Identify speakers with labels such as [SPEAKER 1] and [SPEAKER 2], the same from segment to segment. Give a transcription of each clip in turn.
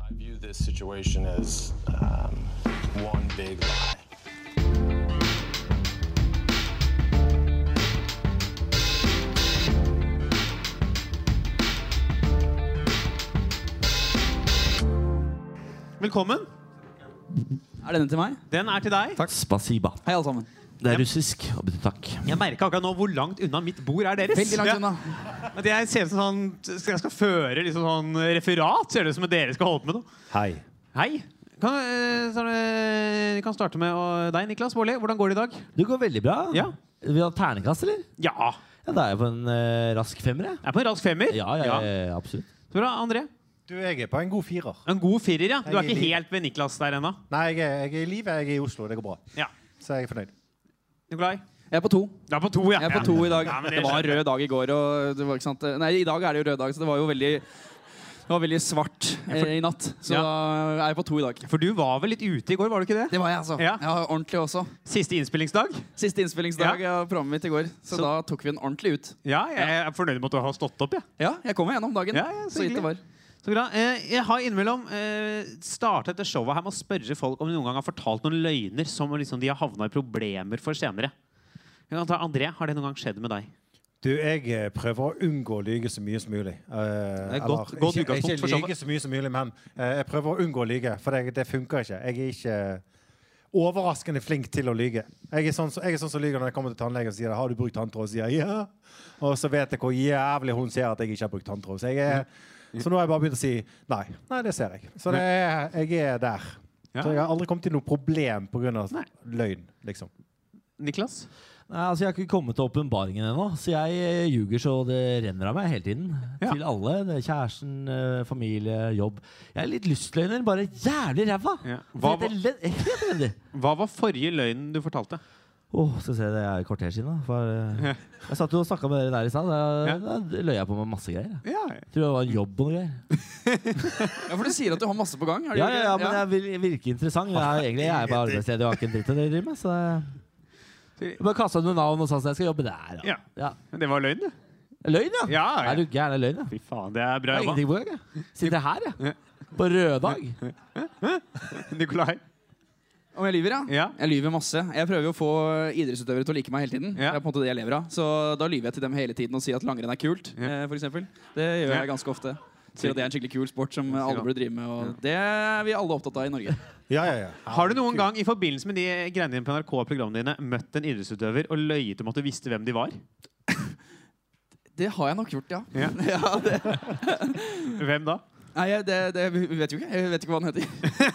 [SPEAKER 1] I view this situation as um, one big lie.
[SPEAKER 2] Velkommen.
[SPEAKER 3] Er denne til meg?
[SPEAKER 2] Den er til deg.
[SPEAKER 4] Spasiba.
[SPEAKER 3] Hei, alle sammen.
[SPEAKER 4] Det er russisk og betyr takk.
[SPEAKER 2] Jeg merka akkurat nå hvor langt unna mitt bord er deres.
[SPEAKER 3] Veldig langt
[SPEAKER 2] Ja.
[SPEAKER 3] unna.
[SPEAKER 2] At jeg ser ut som sånn, skal, jeg skal føre liksom sånn referat. Ser det ut som at dere skal holde på med noe.
[SPEAKER 5] Hei.
[SPEAKER 2] Hei. Kan, eh, så, eh, vi kan starte med eh, deg, Niklas Baarli. Hvordan går det i dag?
[SPEAKER 4] Det går veldig bra.
[SPEAKER 2] Ja.
[SPEAKER 4] Vil du ha terningkast, eller?
[SPEAKER 2] Ja.
[SPEAKER 4] Ja, Da er jeg på en eh, rask femmer, jeg.
[SPEAKER 2] Jeg er på en rask femmer.
[SPEAKER 4] Ja, ja, ja, ja, absolutt.
[SPEAKER 2] Så bra, André.
[SPEAKER 5] Du, jeg er på en god firer.
[SPEAKER 2] En god firer, ja. Du er
[SPEAKER 5] Jeg
[SPEAKER 2] ikke
[SPEAKER 5] liker-
[SPEAKER 2] helt ved Niklas der ennå.
[SPEAKER 5] Nei, jeg er, jeg er i live, jeg er i Oslo. Det går bra.
[SPEAKER 2] Ja.
[SPEAKER 5] Så jeg er fornøyd.
[SPEAKER 2] Nikolai?
[SPEAKER 3] Jeg er på to.
[SPEAKER 2] Du er på to, ja.
[SPEAKER 3] Jeg er på to i dag.
[SPEAKER 2] Ja, men
[SPEAKER 3] Det var rød dag i går. Og det var, ikke sant? Nei, i dag er det jo rød dag, så det var jo veldig det var veldig svart eh, i natt, så
[SPEAKER 2] Ja.
[SPEAKER 3] da er jeg på to i dag.
[SPEAKER 2] For du var vel litt ute i går, var du ikke det?
[SPEAKER 3] Det var jeg, altså.
[SPEAKER 2] Ja.
[SPEAKER 3] Jeg har ordentlig også.
[SPEAKER 2] Siste innspillingsdag?
[SPEAKER 3] Siste innspillingsdag av programmet mitt i går, så,
[SPEAKER 2] Så-
[SPEAKER 3] da tok vi den ordentlig ut.
[SPEAKER 2] Ja, jeg er fornøyd med at du har stått opp, jeg.
[SPEAKER 3] Ja, jeg kom meg gjennom dagen.
[SPEAKER 2] Ja, ja, så
[SPEAKER 3] så gitt
[SPEAKER 2] hyggelig.
[SPEAKER 3] det var.
[SPEAKER 2] Så bra. Eh, Jeg har innimellom eh, startet det showet her med å spørre folk om de noen gang har fortalt noen løgner som liksom de har havna i problemer for senere. Jeg kan ta André, har det noen gang skjedd med deg?
[SPEAKER 5] Du, jeg eh, prøver å unngå å lyge så mye som mulig. Eh,
[SPEAKER 2] er godt- godt
[SPEAKER 5] ikke,
[SPEAKER 2] utgangspunkt for
[SPEAKER 5] ikke
[SPEAKER 2] showet.
[SPEAKER 5] lyge så mye som mulig, men eh, jeg prøver å unngå å lyge, for det, det funker ikke. Jeg er ikke eh, overraskende flink til å lyge. Jeg er sånn, som- jeg er sånn som lyger når jeg kommer til tannlegen og sier 'Har du brukt tanntråd?' og sier jeg, 'Ja'. Og så vet jeg hvor jævlig hun ser at jeg ikke har brukt tanntråd. Så, jeg er, så nå har jeg bare begynt å si nei. Nei, det ser jeg. Så det er, jeg er der.
[SPEAKER 2] Ja.
[SPEAKER 5] Så jeg har aldri kommet til noe problem pga.
[SPEAKER 2] Nei.
[SPEAKER 5] løgn, liksom.
[SPEAKER 2] Niklas?
[SPEAKER 4] Nei, altså, jeg har ikke kommet til åpenbaringen ennå, så jeg eh, ljuger så det renner av meg hele tiden.
[SPEAKER 2] Ja.
[SPEAKER 4] Til alle. Det er kjæresten, eh, familie, jobb. Jeg er litt lystløgner, bare jævlig ræva!
[SPEAKER 2] Ja. Hva
[SPEAKER 4] Hva var Helt elendig.
[SPEAKER 2] Hva var forrige løgnen du fortalte?
[SPEAKER 4] Åh, skal vi se, det er et kvarter siden, da. For, eh, jeg satt jo og snakka med dere der i stad. Da, da løy jeg på meg masse greier. jeg.
[SPEAKER 2] Ja,
[SPEAKER 4] Tror det var en jobb og noe greier.
[SPEAKER 3] Ja, For du sier at du har masse på gang? har du
[SPEAKER 4] Ja,
[SPEAKER 3] ikke
[SPEAKER 4] ja,
[SPEAKER 3] det?
[SPEAKER 4] ja, men jeg vil virke interessant. Jeg er, egentlig, jeg er bare arbeidsledig og har ikke en dritt å drive med. Så jeg jeg bare kasta ut noen navn og sa at jeg skal jobbe der.
[SPEAKER 2] Ja.
[SPEAKER 4] Ja. Ja.
[SPEAKER 2] Det var løgn, det.
[SPEAKER 4] Løgn, ja!
[SPEAKER 2] Ja, ja.
[SPEAKER 4] Er du gæren? Det er Løgn, ja.
[SPEAKER 2] Fy faen, det er
[SPEAKER 4] Jeg
[SPEAKER 2] bra
[SPEAKER 4] har
[SPEAKER 2] jobba.
[SPEAKER 4] ingenting på gang. jeg. Sitter her, jeg. På røddag.
[SPEAKER 2] Nikolai?
[SPEAKER 3] Om jeg lyver, ja?
[SPEAKER 2] Ja.
[SPEAKER 3] Jeg lyver masse. Jeg prøver jo å få idrettsutøvere til å like meg hele tiden.
[SPEAKER 2] Ja.
[SPEAKER 3] Det er på en måte det jeg lever av. Så da lyver jeg til dem hele tiden og sier at langrenn er kult, eh, for eksempel. Det gjør
[SPEAKER 2] Ja.
[SPEAKER 3] jeg ganske ofte. Sier at det er en skikkelig kul sport som alle burde drive med, og det er vi alle opptatt av i Norge.
[SPEAKER 5] Ja, ja, ja.
[SPEAKER 2] Har du noen gang i forbindelse med de greiene dine på NRK og programmene dine møtt en idrettsutøver og løyet om at du visste hvem de var?
[SPEAKER 3] Det har jeg nok gjort, ja.
[SPEAKER 2] Ja.
[SPEAKER 3] ja det,
[SPEAKER 2] Hvem da?
[SPEAKER 3] nei, jeg- det, det vi vet jo ikke. Jeg vet ikke hva den heter.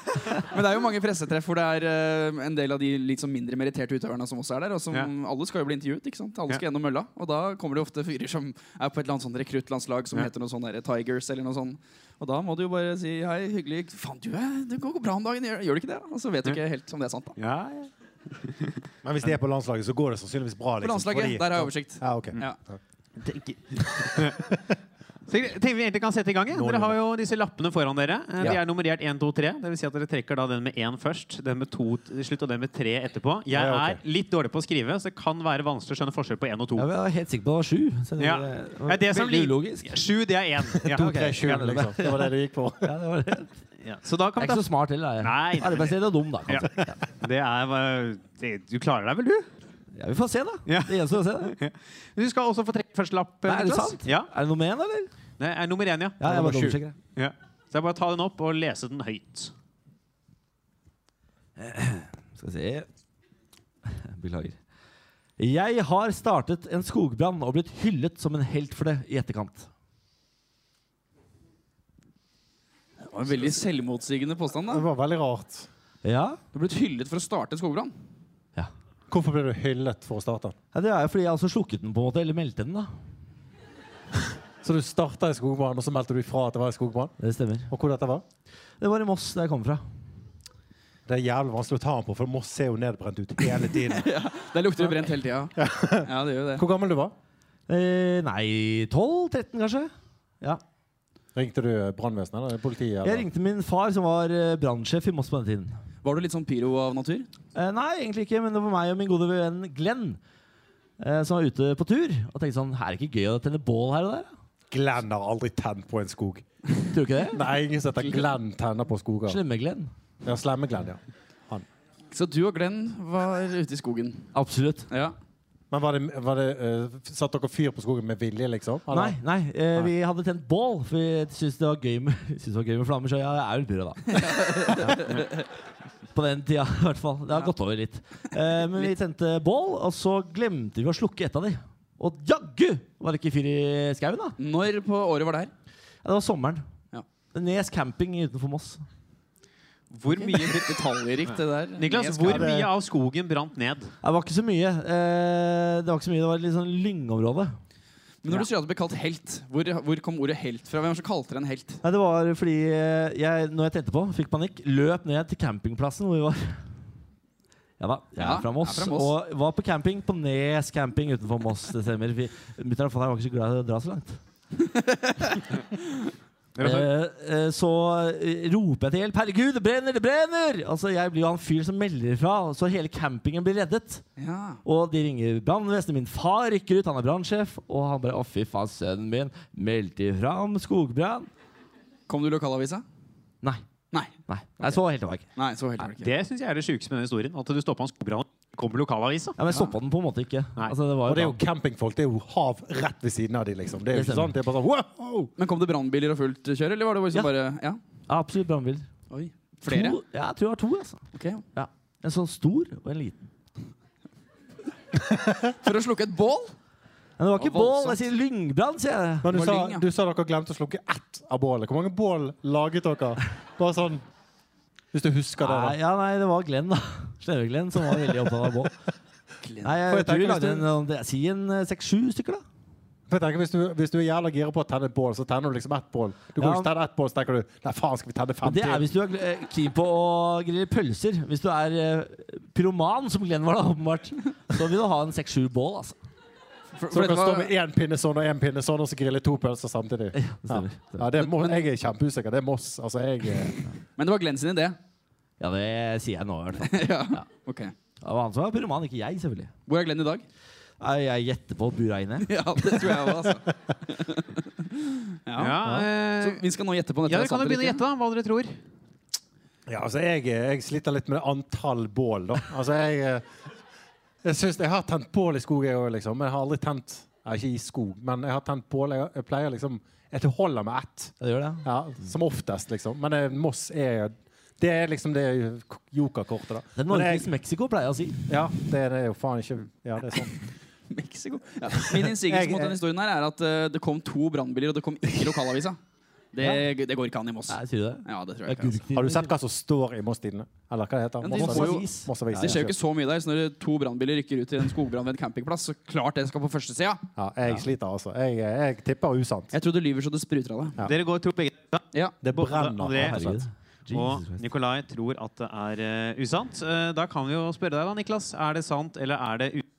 [SPEAKER 3] Men det er jo mange pressetreff hvor det er eh, en del av de litt sånn mindre meritterte utøverne som også er der, og som
[SPEAKER 2] Ja.
[SPEAKER 3] alle skal jo bli intervjuet, ikke sant? Alle
[SPEAKER 2] Ja.
[SPEAKER 3] skal gjennom mølla, og da kommer det jo ofte fyrer som er på et eller annet sånn rekruttlandslag som
[SPEAKER 2] Ja.
[SPEAKER 3] heter noe sånn der Tigers eller noe sånn. Og da må du jo bare si hei, hyggelig, faen du, er- det går bra om dagen, gjør, gjør du ikke det? Og så vet du ikke helt om det er sant, da.
[SPEAKER 2] Ja, ja.
[SPEAKER 5] Men hvis de er på landslaget, så går det sannsynligvis bra.
[SPEAKER 3] På
[SPEAKER 5] Liksom,
[SPEAKER 3] landslaget,
[SPEAKER 5] fordi-
[SPEAKER 3] der har jeg oversikt.
[SPEAKER 5] Ja, ok.
[SPEAKER 3] Ja.
[SPEAKER 2] Tenker. Så jeg tenker vi egentlig kan sette i gang. Ja. Dere har jo disse lappene foran dere. Eh, De
[SPEAKER 3] Ja.
[SPEAKER 2] er nummerert 1, 2, 3. Det vil si at dere trekker da den med 1 først, den med 2 til slutt og den med 3 etterpå. Jeg
[SPEAKER 5] Ja, ok.
[SPEAKER 2] er litt dårlig på å skrive, så det kan være vanskelig å skjønne forskjell på 1 og 2.
[SPEAKER 4] Ja, men jeg var helt sikker på det var sju. Så det,
[SPEAKER 2] Ja.
[SPEAKER 4] var
[SPEAKER 2] Det er det som
[SPEAKER 4] veldig
[SPEAKER 2] lig-
[SPEAKER 4] ulogisk.
[SPEAKER 2] 7, det er 1. Ja.
[SPEAKER 5] To, tre, sju,
[SPEAKER 4] Ja, det er det.
[SPEAKER 5] liksom. Det var det du gikk på.
[SPEAKER 4] Ja, det var det.
[SPEAKER 2] Ja. Så da
[SPEAKER 4] Jeg
[SPEAKER 2] kan vi
[SPEAKER 4] er ikke
[SPEAKER 2] ta
[SPEAKER 4] så smart heller.
[SPEAKER 2] Nei.
[SPEAKER 4] jeg. Arbeidsledig og dum, da.
[SPEAKER 2] Ja.
[SPEAKER 4] Kanskje. Ja.
[SPEAKER 2] Det er eh, det, Du klarer deg vel, du?
[SPEAKER 4] Ja, vi får se, da.
[SPEAKER 2] Ja.
[SPEAKER 4] Det gjenstår å se. Da.
[SPEAKER 2] Du skal også få trekke første lapp. eh,
[SPEAKER 4] Nei, er det
[SPEAKER 2] Niklas.
[SPEAKER 4] sant?
[SPEAKER 2] Ja.
[SPEAKER 4] Er det noe med en, eller?
[SPEAKER 2] Det er nummer 1, ja.
[SPEAKER 4] Ja, jeg
[SPEAKER 5] det var
[SPEAKER 4] bare
[SPEAKER 5] sju.
[SPEAKER 4] dobbeltsjekker. jeg.
[SPEAKER 2] ja. Så det er bare å ta den opp og lese den høyt.
[SPEAKER 4] Skal vi se Beklager. Jeg har startet en skogbrann og blitt hyllet som en helt for det i etterkant.
[SPEAKER 3] Det var en veldig selvmotsigende påstand,
[SPEAKER 5] Det
[SPEAKER 3] da.
[SPEAKER 5] var veldig rart.
[SPEAKER 4] Ja?
[SPEAKER 3] Du har blitt hyllet for å starte en skogbrann.
[SPEAKER 4] Ja.
[SPEAKER 5] Hvorfor ble du hyllet for å starte den?
[SPEAKER 4] Det er jo fordi jeg også slukket den, på en måte, eller meldte den, da.
[SPEAKER 5] Så du starta i skogbrann, og så meldte du ifra at det var i skogbrann?
[SPEAKER 4] Det stemmer.
[SPEAKER 5] Og hvor dette var?
[SPEAKER 4] Det var i Moss, der jeg kom fra.
[SPEAKER 5] Det er jævlig vanskelig å ta den på, for Moss ser jo nedbrent ut hele tiden.
[SPEAKER 3] Der lukter det brent hele tida. Ja, det gjør jo det.
[SPEAKER 5] Hvor gammel du var?
[SPEAKER 4] Eh, nei, 12-13, kanskje? Ja.
[SPEAKER 5] Ringte du eh, brannvesenet eller politiet? Eller?
[SPEAKER 4] Jeg ringte min far, som var eh, brannsjef i Moss på den tiden.
[SPEAKER 3] Var du litt sånn pyro av natur?
[SPEAKER 4] Eh, nei, egentlig ikke, men det var meg og min gode venn Glenn eh, som var ute på tur. Og tenkte sånn, her er det ikke gøy å tenne bål her og der? da?»
[SPEAKER 5] Glenn har aldri tent på en skog.
[SPEAKER 4] Tror du ikke det?
[SPEAKER 5] Nei, ingen som heter Glenn tenner på skoger.
[SPEAKER 4] Slemme-Glenn.
[SPEAKER 5] Ja, Slemme-Glenn, ja.
[SPEAKER 3] Så du og Glenn var ute i skogen.
[SPEAKER 4] Absolutt.
[SPEAKER 3] Ja.
[SPEAKER 5] Men var det, var det eh, Satt dere fyr på skogen med vilje, liksom? Eller?
[SPEAKER 4] Nei, nei, eh, vi hadde tent bål, for vi syntes det var gøy med, syntes det var gøy med flammer. Så jeg er vel pura, da. På den tida, i hvert fall. Det har gått over litt. Eh, men vi tente bål, og så glemte vi å slukke et av de. Og jaggu var det ikke fyr i skauen, da.
[SPEAKER 3] Når på året var det her?
[SPEAKER 4] Ja, det var sommeren.
[SPEAKER 3] Ja.
[SPEAKER 4] Nes camping utenfor Moss.
[SPEAKER 2] Hvor mye,
[SPEAKER 3] Detaljrikt, det der.
[SPEAKER 2] Niklas,
[SPEAKER 3] Med
[SPEAKER 2] hvor
[SPEAKER 3] skade.
[SPEAKER 2] mye av skogen brant ned?
[SPEAKER 4] Det var ikke så mye. Eh, det var ikke så mye, det var et litt sånn lyngområde.
[SPEAKER 3] Men når du sier at du ble kalt helt, hvor, hvor kom ordet helt fra? Hvem var det som kalte deg en helt?
[SPEAKER 4] Nei, det var fordi eh, jeg, når jeg tente på, fikk panikk, løp ned til campingplassen hvor vi var. Ja da, jeg er
[SPEAKER 3] Ja,
[SPEAKER 4] fra Moss.
[SPEAKER 3] er fra Moss.
[SPEAKER 4] Og var på camping på Nes camping utenfor Moss. Det stemmer. Vi- Mutter'n og fatter'n var ikke så glad i å dra så langt. Eh, eh, så eh, roper jeg til hjelp. 'Herregud, det brenner! Det brenner!' Altså, Jeg blir jo han fyren som melder ifra, så hele campingen blir reddet.
[SPEAKER 3] Ja.
[SPEAKER 4] Og de ringer brannvesenet. Min far rykker ut, han er brannsjef. Og han bare 'Å, fy faen, sønnen min meldte ifra om skogbrann'.
[SPEAKER 3] Kom du i lokalavisa?
[SPEAKER 4] Nei.
[SPEAKER 3] Nei.
[SPEAKER 4] Nei, Nei så helt tilbake.
[SPEAKER 3] Nei, så helt var det ikke.
[SPEAKER 2] Det syns jeg er det sjukeste med denne historien. At du stoppa en skogbrann, kom lokalavisa.
[SPEAKER 4] Ja, men jeg stoppa den på en måte ikke.
[SPEAKER 2] Nei.
[SPEAKER 4] Altså, det var
[SPEAKER 5] Og
[SPEAKER 4] jo
[SPEAKER 5] det er jo
[SPEAKER 4] da-
[SPEAKER 5] campingfolk. Det er jo hav rett ved siden av de, liksom. Det er jo
[SPEAKER 4] Det
[SPEAKER 5] ikke
[SPEAKER 4] stemmer.
[SPEAKER 5] sant? Det er bare sånn wow!
[SPEAKER 3] Men kom det brannbiler og fullt kjør, eller var det bare
[SPEAKER 4] Ja.
[SPEAKER 3] som bare Ja.
[SPEAKER 4] ja, absolutt brannbil.
[SPEAKER 3] Oi. Flere?
[SPEAKER 4] To, ja, jeg tror jeg har to. Altså.
[SPEAKER 3] Ok.
[SPEAKER 4] Ja. En sånn stor og en liten.
[SPEAKER 3] For å slukke et bål?
[SPEAKER 4] Men det var ikke
[SPEAKER 3] Og voldsomt.
[SPEAKER 4] bål, jeg sier lyngbrann, sier jeg.
[SPEAKER 5] Men
[SPEAKER 3] Det
[SPEAKER 5] du
[SPEAKER 3] var
[SPEAKER 5] sa,
[SPEAKER 3] lyng, ja.
[SPEAKER 5] du sa dere glemte å slukke ett av bålet. Hvor mange bål laget dere? Bare sånn Hvis du husker det.
[SPEAKER 4] Nei,
[SPEAKER 5] da.
[SPEAKER 4] ja, nei, det var Glenn, da. Slemme-Glenn som var veldig opptatt av bål. Nei,
[SPEAKER 5] For
[SPEAKER 4] jeg,
[SPEAKER 5] jeg
[SPEAKER 4] tror vi
[SPEAKER 5] tenker hvis
[SPEAKER 4] lagde
[SPEAKER 5] du-
[SPEAKER 4] en, sånn- det- si en eh, seks-sju stykker, da.
[SPEAKER 5] For jeg tenker, hvis, du, hvis du er jævla gira på å tenne et bål, så tenner du liksom ett bål. Du kan
[SPEAKER 4] Ja.
[SPEAKER 5] jo ikke tenne ett bål, så tenker du Nei, faen, skal vi tenne
[SPEAKER 4] Men
[SPEAKER 5] fem
[SPEAKER 4] det er
[SPEAKER 5] til?
[SPEAKER 4] hvis du er eh, keen på å grille pølser. Hvis du er eh, pyroman, som Glenn var da, åpenbart, så vil du ha en seks-sju bål, altså.
[SPEAKER 3] For,
[SPEAKER 5] Så
[SPEAKER 3] for
[SPEAKER 5] du
[SPEAKER 3] dette
[SPEAKER 5] kan
[SPEAKER 3] var-
[SPEAKER 5] stå med én pinne sånn og én pinne sånn, og så grille to pølser samtidig.
[SPEAKER 4] Det
[SPEAKER 5] Ja,
[SPEAKER 4] stemmer.
[SPEAKER 5] ja det er, Mo- jeg er kjempeusikker. Det er Moss. Altså, jeg eh,
[SPEAKER 3] Men det var Glenn sin idé.
[SPEAKER 4] Ja, det sier jeg nå, i hvert fall.
[SPEAKER 3] ja. Ok.
[SPEAKER 4] Det var han som var pyroman, ikke jeg, selvfølgelig.
[SPEAKER 3] Hvor er Glenn i dag?
[SPEAKER 4] Nei, Jeg gjetter på Bureine.
[SPEAKER 3] ja, det tror jeg òg, altså. ja.
[SPEAKER 2] Ja, eh,
[SPEAKER 3] Så vi skal nå gjette på om dette
[SPEAKER 2] ja, dere
[SPEAKER 3] er
[SPEAKER 2] kan jo
[SPEAKER 3] sant eller
[SPEAKER 2] begynne å
[SPEAKER 3] ikke.
[SPEAKER 2] gjette da, hva dere tror.
[SPEAKER 5] Ja, altså jeg, jeg sliter litt med antall bål, da. Altså jeg Jeg synes jeg har tent bål i skog, jeg òg, liksom. Men jeg har aldri tent ja, Ikke i skog, men jeg har tent bål. Jeg, jeg pleier liksom Jeg holder med ett.
[SPEAKER 4] Ja, det gjør det.
[SPEAKER 5] Ja, som oftest, liksom. Men eh, Moss er Det er liksom det jokerkortet, da.
[SPEAKER 4] Det er
[SPEAKER 5] Men
[SPEAKER 4] Norges
[SPEAKER 5] jeg,
[SPEAKER 4] Mexico, pleier jeg å si.
[SPEAKER 5] ja, det er det jo faen ikke Ja, det er sånn.
[SPEAKER 3] Mexico. Ja. Min innsigelse
[SPEAKER 5] Jeg-
[SPEAKER 3] mot denne historien her er at eh, det kom to brannbiler, og det kom ikke lokalavisa. Det, det går ikke an i Moss.
[SPEAKER 4] Nei, sier du det?
[SPEAKER 3] Ja, det tror
[SPEAKER 4] Det
[SPEAKER 3] jeg
[SPEAKER 4] er
[SPEAKER 3] ikke. Altså.
[SPEAKER 4] gurktid.
[SPEAKER 5] Har du sett hva som står i Moss-tidene? Eller hva det heter
[SPEAKER 3] Men de får jo-
[SPEAKER 5] Mossavis? Mossavis,
[SPEAKER 3] Det skjer jo
[SPEAKER 5] ja.
[SPEAKER 3] ikke så mye der, så når to brannbiler rykker ut til en skogbrann ved en campingplass, så klart det skal på førstesida.
[SPEAKER 5] Ja, jeg sliter, altså. Jeg, jeg tipper usant.
[SPEAKER 3] Jeg tror du lyver så det spruter av deg.
[SPEAKER 5] Ja.
[SPEAKER 2] Dere går tror begge
[SPEAKER 3] Ja.
[SPEAKER 5] Det brenner.
[SPEAKER 2] André,
[SPEAKER 5] rett og slett.
[SPEAKER 4] Herregud. Jesus
[SPEAKER 2] Og
[SPEAKER 4] Christ.
[SPEAKER 2] Nikolai tror at det er eh, usant. Eh, da kan vi jo spørre deg, da, Niklas. Er det sant, eller er det usant?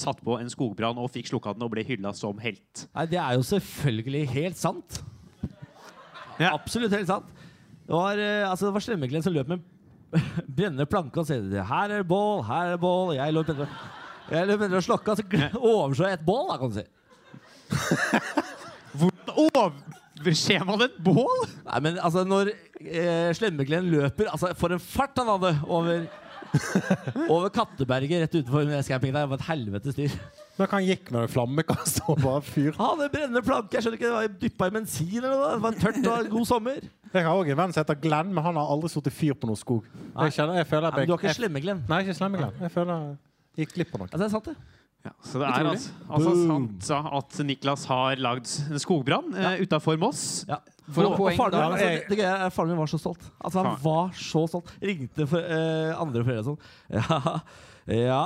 [SPEAKER 2] Satt på en skogbrann og fikk slukka den og ble hylla som helt.
[SPEAKER 4] Nei, det er jo selvfølgelig helt sant.
[SPEAKER 2] Ja.
[SPEAKER 4] Absolutt helt sant. Det var, eh, altså, det var Slemmeglen som løp med en brennende planke og sa her er det bål, her er det bål. Jeg løp etter, jeg løp etter og slokka, så gl- overså jeg et bål, da, kan du si.
[SPEAKER 2] Overser man et bål?!
[SPEAKER 4] Nei, men altså, når eh, Slemmeglen løper altså, For en fart han hadde over over Katteberget rett utenfor Nes camping der. Det var et helvetes dyr.
[SPEAKER 5] Men hva han gikk med en flammekast og bare fyr.
[SPEAKER 4] Han hadde en brennende planke. Jeg skjønner ikke, det var dyppa i bensin eller noe. Det var en tørt og god sommer.
[SPEAKER 5] Jeg har òg en venn som heter Glenn, men han har aldri satt fyr på noe skog. Jeg kjenner, jeg føler
[SPEAKER 4] Nei,
[SPEAKER 5] at jeg,
[SPEAKER 4] men du har ikke
[SPEAKER 5] jeg,
[SPEAKER 4] slemme, Glenn.
[SPEAKER 5] nei, ikke slemme Glenn. Jeg føler jeg gikk glipp av noe.
[SPEAKER 4] Altså, det er sant, det.
[SPEAKER 2] Ja, så det er
[SPEAKER 3] Utrolig.
[SPEAKER 2] altså, altså sant da, at Niklas har lagd en skogbrann eh, utafor Moss.
[SPEAKER 4] Ja.
[SPEAKER 3] For
[SPEAKER 4] og,
[SPEAKER 3] noen poeng,
[SPEAKER 4] og faren,
[SPEAKER 3] da.
[SPEAKER 4] min, altså, det, det gøye er at faren min var så stolt. Altså, han
[SPEAKER 2] Faen.
[SPEAKER 4] var så stolt. Ringte for, eh, andre foreldre og sånn. Ja, ja.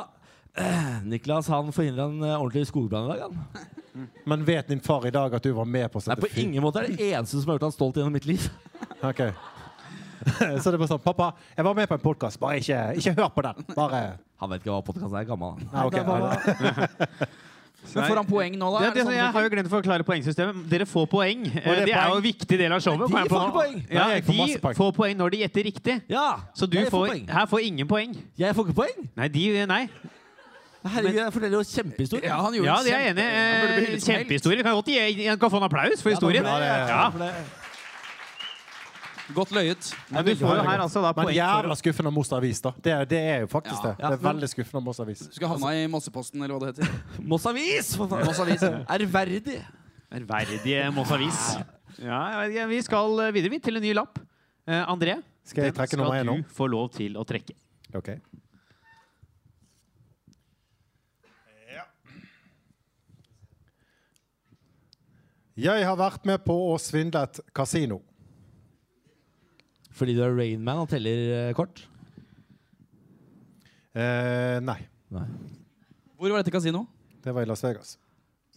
[SPEAKER 4] Eh, Niklas han forhindra en eh, ordentlig skogbrann i dag. Han.
[SPEAKER 5] Men vet din far i dag at du var med på å
[SPEAKER 4] Nei,
[SPEAKER 5] sette
[SPEAKER 4] på ingen måte er det eneste som har gjort han stolt gjennom mitt liv.
[SPEAKER 5] Ok. Så det var sånn Pappa, jeg var med på en podkast, bare ikke, ikke hør på den. Bare
[SPEAKER 4] Han vet ikke hva podkast er. Gammel. han.
[SPEAKER 5] Nei, ok.
[SPEAKER 4] Det er bare-
[SPEAKER 3] Men får han poeng nå, da?
[SPEAKER 2] Det,
[SPEAKER 3] Er
[SPEAKER 2] det,
[SPEAKER 3] sånn
[SPEAKER 2] jeg
[SPEAKER 3] at-
[SPEAKER 2] har jo glemt å forklare poengsystemet. Dere får poeng. Eh,
[SPEAKER 5] Og det er
[SPEAKER 2] det er jo
[SPEAKER 5] poeng.
[SPEAKER 2] en viktig del av showet.
[SPEAKER 4] De
[SPEAKER 2] kommer jeg på
[SPEAKER 4] får
[SPEAKER 2] nå.
[SPEAKER 4] poeng.
[SPEAKER 2] Ja,
[SPEAKER 5] Nei, jeg får masse
[SPEAKER 2] de
[SPEAKER 5] poeng.
[SPEAKER 2] får poeng når de gjetter riktig.
[SPEAKER 4] Ja,
[SPEAKER 2] Så du
[SPEAKER 4] jeg får
[SPEAKER 2] får,
[SPEAKER 4] poeng.
[SPEAKER 2] her får ingen poeng.
[SPEAKER 4] Jeg får ikke poeng!
[SPEAKER 2] Nei, de Nei.
[SPEAKER 4] Herregud, jeg forteller jo kjempehistorie.
[SPEAKER 3] Ja, han gjorde
[SPEAKER 2] Ja,
[SPEAKER 3] en
[SPEAKER 2] det er jeg
[SPEAKER 3] kjempe-
[SPEAKER 2] enig
[SPEAKER 3] Han burde
[SPEAKER 2] i.
[SPEAKER 3] bli hyllet som helt.
[SPEAKER 2] Kjempehistorie. Kan godt gi en kan få en applaus for
[SPEAKER 4] Ja, da får
[SPEAKER 2] historien.
[SPEAKER 4] jeg-
[SPEAKER 2] Ja.
[SPEAKER 4] for det-
[SPEAKER 3] Godt løyet.
[SPEAKER 2] Men du får jo her altså da
[SPEAKER 5] Men
[SPEAKER 2] poeng for
[SPEAKER 5] jævla skuffende av Moss Avis, da. Det er, det er jo faktisk det.
[SPEAKER 4] Ja,
[SPEAKER 5] Det er
[SPEAKER 4] men-
[SPEAKER 5] veldig skuffende av Moss Avis.
[SPEAKER 3] Du skulle havna i Mosseposten, eller hva det heter.
[SPEAKER 4] Moss Avis! for faen.
[SPEAKER 3] Moss Avis.
[SPEAKER 4] Ærverdig.
[SPEAKER 2] Ærverdige Moss Avis. Ja, jeg vet ikke, vi skal eh, videre vi, til en ny lapp. Eh, André,
[SPEAKER 5] Skal jeg
[SPEAKER 2] den
[SPEAKER 5] trekke nummer én nå?
[SPEAKER 2] du få lov til å trekke.
[SPEAKER 5] Ok. Jeg har vært med på å svindle et kasino.
[SPEAKER 4] Fordi du er Rainman og teller eh, kort?
[SPEAKER 5] Eh, nei,
[SPEAKER 4] Nei.
[SPEAKER 3] Hvor var dette kasino?
[SPEAKER 5] det var i Las Vegas.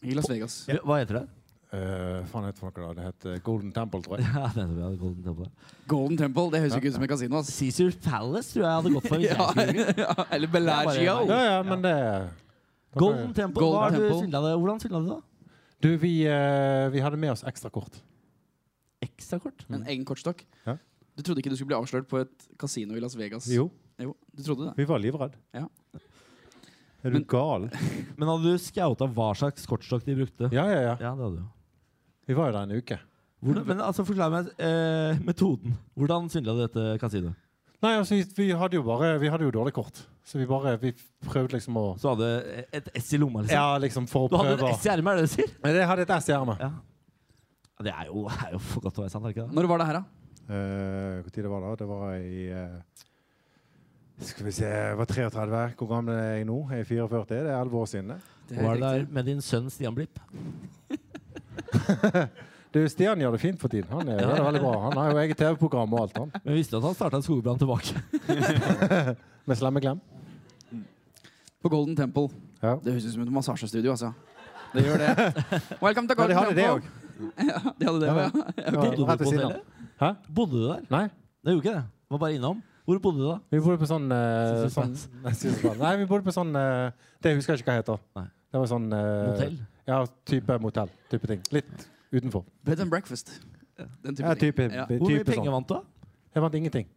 [SPEAKER 3] I Las Vegas.
[SPEAKER 4] Hva heter det?
[SPEAKER 5] Eh, faen heter det noe da? Det heter Golden Temple, tror jeg.
[SPEAKER 4] Ja, det er så bra, Golden Temple.
[SPEAKER 3] Golden Temple. Det høres jo ikke ut som et kasino. ass.
[SPEAKER 4] Caesar Palace tror jeg jeg hadde gått for. hvis jeg skulle gjøre det.
[SPEAKER 3] Ja, eller Bellagio.
[SPEAKER 5] Ja, ja, men det
[SPEAKER 4] Golden Temple,
[SPEAKER 3] Golden
[SPEAKER 4] hva har du
[SPEAKER 3] Temple.
[SPEAKER 4] svindlet det? Hvordan svindla du det? da?
[SPEAKER 5] Du, vi, eh, vi hadde med oss ekstrakort.
[SPEAKER 4] Ekstrakort?
[SPEAKER 3] En egen kortstokk.
[SPEAKER 5] Mm. Ja.
[SPEAKER 3] Du trodde ikke du skulle bli avslørt på et kasino i Las Vegas?
[SPEAKER 5] Jo,
[SPEAKER 3] Jo, du trodde det.
[SPEAKER 5] vi var livredd.
[SPEAKER 3] Ja.
[SPEAKER 5] Er du
[SPEAKER 3] Men-
[SPEAKER 5] gal?
[SPEAKER 4] Men hadde du scouta hva slags kortstokk de brukte?
[SPEAKER 5] Ja, ja, ja.
[SPEAKER 4] Ja, det hadde du.
[SPEAKER 5] Vi var jo der en uke.
[SPEAKER 4] Hvordan, men altså, forklar meg eh, metoden. Hvordan svindla du dette kasinoet?
[SPEAKER 5] Nei, altså, vi, vi hadde jo bare Vi hadde jo dårlig kort. Så vi bare Vi prøvde liksom å
[SPEAKER 4] Så hadde et S i lomma, liksom?
[SPEAKER 5] Ja, liksom for å
[SPEAKER 4] Du hadde et
[SPEAKER 5] prøve.
[SPEAKER 4] S i ermet, er det det du sier?
[SPEAKER 5] Nei, det hadde et S i ermet.
[SPEAKER 4] Ja. Ja, Det er jo, det er jo for godt til å være sant, er det ikke det?
[SPEAKER 3] Når var det her, da?
[SPEAKER 5] Eh, Hvor tid det var det? Det var i eh, Skal vi se Jeg var 33. Hvor gammel er jeg nå? Jeg er 44. Det er 11 år siden. det.
[SPEAKER 3] Det er
[SPEAKER 4] Var
[SPEAKER 3] helt
[SPEAKER 4] det der
[SPEAKER 3] riktig.
[SPEAKER 4] med din sønn Stian Blipp?
[SPEAKER 5] Du, Stian gjør det fint for tiden. Han er, gjør det veldig bra. Han har jo eget TV-program og alt, han.
[SPEAKER 4] Men visste du at han starta en skogbrann tilbake?
[SPEAKER 5] Med slemmeklem.
[SPEAKER 3] På Golden Temple.
[SPEAKER 5] Ja.
[SPEAKER 3] Det høres ut som et massasjestudio, altså. Det gjør det. Welcome to
[SPEAKER 5] Ja,
[SPEAKER 3] Golden
[SPEAKER 5] de hadde det òg.
[SPEAKER 3] Temple. Ja, de hadde det
[SPEAKER 5] Ja,
[SPEAKER 3] også, ja.
[SPEAKER 4] Bodde du på
[SPEAKER 5] Rett ved siden av.
[SPEAKER 4] hotellet?
[SPEAKER 5] Hæ?
[SPEAKER 4] Bodde du der?
[SPEAKER 5] Nei.
[SPEAKER 4] Det gjorde ikke det. Var bare innom. Hvor bodde du da?
[SPEAKER 5] Vi bodde på sånn, eh,
[SPEAKER 4] Caesar's
[SPEAKER 5] sånn
[SPEAKER 4] Palace.
[SPEAKER 5] Nei, Caesar's Palace. Nei, vi bodde på sånn eh, Det husker jeg ikke hva heter.
[SPEAKER 4] Nei.
[SPEAKER 5] Det var sånn eh,
[SPEAKER 4] Motell?
[SPEAKER 5] Ja, type motell. Type ting. Litt utenfor.
[SPEAKER 3] Bed and breakfast. Den type
[SPEAKER 5] Ja,
[SPEAKER 3] ting.
[SPEAKER 5] type,
[SPEAKER 3] Ja.
[SPEAKER 5] type
[SPEAKER 4] Hvor mye
[SPEAKER 5] sånn.
[SPEAKER 4] penger vant du? da?
[SPEAKER 5] Jeg vant ingenting.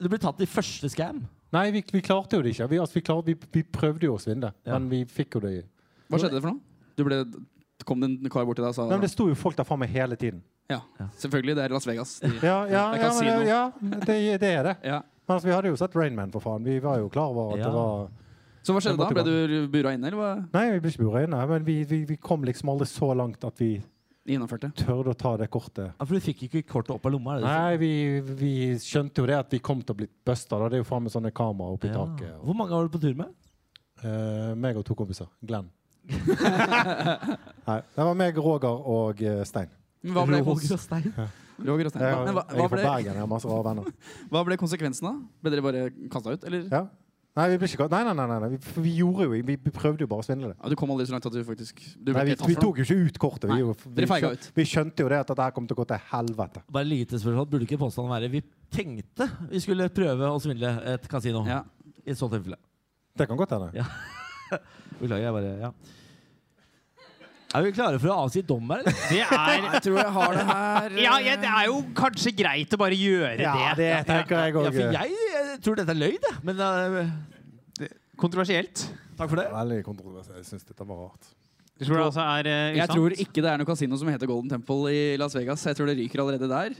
[SPEAKER 4] Du ble tatt i første scam.
[SPEAKER 5] Nei, vi, vi klarte jo det ikke. Vi, altså, vi, klar- vi, vi prøvde jo å svindle,
[SPEAKER 4] Ja.
[SPEAKER 5] men vi fikk jo det i
[SPEAKER 3] Hva skjedde det for noe? Du ble, kom det en kar bort til deg og sa
[SPEAKER 5] Nei, men Det sto jo folk der framme hele tiden.
[SPEAKER 3] ja. Selvfølgelig, det er Las Vegas. De,
[SPEAKER 5] Ja, ja,
[SPEAKER 3] Det er
[SPEAKER 5] ja, men,
[SPEAKER 3] kasino.
[SPEAKER 5] det- ja det, det er det.
[SPEAKER 3] ja.
[SPEAKER 5] Men altså, vi hadde jo sett Rainman, for faen. Vi var jo klar over at
[SPEAKER 4] Ja.
[SPEAKER 5] det var
[SPEAKER 3] Så hva skjedde da?
[SPEAKER 5] Jeg måtte
[SPEAKER 3] Ble du bura inne, eller hva?
[SPEAKER 5] Nei, vi ble ikke bura inne, men vi, vi, vi kom liksom aldri så langt at vi
[SPEAKER 3] Gjennomførte?
[SPEAKER 5] tørde å ta det kortet.
[SPEAKER 4] Ja, for du fikk ikke kortet opp av lomma? Er det det du
[SPEAKER 5] Nei, vi, vi skjønte jo det at vi kom til å bli busta. da. Det er jo faen med sånne kameraer oppi
[SPEAKER 4] sier?
[SPEAKER 5] taket.
[SPEAKER 4] Ja.
[SPEAKER 5] Og,
[SPEAKER 4] Hvor mange var du på tur med?
[SPEAKER 5] eh, meg og to kompiser. Glenn. Nei, det var meg, Roger og eh, Stein.
[SPEAKER 3] Men hva ble, kons
[SPEAKER 4] Roger og Stein.
[SPEAKER 3] Roger og Stein.
[SPEAKER 5] Jeg,
[SPEAKER 3] Men hva,
[SPEAKER 5] jeg
[SPEAKER 3] hva,
[SPEAKER 5] er fra
[SPEAKER 3] ble,
[SPEAKER 5] Bergen, jeg har masse rare venner.
[SPEAKER 3] hva ble konsekvensen da? Ble dere bare kasta ut, eller?
[SPEAKER 5] Ja. Nei, vi ble ikke nei, nei, nei, nei, nei. Vi, for vi gjorde jo vi, vi prøvde jo bare å svindle det.
[SPEAKER 3] Ja, du kom aldri så langt at du faktisk du ble
[SPEAKER 5] Nei, vi,
[SPEAKER 3] ikke tatt
[SPEAKER 5] vi
[SPEAKER 3] for noe.
[SPEAKER 5] tok jo ikke ut kortet. Vi,
[SPEAKER 3] Nei,
[SPEAKER 5] jo- vi,
[SPEAKER 3] dere feiga ut.
[SPEAKER 5] vi skjønte jo det at dette her kom til å gå til helvete.
[SPEAKER 4] Bare lytespørsmål. Burde ikke påstanden være vi tenkte vi skulle prøve å svindle et kasino?
[SPEAKER 3] Ja.
[SPEAKER 4] I så tilfelle.
[SPEAKER 5] Det kan godt hende.
[SPEAKER 4] Ja. Beklager, jeg bare Ja. Er vi klare for å avsi dom her, eller?
[SPEAKER 2] Det er
[SPEAKER 3] Jeg tror jeg har det her. eh,
[SPEAKER 2] Ja, ja, det er jo kanskje greit å bare gjøre
[SPEAKER 5] Ja,
[SPEAKER 2] det.
[SPEAKER 5] det tenker jeg
[SPEAKER 4] Ja,
[SPEAKER 5] òg.
[SPEAKER 4] for jeg, jeg tror dette er løgn, jeg. Men eh,
[SPEAKER 2] Kontroversielt.
[SPEAKER 4] takk for det.
[SPEAKER 5] Veldig kontroversielt. Jeg syns dette var rart.
[SPEAKER 2] Du tror det altså er eh,
[SPEAKER 3] Jeg
[SPEAKER 2] usant?
[SPEAKER 3] tror ikke det er noe kasino som heter Golden Temple i Las Vegas. Jeg tror det ryker allerede der.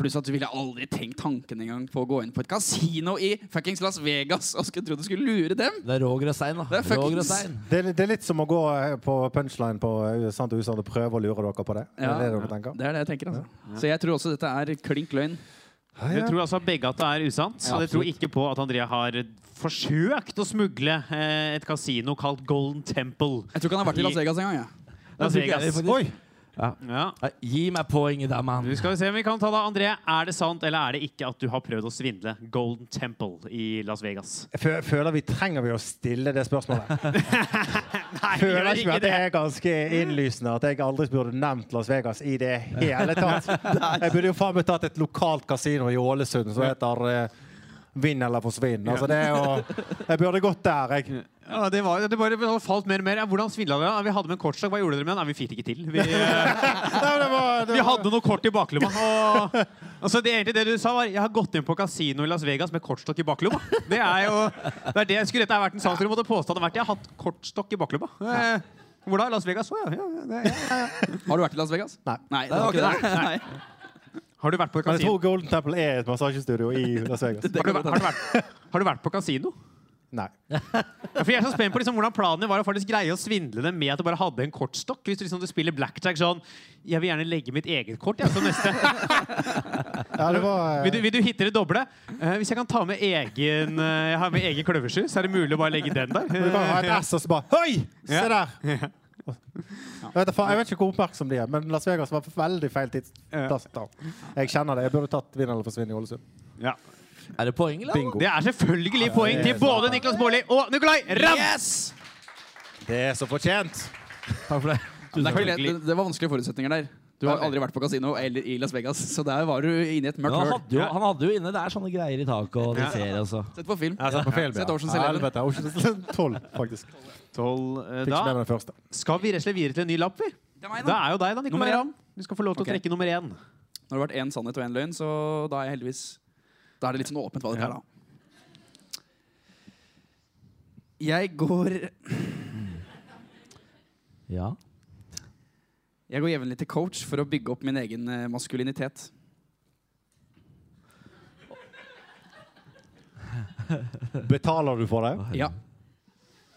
[SPEAKER 3] Pluss at du ville aldri tenkt tanken engang på å gå inn på et kasino i fuckings Las Vegas og skulle tro du skulle lure dem.
[SPEAKER 4] Det er Roger og Stein, da.
[SPEAKER 3] Det er fuckings-
[SPEAKER 4] Roger og Stein.
[SPEAKER 5] Det, er- det er litt som å gå eh, på punchline på eh, Sant og usant og prøve å lure dere på det.
[SPEAKER 3] Ja.
[SPEAKER 5] Det er det dere tenker?
[SPEAKER 3] Det er det jeg tenker, altså. Så jeg tror også dette er klink løgn.
[SPEAKER 2] Dere tror altså begge at det er usant,
[SPEAKER 3] Ja,
[SPEAKER 2] og dere tror ikke på at Andrea har forsøkt å smugle eh, et kasino kalt Golden Temple.
[SPEAKER 3] Jeg tror ikke han har vært i Las Vegas engang. Ja.
[SPEAKER 2] Las
[SPEAKER 4] tror ikke jeg
[SPEAKER 2] Vegas.
[SPEAKER 4] faktisk.
[SPEAKER 5] Oi!
[SPEAKER 2] Ja.
[SPEAKER 4] Nei, Gi meg poenget der, mann.
[SPEAKER 2] Du skal vi se om vi kan ta det, André. Er det sant eller er det ikke at du har prøvd å svindle Golden Temple i Las Vegas?
[SPEAKER 5] Jeg fø- føler vi trenger vi å stille det spørsmålet.
[SPEAKER 2] Nei, vi
[SPEAKER 5] Føler
[SPEAKER 2] gjør
[SPEAKER 5] ikke vi
[SPEAKER 2] ikke
[SPEAKER 5] at det
[SPEAKER 2] det.
[SPEAKER 5] er ganske innlysende at jeg aldri burde nevnt Las Vegas i det hele tatt? Jeg burde jo faen meg tatt et lokalt kasino i Ålesund som heter eh, Vinn eller forsvinn. Altså, det er jo, jeg burde gått der, jeg.
[SPEAKER 2] Ja, det, var, det bare falt mer og mer. Ja, hvordan svindla dere? Ja, Vi hadde med en kortstokk. Hva gjorde dere med den? Nei, vi fikk det ikke til. Vi, eh,
[SPEAKER 5] Nei, men det var, det
[SPEAKER 2] vi
[SPEAKER 5] var,
[SPEAKER 2] hadde noe kort i baklomma. Og, altså, det, egentlig det du sa, var jeg har gått inn på kasino i Las Vegas med kortstokk i baklomma. Det er jo det er det, Skulle dette ha vært en sak, dere måtte påstå hadde vært Jeg har hatt kortstokk i baklomma. Eh, Hvor da? Las Vegas? Å, ja, ja, ja, det, ja.
[SPEAKER 3] Har du vært i Las Vegas?
[SPEAKER 5] Nei.
[SPEAKER 3] Nei, det var ikke det. Nei.
[SPEAKER 2] Har du vært på
[SPEAKER 5] Men jeg
[SPEAKER 2] kasino?
[SPEAKER 5] tror Golden Temple er et massasjestudio i Las Vegas.
[SPEAKER 2] Har du, vært- har, du vært, har du vært på kasino?
[SPEAKER 5] Nei.
[SPEAKER 2] Ja, for jeg er så spent på liksom, hvordan planen din var å faktisk greie å svindle dem med at du bare hadde en kortstokk. Hvis du, liksom, du spiller blackjack sånn Jeg vil gjerne legge mitt eget kort. Jeg, som neste.
[SPEAKER 5] Ja, det var
[SPEAKER 2] Vil, du,
[SPEAKER 5] eh,
[SPEAKER 2] vil du hitte det doble? Eh, hvis jeg kan ta med egen eh, Jeg har med egen kløversky, så er det mulig å bare legge den der.
[SPEAKER 5] Du kan ha et
[SPEAKER 2] Eh,
[SPEAKER 5] S og så bare Hoi!
[SPEAKER 2] Ja.
[SPEAKER 5] Se der! Jeg vet, da faen, jeg vet ikke hvor oppmerksom de er, men Las Vegas var veldig feil tidsplass. da. Jeg kjenner det. Jeg burde tatt Vinn eller forsvinn i Ålesund.
[SPEAKER 2] ja.
[SPEAKER 4] Er det poeng, eller?
[SPEAKER 5] Bingo.
[SPEAKER 2] Det er selvfølgelig poeng til både Niklas Baarli og Nicolay Ramm!
[SPEAKER 3] Yes!
[SPEAKER 5] Det er så fortjent!
[SPEAKER 4] Takk for det.
[SPEAKER 3] Det, er ikke lett.
[SPEAKER 2] Selvfølgelig.
[SPEAKER 3] det, det var vanskelige forutsetninger der. Du har aldri vært på kasino eller i Las Vegas, så der var du inne i et
[SPEAKER 4] Men
[SPEAKER 3] mørkt
[SPEAKER 4] han
[SPEAKER 3] hull.
[SPEAKER 4] hadde, jo, han hadde jo inne der sånne greier i taket, og de ser altså.
[SPEAKER 3] Sett på film.
[SPEAKER 5] Jeg har sett på film.
[SPEAKER 3] Sett Ocean's
[SPEAKER 5] Ja,
[SPEAKER 3] Eleven.
[SPEAKER 5] Helvete. Ocean's 12, faktisk.
[SPEAKER 2] Tolv, eh,
[SPEAKER 5] Fikk ikke med
[SPEAKER 2] Da
[SPEAKER 5] meg den første.
[SPEAKER 2] skal vi rett og slett videre til en ny lapp, vi.
[SPEAKER 3] Det er meg,
[SPEAKER 2] Det
[SPEAKER 3] da.
[SPEAKER 2] er jo deg, da, Nicolay
[SPEAKER 3] Nummer én.
[SPEAKER 2] Ramm. Du skal få lov til
[SPEAKER 3] Ok.
[SPEAKER 2] å trekke nummer én.
[SPEAKER 3] Nå har det vært én sannhet og én løgn, så da er jeg heldigvis Da er det litt sånn åpent hva dette er, da. Jeg går
[SPEAKER 4] Ja.
[SPEAKER 3] Jeg går jevnlig til coach for å bygge opp min egen eh, maskulinitet.
[SPEAKER 5] Betaler du for det?
[SPEAKER 3] Ja.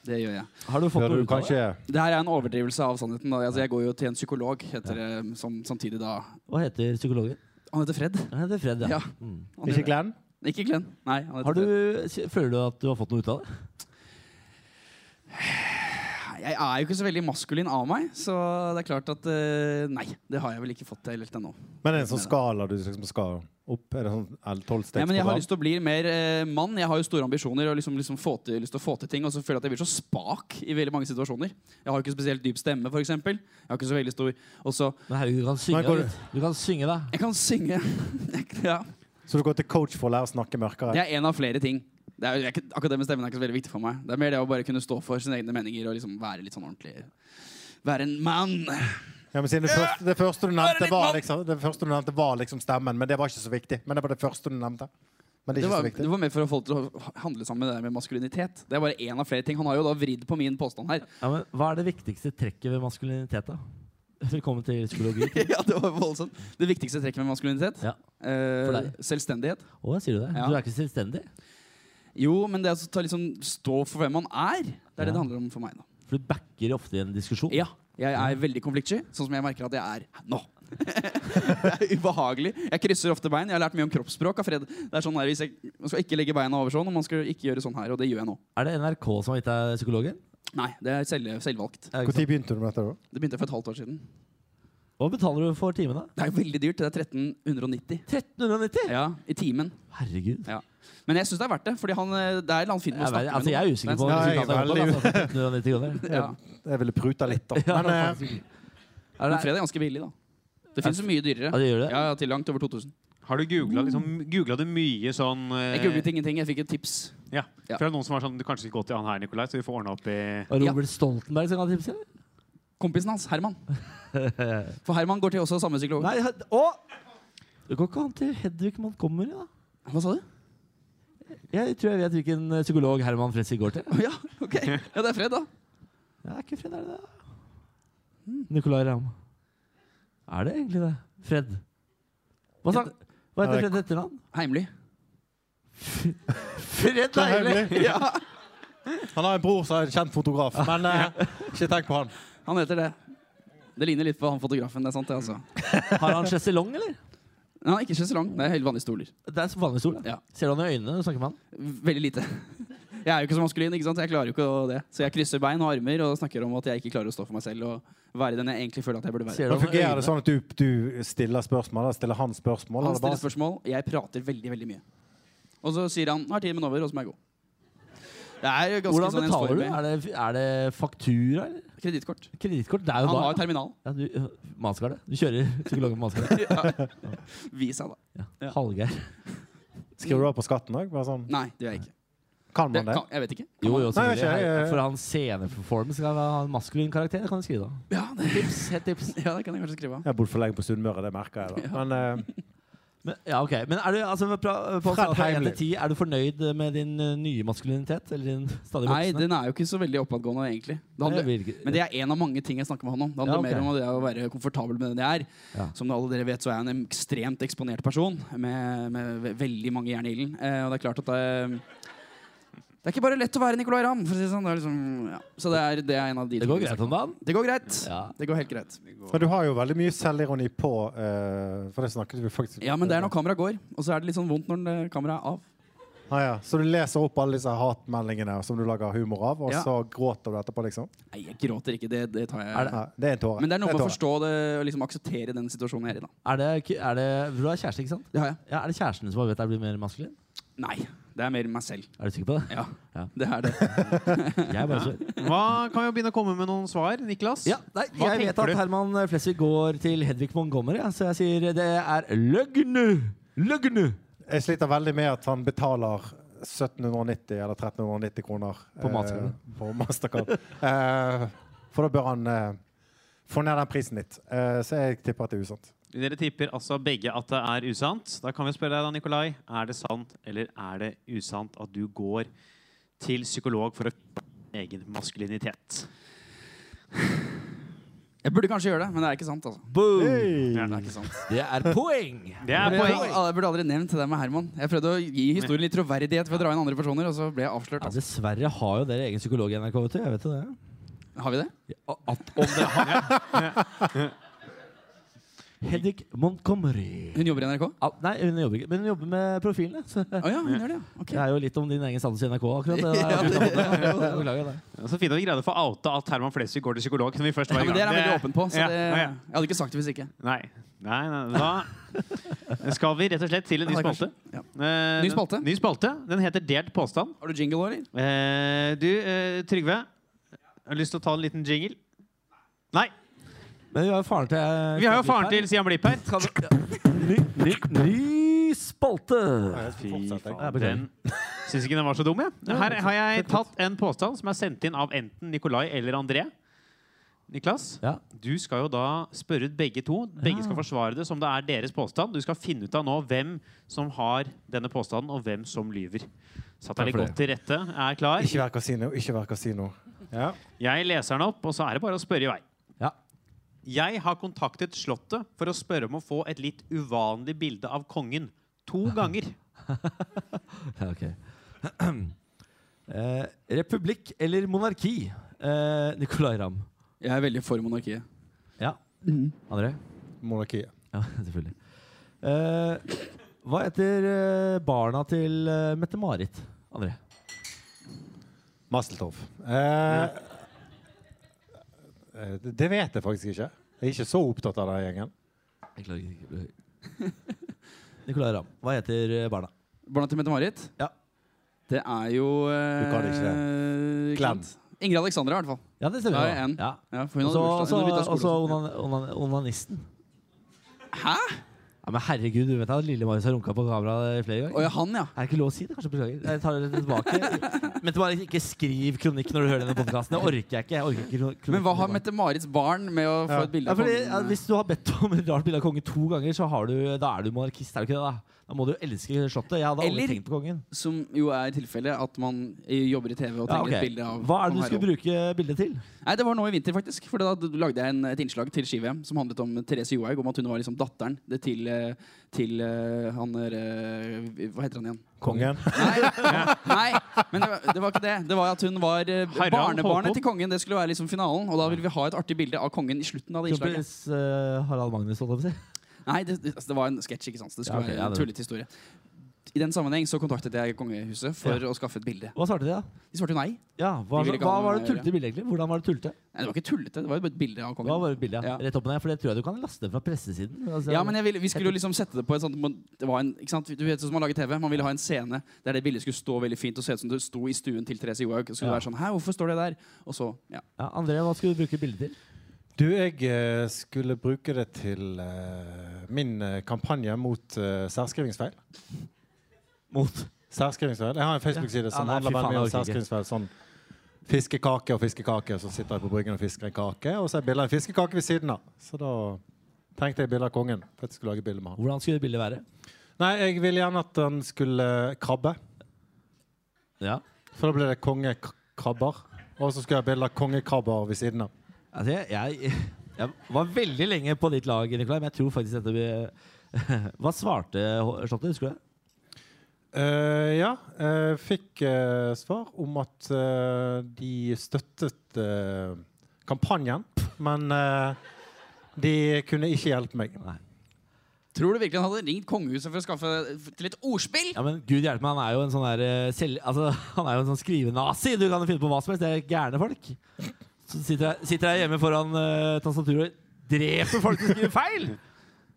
[SPEAKER 3] Det gjør jeg.
[SPEAKER 4] Har du fått
[SPEAKER 5] Gjør
[SPEAKER 4] noe ut
[SPEAKER 5] du
[SPEAKER 4] av det?
[SPEAKER 5] kanskje
[SPEAKER 3] Det her er en overdrivelse av sannheten. Da. Altså, jeg går jo til en psykolog heter, det, som samtidig da
[SPEAKER 4] Hva heter psykologen?
[SPEAKER 3] Han heter Fred.
[SPEAKER 4] Han heter Fred, ja.
[SPEAKER 3] Ja.
[SPEAKER 4] Mm.
[SPEAKER 3] Han
[SPEAKER 5] Ikke
[SPEAKER 3] gjør det.
[SPEAKER 5] Glenn?
[SPEAKER 3] Ikke Glenn. Nei, han heter
[SPEAKER 4] Har du,
[SPEAKER 3] Fred.
[SPEAKER 4] s- føler du at du har fått noe ut av det?
[SPEAKER 3] Nei, Jeg er jo ikke så veldig maskulin av meg, så det er klart at eh, Nei, det har jeg vel ikke fått til helt ennå.
[SPEAKER 5] Men er det en sånn skala du liksom skal opp? Er det sånn
[SPEAKER 3] Ja, men jeg har lyst
[SPEAKER 5] tolvstegsprogram?
[SPEAKER 3] til å bli mer eh, mann. Jeg har jo store ambisjoner og liksom, liksom få til, lyst til å få til ting. Og så føler jeg at jeg blir så spak i veldig mange situasjoner. Jeg har jo ikke spesielt dyp stemme, for eksempel Jeg har ikke så veldig stor Og så
[SPEAKER 4] Men herregud, du kan synge
[SPEAKER 5] Men går
[SPEAKER 4] deg litt. Du kan synge deg.
[SPEAKER 3] Jeg kan synge. ja.
[SPEAKER 5] Så du går til coach for å lære å snakke mørkere?
[SPEAKER 3] Det er en av flere ting. Det er, jo- jeg, er ikke- akkurat det med stemmen er ikke så veldig viktig for meg. Det er mer det å bare kunne stå for sine egne meninger og liksom være litt sånn ordentlig Være en mann.
[SPEAKER 5] Ja, men siden det, første, det, første du nevnte
[SPEAKER 3] litt
[SPEAKER 5] var
[SPEAKER 3] vann.
[SPEAKER 5] liksom, det første du nevnte var liksom stemmen, men det var ikke så viktig. Men det var det første du nevnte.
[SPEAKER 3] Det
[SPEAKER 5] Men det er ikke
[SPEAKER 3] var,
[SPEAKER 5] så
[SPEAKER 3] det
[SPEAKER 5] viktig.
[SPEAKER 3] var mer for å få folk til å handle sammen med det der med maskulinitet. Det er bare en av flere ting. Han har jo da vridd på min påstand her.
[SPEAKER 4] Ja, men hva er det viktigste trekket ved maskulinitet, da? Velkommen til psykologi.
[SPEAKER 3] ja, Det var voldsomt. Det viktigste trekket med maskulinitet?
[SPEAKER 4] Ja.
[SPEAKER 3] Eh,
[SPEAKER 4] For deg.
[SPEAKER 3] selvstendighet.
[SPEAKER 4] Å, sier du det?
[SPEAKER 3] Ja.
[SPEAKER 4] Du er ikke selvstendig?
[SPEAKER 3] Jo, men det er å ta liksom, stå for hvem man er. Det er det det
[SPEAKER 4] Ja.
[SPEAKER 3] handler om for meg. da.
[SPEAKER 4] For du backer ofte i en diskusjon.
[SPEAKER 3] Ja, Jeg er veldig konfliktsky, sånn som jeg merker at jeg er nå. det er ubehagelig. Jeg krysser ofte bein. Jeg har lært mye om kroppsspråk av Fred. Det er sånn her, hvis jeg, Man skal ikke legge beina over sånn, og man skal ikke gjøre sånn her. Og det gjør jeg nå.
[SPEAKER 4] Er det NRK som har gitt deg psykologen?
[SPEAKER 3] Nei, det er selv, selvvalgt.
[SPEAKER 4] Er det ikke
[SPEAKER 5] Når begynte du med dette? da?
[SPEAKER 3] Det begynte for et halvt år siden.
[SPEAKER 4] sant? Hva betaler du for timen, da?
[SPEAKER 3] Det er jo veldig dyrt. Det er 1390.
[SPEAKER 4] 1390?
[SPEAKER 3] Ja, I timen.
[SPEAKER 4] Herregud.
[SPEAKER 3] Ja. Men jeg syns det er verdt det, fordi han, eh, det er en eller annen film å
[SPEAKER 4] Jeg, vet,
[SPEAKER 3] snakke
[SPEAKER 4] altså, jeg er usikker på
[SPEAKER 5] Nei,
[SPEAKER 4] om
[SPEAKER 5] jeg er
[SPEAKER 4] resultatet er godt,
[SPEAKER 5] veldig-
[SPEAKER 4] altså, 1390 kroner.
[SPEAKER 3] sånn ja.
[SPEAKER 5] Jeg ville pruta litt, da.
[SPEAKER 4] Ja,
[SPEAKER 5] Men, eh,
[SPEAKER 4] faktisk ikke.
[SPEAKER 3] Men Fred er ganske billig, da. Det fins jo mye dyrere.
[SPEAKER 4] Ja, det gjør det.
[SPEAKER 3] Ja, ja, Til langt over 2000.
[SPEAKER 2] Har du googla liksom, googlet du mye sånn eh,
[SPEAKER 3] Jeg googlet ingenting. Jeg fikk et tips.
[SPEAKER 2] Ja.
[SPEAKER 3] Ja.
[SPEAKER 2] Fra noen som var sånn Du kanskje skal gå til han her, Nikolai, så vi får ordna opp i
[SPEAKER 4] Og Robert Stoltenberg som kan tipse, eller?
[SPEAKER 3] Kompisen hans, Herman. For Herman går til også samme psykolog.
[SPEAKER 4] Nei, he- å! Det går ikke an til Hedvig Montgomery, da.
[SPEAKER 3] Hva sa du?
[SPEAKER 4] Jeg tror jeg vet hvilken eh, psykolog Herman Fressi går til.
[SPEAKER 3] Å Ja, ok. Ja, det er Fred, da.
[SPEAKER 4] Ja, er ikke Fred, er det det?
[SPEAKER 5] Hmm.
[SPEAKER 4] Nicolai Ramm. Er det egentlig det? Fred. Hva, sa, hva
[SPEAKER 5] Ja,
[SPEAKER 4] heter
[SPEAKER 5] det-
[SPEAKER 4] Fred etternavn?
[SPEAKER 3] Heimly.
[SPEAKER 4] Fred
[SPEAKER 5] det er hemmelig.
[SPEAKER 3] Ja,
[SPEAKER 5] Han har en bror som er en kjent fotograf, men eh, ikke tenk på han.
[SPEAKER 3] han heter det. Det ligner litt på han fotografen. det er sant det, altså.
[SPEAKER 4] Har han sjeselong, eller?
[SPEAKER 3] Nei, ikke sjeselong. Det er helt vanlige stoler.
[SPEAKER 4] Det er som vanlig stol. da.
[SPEAKER 3] Ja.
[SPEAKER 4] Ser du han i øynene når du snakker med han?
[SPEAKER 3] Veldig lite. Jeg er jo ikke så maskulin, ikke sant? jeg klarer jo ikke å det. Så jeg krysser bein og armer og snakker om at jeg ikke klarer å stå for meg selv og være den jeg egentlig føler at jeg burde være.
[SPEAKER 4] Ser du han
[SPEAKER 5] Men
[SPEAKER 4] i
[SPEAKER 5] fungerer det
[SPEAKER 4] øynene?
[SPEAKER 5] sånn at du, du stiller spørsmål? Eller stiller han spørsmål?
[SPEAKER 3] Han
[SPEAKER 5] Eller
[SPEAKER 3] stiller
[SPEAKER 5] bare,
[SPEAKER 3] spørsmål, jeg prater veldig, veldig mye. Og så sier han 'nå er timen over', og så må jeg gå. Det er jo ganske
[SPEAKER 4] Hvordan
[SPEAKER 3] sånn
[SPEAKER 4] betaler du?
[SPEAKER 3] ensformig.
[SPEAKER 4] Er det, er det faktura eller
[SPEAKER 3] Kredittkort.
[SPEAKER 4] kredittkort? Det er jo
[SPEAKER 3] Han
[SPEAKER 4] da.
[SPEAKER 3] har jo terminal.
[SPEAKER 4] ja, du, øh, Manskardet. Du kjører psykologen med manskardet.
[SPEAKER 3] Vis deg, da.
[SPEAKER 4] Ja.
[SPEAKER 3] Ja.
[SPEAKER 4] Hallgeir.
[SPEAKER 5] skriver du av på skatten òg? Sånn,
[SPEAKER 3] Nei, det gjør jeg ikke.
[SPEAKER 5] kan
[SPEAKER 3] Det,
[SPEAKER 5] man det?
[SPEAKER 3] kan, jeg vet ikke.
[SPEAKER 4] Jo, jo,
[SPEAKER 5] Nei,
[SPEAKER 4] selvfølgelig.
[SPEAKER 5] jeg ser,
[SPEAKER 4] Her-
[SPEAKER 5] eh,
[SPEAKER 4] For hans sceneperformance skal ha en maskulin karakter. Det kan du skrive da.
[SPEAKER 3] Ja, det,
[SPEAKER 4] Tips, helt tips.
[SPEAKER 3] ja, det kan jeg kanskje skrive av.
[SPEAKER 5] Jeg har bodd for lenge på Sunnmøre, det merker jeg. da. Men eh,
[SPEAKER 4] Men, ja, ok. Men er du, altså, fra, på en skala fra 1 til 10, er du fornøyd med din eh, nye maskulinitet? Eller din stadig
[SPEAKER 3] Nei,
[SPEAKER 4] voksne?
[SPEAKER 3] den er jo ikke så veldig oppadgående, egentlig. Det handler,
[SPEAKER 4] Jeg virker-
[SPEAKER 3] men det er en av mange ting jeg snakker med han om. Det handler
[SPEAKER 4] Ja, ok.
[SPEAKER 3] mer om det å være komfortabel med den jeg er.
[SPEAKER 4] Ja.
[SPEAKER 3] Som alle dere vet, så er jeg en ekstremt eksponert person med, med ve- veldig mange jern i ilden. Eh, og det er klart at det, det er ikke bare lett å være Nicolay Ramm, for å si det sånn. Det er liksom, ja. Så det er, det er en av de
[SPEAKER 4] Det
[SPEAKER 3] tingene
[SPEAKER 4] går
[SPEAKER 3] vi
[SPEAKER 4] greit om dagen?
[SPEAKER 3] snakker- Det går greit.
[SPEAKER 4] Ja.
[SPEAKER 3] Det går helt greit.
[SPEAKER 5] Men du har jo veldig mye selvironi på eh, For det snakket vi faktisk
[SPEAKER 3] Ja, men det er når kameraet går, og så er det litt sånn vondt når eh, kameraet er av.
[SPEAKER 5] Ah, ja. Så du leser opp alle disse hatmeldingene som du lager humor av, og
[SPEAKER 3] Ja.
[SPEAKER 5] så gråter du etterpå, liksom?
[SPEAKER 3] Nei, jeg gråter ikke. Det, det tar jeg.
[SPEAKER 4] Er det-
[SPEAKER 5] Nei, det er en tåre.
[SPEAKER 3] Men det er noe med å
[SPEAKER 5] en tåre.
[SPEAKER 3] forstå det og liksom akseptere den situasjonen jeg er i. da.
[SPEAKER 4] Er det, ikke- er det, du har kjæreste, ikke sant?
[SPEAKER 3] Det har jeg.
[SPEAKER 4] Ja, Er det kjæresten som har bedt deg bli mer maskulin?
[SPEAKER 3] Nei, det er mer meg selv.
[SPEAKER 4] Er du sikker på det?
[SPEAKER 3] Ja,
[SPEAKER 4] Ja.
[SPEAKER 3] det er det.
[SPEAKER 4] Jeg bare spør.
[SPEAKER 2] Hva kan jo begynne å komme med noen svar, Niklas?
[SPEAKER 4] Ja, nei,
[SPEAKER 2] Hva
[SPEAKER 4] jeg vet
[SPEAKER 2] tenker
[SPEAKER 4] at
[SPEAKER 2] du?
[SPEAKER 4] Herman Flesvig går til Hedvig Montgomery, ja, så jeg sier det er løgn! Løgn!
[SPEAKER 5] Jeg sliter veldig med at han betaler 1790 eller 1390 kroner
[SPEAKER 4] På Mastercard.
[SPEAKER 5] eh, på Mastercard. Eh, for da bør han eh, få ned den prisen litt. Eh, så jeg tipper at det er usant.
[SPEAKER 2] Dere tipper altså begge at det er usant. Da kan vi spørre deg da, Nikolai. Er det sant eller er det usant at du går til psykolog for å egen maskulinitet?
[SPEAKER 3] Jeg burde kanskje gjøre det, men det er ikke sant. altså.
[SPEAKER 4] Boom!
[SPEAKER 2] Ja.
[SPEAKER 3] Det er ikke sant.
[SPEAKER 4] Det er poeng!
[SPEAKER 2] Det er
[SPEAKER 3] Jeg,
[SPEAKER 2] poeng.
[SPEAKER 3] jeg burde aldri nevnt det der med Herman. Jeg prøvde å gi historien litt troverdighet ved å dra inn andre personer, og så ble jeg avslørt.
[SPEAKER 4] Ja,
[SPEAKER 3] Altså.
[SPEAKER 4] dessverre har jo dere egen psykolog i NRK, vet du. Jeg vet jo det.
[SPEAKER 3] Har vi det?
[SPEAKER 4] Ja, At om det har Hedvig Montgomery.
[SPEAKER 3] Hun jobber i NRK?
[SPEAKER 4] Ja, nei, hun jobber ikke, men hun jobber med profilene. Så
[SPEAKER 3] Å ja, hun gjør det, ja. Ok.
[SPEAKER 4] det er jo litt om din egen status i NRK, akkurat. Det der.
[SPEAKER 3] Ja, det-
[SPEAKER 4] Jeg beklager det.
[SPEAKER 2] Så fint at Altså, vi greide å få outa at Herman Flesvig går til psykolog. Når vi først
[SPEAKER 3] Ja,
[SPEAKER 2] var i
[SPEAKER 3] men det er
[SPEAKER 2] gang.
[SPEAKER 3] jeg veldig åpen på. Så
[SPEAKER 2] Ja,
[SPEAKER 3] det,
[SPEAKER 2] ja, ja.
[SPEAKER 3] jeg hadde ikke sagt det hvis ikke.
[SPEAKER 2] Nei. Nei, nei, da skal vi rett og slett til en ny
[SPEAKER 3] Ja, det er
[SPEAKER 2] spalte.
[SPEAKER 3] kanskje- ja.
[SPEAKER 2] Eh,
[SPEAKER 3] Ny spalte?
[SPEAKER 2] Ny spalte. Den heter Delt påstand.
[SPEAKER 3] Har du jingle òg, eller?
[SPEAKER 2] Eh, du, eh, Trygve. Har du lyst til å ta en liten jingle? Nei.
[SPEAKER 4] Men vi har jo faren til
[SPEAKER 2] Vi har jo faren til Sian Blipp her.
[SPEAKER 4] Kan du- ny, ny, ny spalte!
[SPEAKER 5] Jeg skal fortsette, jeg.
[SPEAKER 4] Ja, beklager.
[SPEAKER 2] Den syns ikke den var så dum, jeg. Her har jeg tatt en påstand som er sendt inn av enten Nikolai eller André. Niklas,
[SPEAKER 4] Ja.
[SPEAKER 2] du skal jo da spørre ut begge to. Begge skal forsvare det som det er deres påstand. Du skal finne ut av nå hvem som har denne påstanden, og hvem som lyver. Satt deg
[SPEAKER 4] Takk
[SPEAKER 2] litt
[SPEAKER 4] for
[SPEAKER 2] godt til rette. Er klar?
[SPEAKER 5] Ikke vær kasino, ikke vær kasino. Ja.
[SPEAKER 2] Jeg leser den opp, og så er det bare å spørre i vei.
[SPEAKER 4] Ja.
[SPEAKER 2] Jeg har kontaktet Slottet for å spørre om å få et litt uvanlig bilde av kongen. To ganger.
[SPEAKER 4] Ja, ok. Eh, republikk eller monarki? Eh, Nicolay Ramm.
[SPEAKER 3] Jeg er veldig for monarkiet.
[SPEAKER 4] Ja.
[SPEAKER 3] Mm.
[SPEAKER 4] André?
[SPEAKER 5] Monarkiet.
[SPEAKER 4] Ja, selvfølgelig. Eh, hva heter eh, barna til eh, Mette-Marit? André?
[SPEAKER 5] Masseltov. Eh, eh, det- det vet jeg faktisk ikke. Jeg er ikke så opptatt av den gjengen.
[SPEAKER 4] Jeg klarer ikke. Nicolay Ramm. Hva heter eh, barna?
[SPEAKER 3] Barna til Mette-Marit?
[SPEAKER 4] Ja.
[SPEAKER 3] Det er jo eh,
[SPEAKER 5] Du kan ikke
[SPEAKER 3] ikke
[SPEAKER 5] Glem.
[SPEAKER 3] sant? Ingrid Alexandra, i hvert fall.
[SPEAKER 4] Ja, det stemmer.
[SPEAKER 3] Da er
[SPEAKER 4] jo.
[SPEAKER 3] jeg en.
[SPEAKER 4] Ja.
[SPEAKER 3] Ja, for hun hadde
[SPEAKER 4] Også-
[SPEAKER 3] bursdag- hun
[SPEAKER 4] også-
[SPEAKER 3] hadde byttet skole og
[SPEAKER 4] Også
[SPEAKER 3] sånt.
[SPEAKER 4] onan- onan- onanisten.
[SPEAKER 3] Hæ?
[SPEAKER 4] Ja, men herregud, du vet at lille Marius har runka på kamera i flere ganger?
[SPEAKER 3] Å ja, han, ja.
[SPEAKER 4] Er det ikke lov å si det? Kanskje beklager. Jeg tar det tilbake. Men bare ikke skriv kronikk når du hører denne podkasten. Det orker jeg ikke. Jeg orker ikke kron- kronikk.
[SPEAKER 3] Men hva har Mette-Marits barn med å få
[SPEAKER 5] Ja.
[SPEAKER 3] et bilde
[SPEAKER 4] ja,
[SPEAKER 3] av
[SPEAKER 4] fordi,
[SPEAKER 3] kongen? eh?
[SPEAKER 4] ja, Hvis du har bedt om et rart bilde av kongen to ganger, så har du, da er du monarkist. er du ikke det Da Da må du jo elske slottet. Jeg hadde aldri
[SPEAKER 3] Eller-
[SPEAKER 4] tenkt på kongen.
[SPEAKER 3] Som jo er tilfellet at man eh, jobber i TV og
[SPEAKER 4] Ja,
[SPEAKER 3] trenger
[SPEAKER 4] ok.
[SPEAKER 3] et bilde av
[SPEAKER 4] Hva er
[SPEAKER 3] kong
[SPEAKER 4] det du skulle
[SPEAKER 3] Harald.
[SPEAKER 4] bruke bildet til?
[SPEAKER 3] Nei, Det var nå i vinter, faktisk. For da lagde jeg en, et innslag til Ski-VM som handlet om Therese Johaug, om at hun var liksom datteren det til, eh, til eh, han der eh, Hva heter han igjen?
[SPEAKER 5] Kongen.
[SPEAKER 3] Nei, nei men det var, det var ikke det. Det var at hun var eh,
[SPEAKER 2] Harald Håkon.
[SPEAKER 3] barnebarnet til kongen. Det skulle være liksom finalen. Og da ville vi ha et artig bilde av kongen i slutten av det innslaget.
[SPEAKER 4] Kronprins eh, Harald Magnus, holdt jeg på å si.
[SPEAKER 3] Nei, det, det, altså, det var en sketsj, ikke sant. Så det
[SPEAKER 4] Ja,
[SPEAKER 3] skulle
[SPEAKER 4] ok, ja,
[SPEAKER 3] være en
[SPEAKER 4] det-
[SPEAKER 3] tullete historie. I den sammenheng så kontaktet jeg kongehuset for å skaffe et bilde.
[SPEAKER 4] Hva svarte de, da?
[SPEAKER 3] De svarte jo nei.
[SPEAKER 4] Ja, hva,
[SPEAKER 3] De ville ikke
[SPEAKER 4] hva
[SPEAKER 3] ha noe
[SPEAKER 4] var
[SPEAKER 3] med å
[SPEAKER 4] det
[SPEAKER 3] gjøre.
[SPEAKER 4] tullete bildet, egentlig? Hvordan var det tullete?
[SPEAKER 3] Nei, det var ikke tullete. Det var jo bare et bilde av
[SPEAKER 4] Det var
[SPEAKER 3] kongen.
[SPEAKER 4] bare bildet, ja.
[SPEAKER 3] Ja.
[SPEAKER 4] Rett opp og ned, for det tror jeg du kan laste fra pressesiden. Altså,
[SPEAKER 3] Ja, men jeg ville, Vi skulle jo liksom sette det på et sånt man- det var en, ikke sant? Du vet sånn som man lager TV. Man ville ha en scene der det bildet skulle stå veldig fint og se ut som det sto i stuen til Therese Johaug. Så skulle det
[SPEAKER 4] Ja.
[SPEAKER 3] være sånn Hæ, hvorfor står det der? Og så Ja.
[SPEAKER 4] ja, André, hva skulle du bruke bildet til?
[SPEAKER 5] Du, jeg eh, skulle bruke det til eh, min eh, kampanje mot eh, særskrivingsfeil.
[SPEAKER 4] Mot.
[SPEAKER 5] Særskrivingsfeil. Jeg har en Facebook-side som
[SPEAKER 4] Ja, nei,
[SPEAKER 5] handler
[SPEAKER 4] fy faen,
[SPEAKER 5] veldig mye om
[SPEAKER 4] jeg orker ikke.
[SPEAKER 5] særskrivingsfeil. Sånn fiskekake og fiskekake, så sitter jeg på bryggen og fisker en kake, og så er bildet av en fiskekake ved siden av. Så da tenkte jeg bilde av kongen. For at jeg skulle lage bilde med han.
[SPEAKER 4] Hvordan skulle bildet være?
[SPEAKER 5] Nei, jeg ville gjerne at den skulle eh, krabbe.
[SPEAKER 4] Ja.
[SPEAKER 5] For da ble det kongekrabber. Og så skulle jeg ha bilde av kongekrabber ved siden av.
[SPEAKER 4] Altså, jeg, jeg, jeg var veldig lenge på ditt lag, Nikolai, men jeg tror faktisk dette blir Hva svarte Slottet? Husker du det?
[SPEAKER 5] Eh, ja, jeg fikk eh, svar om at eh, de støttet eh, kampanjen, men eh, de kunne ikke hjelpe meg.
[SPEAKER 3] Tror du virkelig han hadde ringt kongehuset for å skaffe f- til et ordspill?
[SPEAKER 4] Ja, men Gud hjelpe meg, han er jo en sånn der eh, selv, altså, Han er jo en sånn skrivenazi. Du kan jo finne på hva som helst. Det er gærne folk. Så sitter jeg, sitter jeg hjemme foran eh, tastaturet og dreper folk som skriver feil!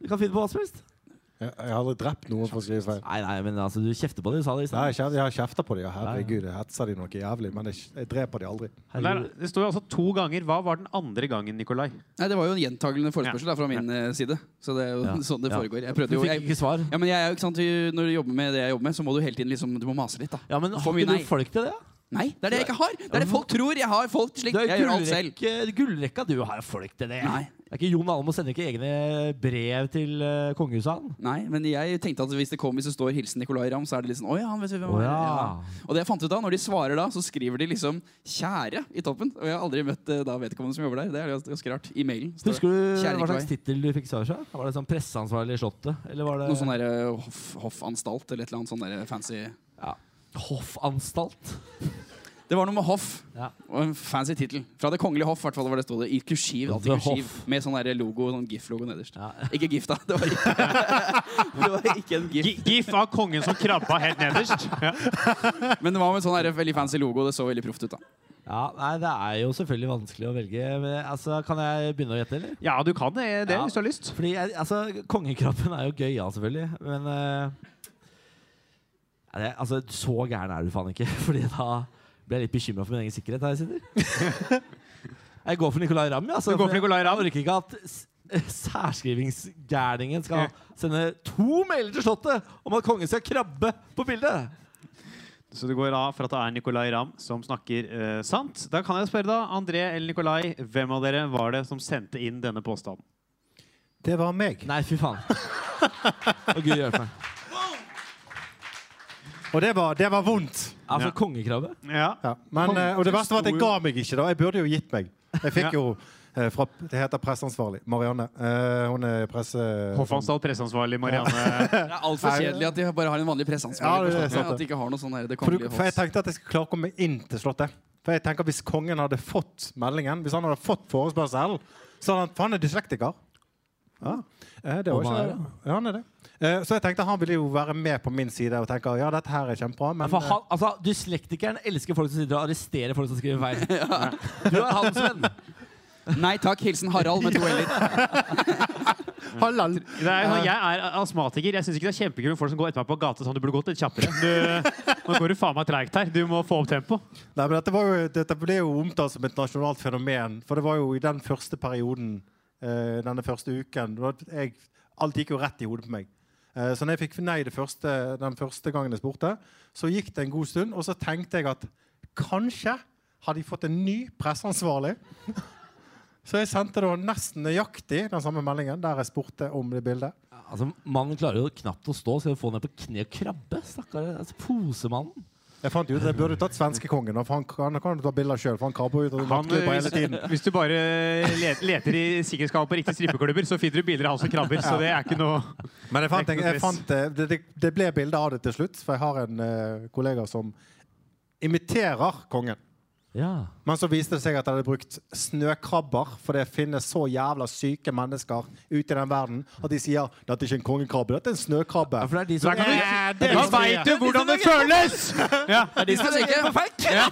[SPEAKER 4] Du kan finne på hva som helst.
[SPEAKER 5] Jeg, jeg har aldri drept noen for å skrive feil.
[SPEAKER 4] Nei, nei, men altså, du kjefter på det. Du sa det i
[SPEAKER 5] Nei,
[SPEAKER 4] stad.
[SPEAKER 5] jeg kjef- jeg har kjefta på dem. Herregud, jeg hetser dem noe jævlig. Men jeg, jeg dreper dem aldri.
[SPEAKER 2] Men Der,
[SPEAKER 4] Herregud.
[SPEAKER 2] det står jo altså to ganger. Hva var den andre gangen, Nikolai?
[SPEAKER 3] Nei, Det var jo en gjentagende forespørsel da, fra min eh, side. Så det er jo
[SPEAKER 4] Ja.
[SPEAKER 3] sånn det
[SPEAKER 4] Ja.
[SPEAKER 3] foregår. Jeg
[SPEAKER 4] Du
[SPEAKER 3] prøvde jo,
[SPEAKER 4] fikk
[SPEAKER 3] jeg,
[SPEAKER 4] ikke svar.
[SPEAKER 3] ja, men jeg er jo ikke sant, du- Når du jobber med det jeg jobber med, så må du hele tiden liksom, du må mase litt. da.
[SPEAKER 4] Ja, men
[SPEAKER 3] Får
[SPEAKER 4] Har
[SPEAKER 3] mye nei.
[SPEAKER 4] ikke du folk til det? da?
[SPEAKER 3] Nei, det er det jeg ikke har! Det er det folk tror jeg har. folk slik.
[SPEAKER 4] Du er
[SPEAKER 3] Jeg gjør alt selv.
[SPEAKER 4] gullrekke, gullrekka, du har jo folk til det.
[SPEAKER 3] Nei.
[SPEAKER 4] Det er ikke Jon Almo sender ikke egne brev til eh, kongehuset, han.
[SPEAKER 3] Nei, men jeg tenkte at hvis det kom, hvis det står 'Hilsen Nicolay Ramm', så er det litt sånn «Å ja, han vet hvem han
[SPEAKER 4] Å
[SPEAKER 3] er».
[SPEAKER 4] ja.
[SPEAKER 3] Og det jeg fant ut da, når de svarer da, så skriver de liksom 'kjære' i toppen. Og jeg har aldri møtt eh, da vedkommende som jobber der. Det er jo ganske rart. I mailen. står det.
[SPEAKER 4] Husker du
[SPEAKER 3] Kjære
[SPEAKER 4] hva
[SPEAKER 3] Nicolai.
[SPEAKER 4] slags tittel du fikk svar fra? Var det sånn presseansvarlig i Slottet? Eller var det
[SPEAKER 3] Noe sånn der eh, hoff, hoffanstalt eller et eller annet sånn der fancy
[SPEAKER 4] ja. Hoffanstalt?
[SPEAKER 3] Det var noe med hoff
[SPEAKER 4] Ja.
[SPEAKER 3] og en fancy tittel. Fra Det kongelige hoff, i hvert fall var det stod det. I kursiv. Alltid
[SPEAKER 4] The
[SPEAKER 3] kursiv.
[SPEAKER 4] Hoff.
[SPEAKER 3] Med sånn der logo, sånn GIF-logo nederst.
[SPEAKER 4] Ja.
[SPEAKER 3] Ikke GIF, da. Det var ikke, det var ikke en GIF.
[SPEAKER 2] Gi- Gif av kongen som krabba helt nederst. Ja.
[SPEAKER 3] Men det var med sånn der veldig fancy logo. Det så veldig proft ut, da.
[SPEAKER 4] ja. Nei, det er jo selvfølgelig vanskelig å velge. Men altså, kan jeg begynne å gjette, eller?
[SPEAKER 2] ja, du kan det, det
[SPEAKER 4] Ja.
[SPEAKER 2] hvis du har lyst.
[SPEAKER 4] Fordi jeg, altså, kongekrabben er jo gøy, ja, selvfølgelig. Men eh, ja, det, altså, så gæren er du faen ikke. Fordi da blir jeg litt bekymra for min egen sikkerhet her jeg sitter. Jeg går for Nicolay Ramm, ja. Altså,
[SPEAKER 2] Du går for Nicolai Ramm?
[SPEAKER 4] Jeg orker ikke at s- eh, særskrivingsgærningen skal sende to mailer til Slottet om at kongen skal krabbe på bildet.
[SPEAKER 2] Så det går av for at det er Nicolai Ramm som snakker eh, sant. Da kan jeg spørre da, André eller Nicolai, hvem av dere var det som sendte inn denne påstanden?
[SPEAKER 5] Det var meg.
[SPEAKER 4] Nei, fy faen. Å, gud hjelpe meg.
[SPEAKER 5] Og det var, det var vondt.
[SPEAKER 4] Altså,
[SPEAKER 2] Ja.
[SPEAKER 4] kongekrabbe?
[SPEAKER 2] Ja.
[SPEAKER 5] Ja. Men, eh, og det verste var at jeg ga meg ikke. da Jeg burde jo gitt meg. Jeg fikk
[SPEAKER 2] Ja.
[SPEAKER 5] jo eh, fra, Det heter presseansvarlig. Marianne. Eh, hun er presse...
[SPEAKER 2] Hoffansdal presseansvarlig Marianne.
[SPEAKER 3] Det er altfor
[SPEAKER 5] Er det-
[SPEAKER 3] kjedelig at de bare har en vanlig
[SPEAKER 5] Ja,
[SPEAKER 3] presseansvarlig.
[SPEAKER 5] det er
[SPEAKER 3] for Slottet,
[SPEAKER 5] sant det.
[SPEAKER 3] at de ikke har noe sånn her, det
[SPEAKER 5] For, du,
[SPEAKER 3] kongelige
[SPEAKER 5] for jeg
[SPEAKER 3] hoff.
[SPEAKER 5] tenkte at jeg skulle klare å komme inn til Slottet. For jeg tenker Hvis kongen hadde fått meldingen, hvis han hadde fått forespørsel, så hadde han For han er dyslektiker. Ja, eh, det
[SPEAKER 4] Om
[SPEAKER 5] var ikke,
[SPEAKER 4] han er det?
[SPEAKER 5] ja, han er det. Eh, så jeg tenkte han ville jo være med på min side og tenke ja, dette her er kjempebra.
[SPEAKER 4] Ja,
[SPEAKER 5] Men eh,
[SPEAKER 4] for han, altså, dyslektikeren elsker folk som sitter og arresterer folk som skriver feil. Du er hans venn.
[SPEAKER 3] Nei takk, hilsen Harald med to l-er.
[SPEAKER 5] eh, halal.
[SPEAKER 2] Det er, jo sånn, jeg er astmatiker. Jeg syns ikke det er kjempegøy med folk som går etter meg på gata sånn. Du burde gått litt kjappere. Du, nå går du faen meg treigt her. Du må få opp tempo.
[SPEAKER 5] Nei, men dette, var jo, dette ble jo omtalt som et nasjonalt fenomen. For det var jo i den første perioden, eh, denne første uken det var- jeg, Alt gikk jo rett i hodet på meg. Eh, så når jeg fikk nei det første, den første gangen jeg spurte, så gikk det en god stund, og så tenkte jeg at kanskje har de fått en ny presseansvarlig. Så jeg sendte da nesten nøyaktig den samme meldingen der jeg spurte om det bildet.
[SPEAKER 4] Altså, Mannen klarer jo knapt å stå, skal du få ned på kne og krabbe? Stakkar. Altså, posemannen.
[SPEAKER 5] Jeg fant jo ut at jeg burde tatt svenskekongen, da, for han kan, han kan jo ta bilder sjøl. Han krabber ut og
[SPEAKER 2] Han,
[SPEAKER 5] nattklubber hele
[SPEAKER 2] hvis,
[SPEAKER 5] tiden.
[SPEAKER 2] hvis du bare let- leter i sikkerhetsskapet på riktige strippeklubber, så finner du bilder av han som krabber. Så det er ikke noe
[SPEAKER 5] Men jeg fant,
[SPEAKER 2] Det er
[SPEAKER 5] jeg,
[SPEAKER 2] ikke noe
[SPEAKER 5] fant eh, det, det, det ble bilde av det til slutt, for jeg har en eh, kollega som imiterer kongen.
[SPEAKER 4] Ja.
[SPEAKER 5] Men så viste det seg at jeg hadde brukt snøkrabber, for det finnes så jævla syke mennesker ute i den verden at de sier 'dette er ikke en kongekrabbe, dette er en snøkrabbe'.
[SPEAKER 4] for det er de som
[SPEAKER 2] Da, kan
[SPEAKER 5] Ja,
[SPEAKER 2] du,
[SPEAKER 5] det er
[SPEAKER 2] da
[SPEAKER 5] riktig.
[SPEAKER 2] veit du hvordan det føles! Ja.
[SPEAKER 3] De som er sikre.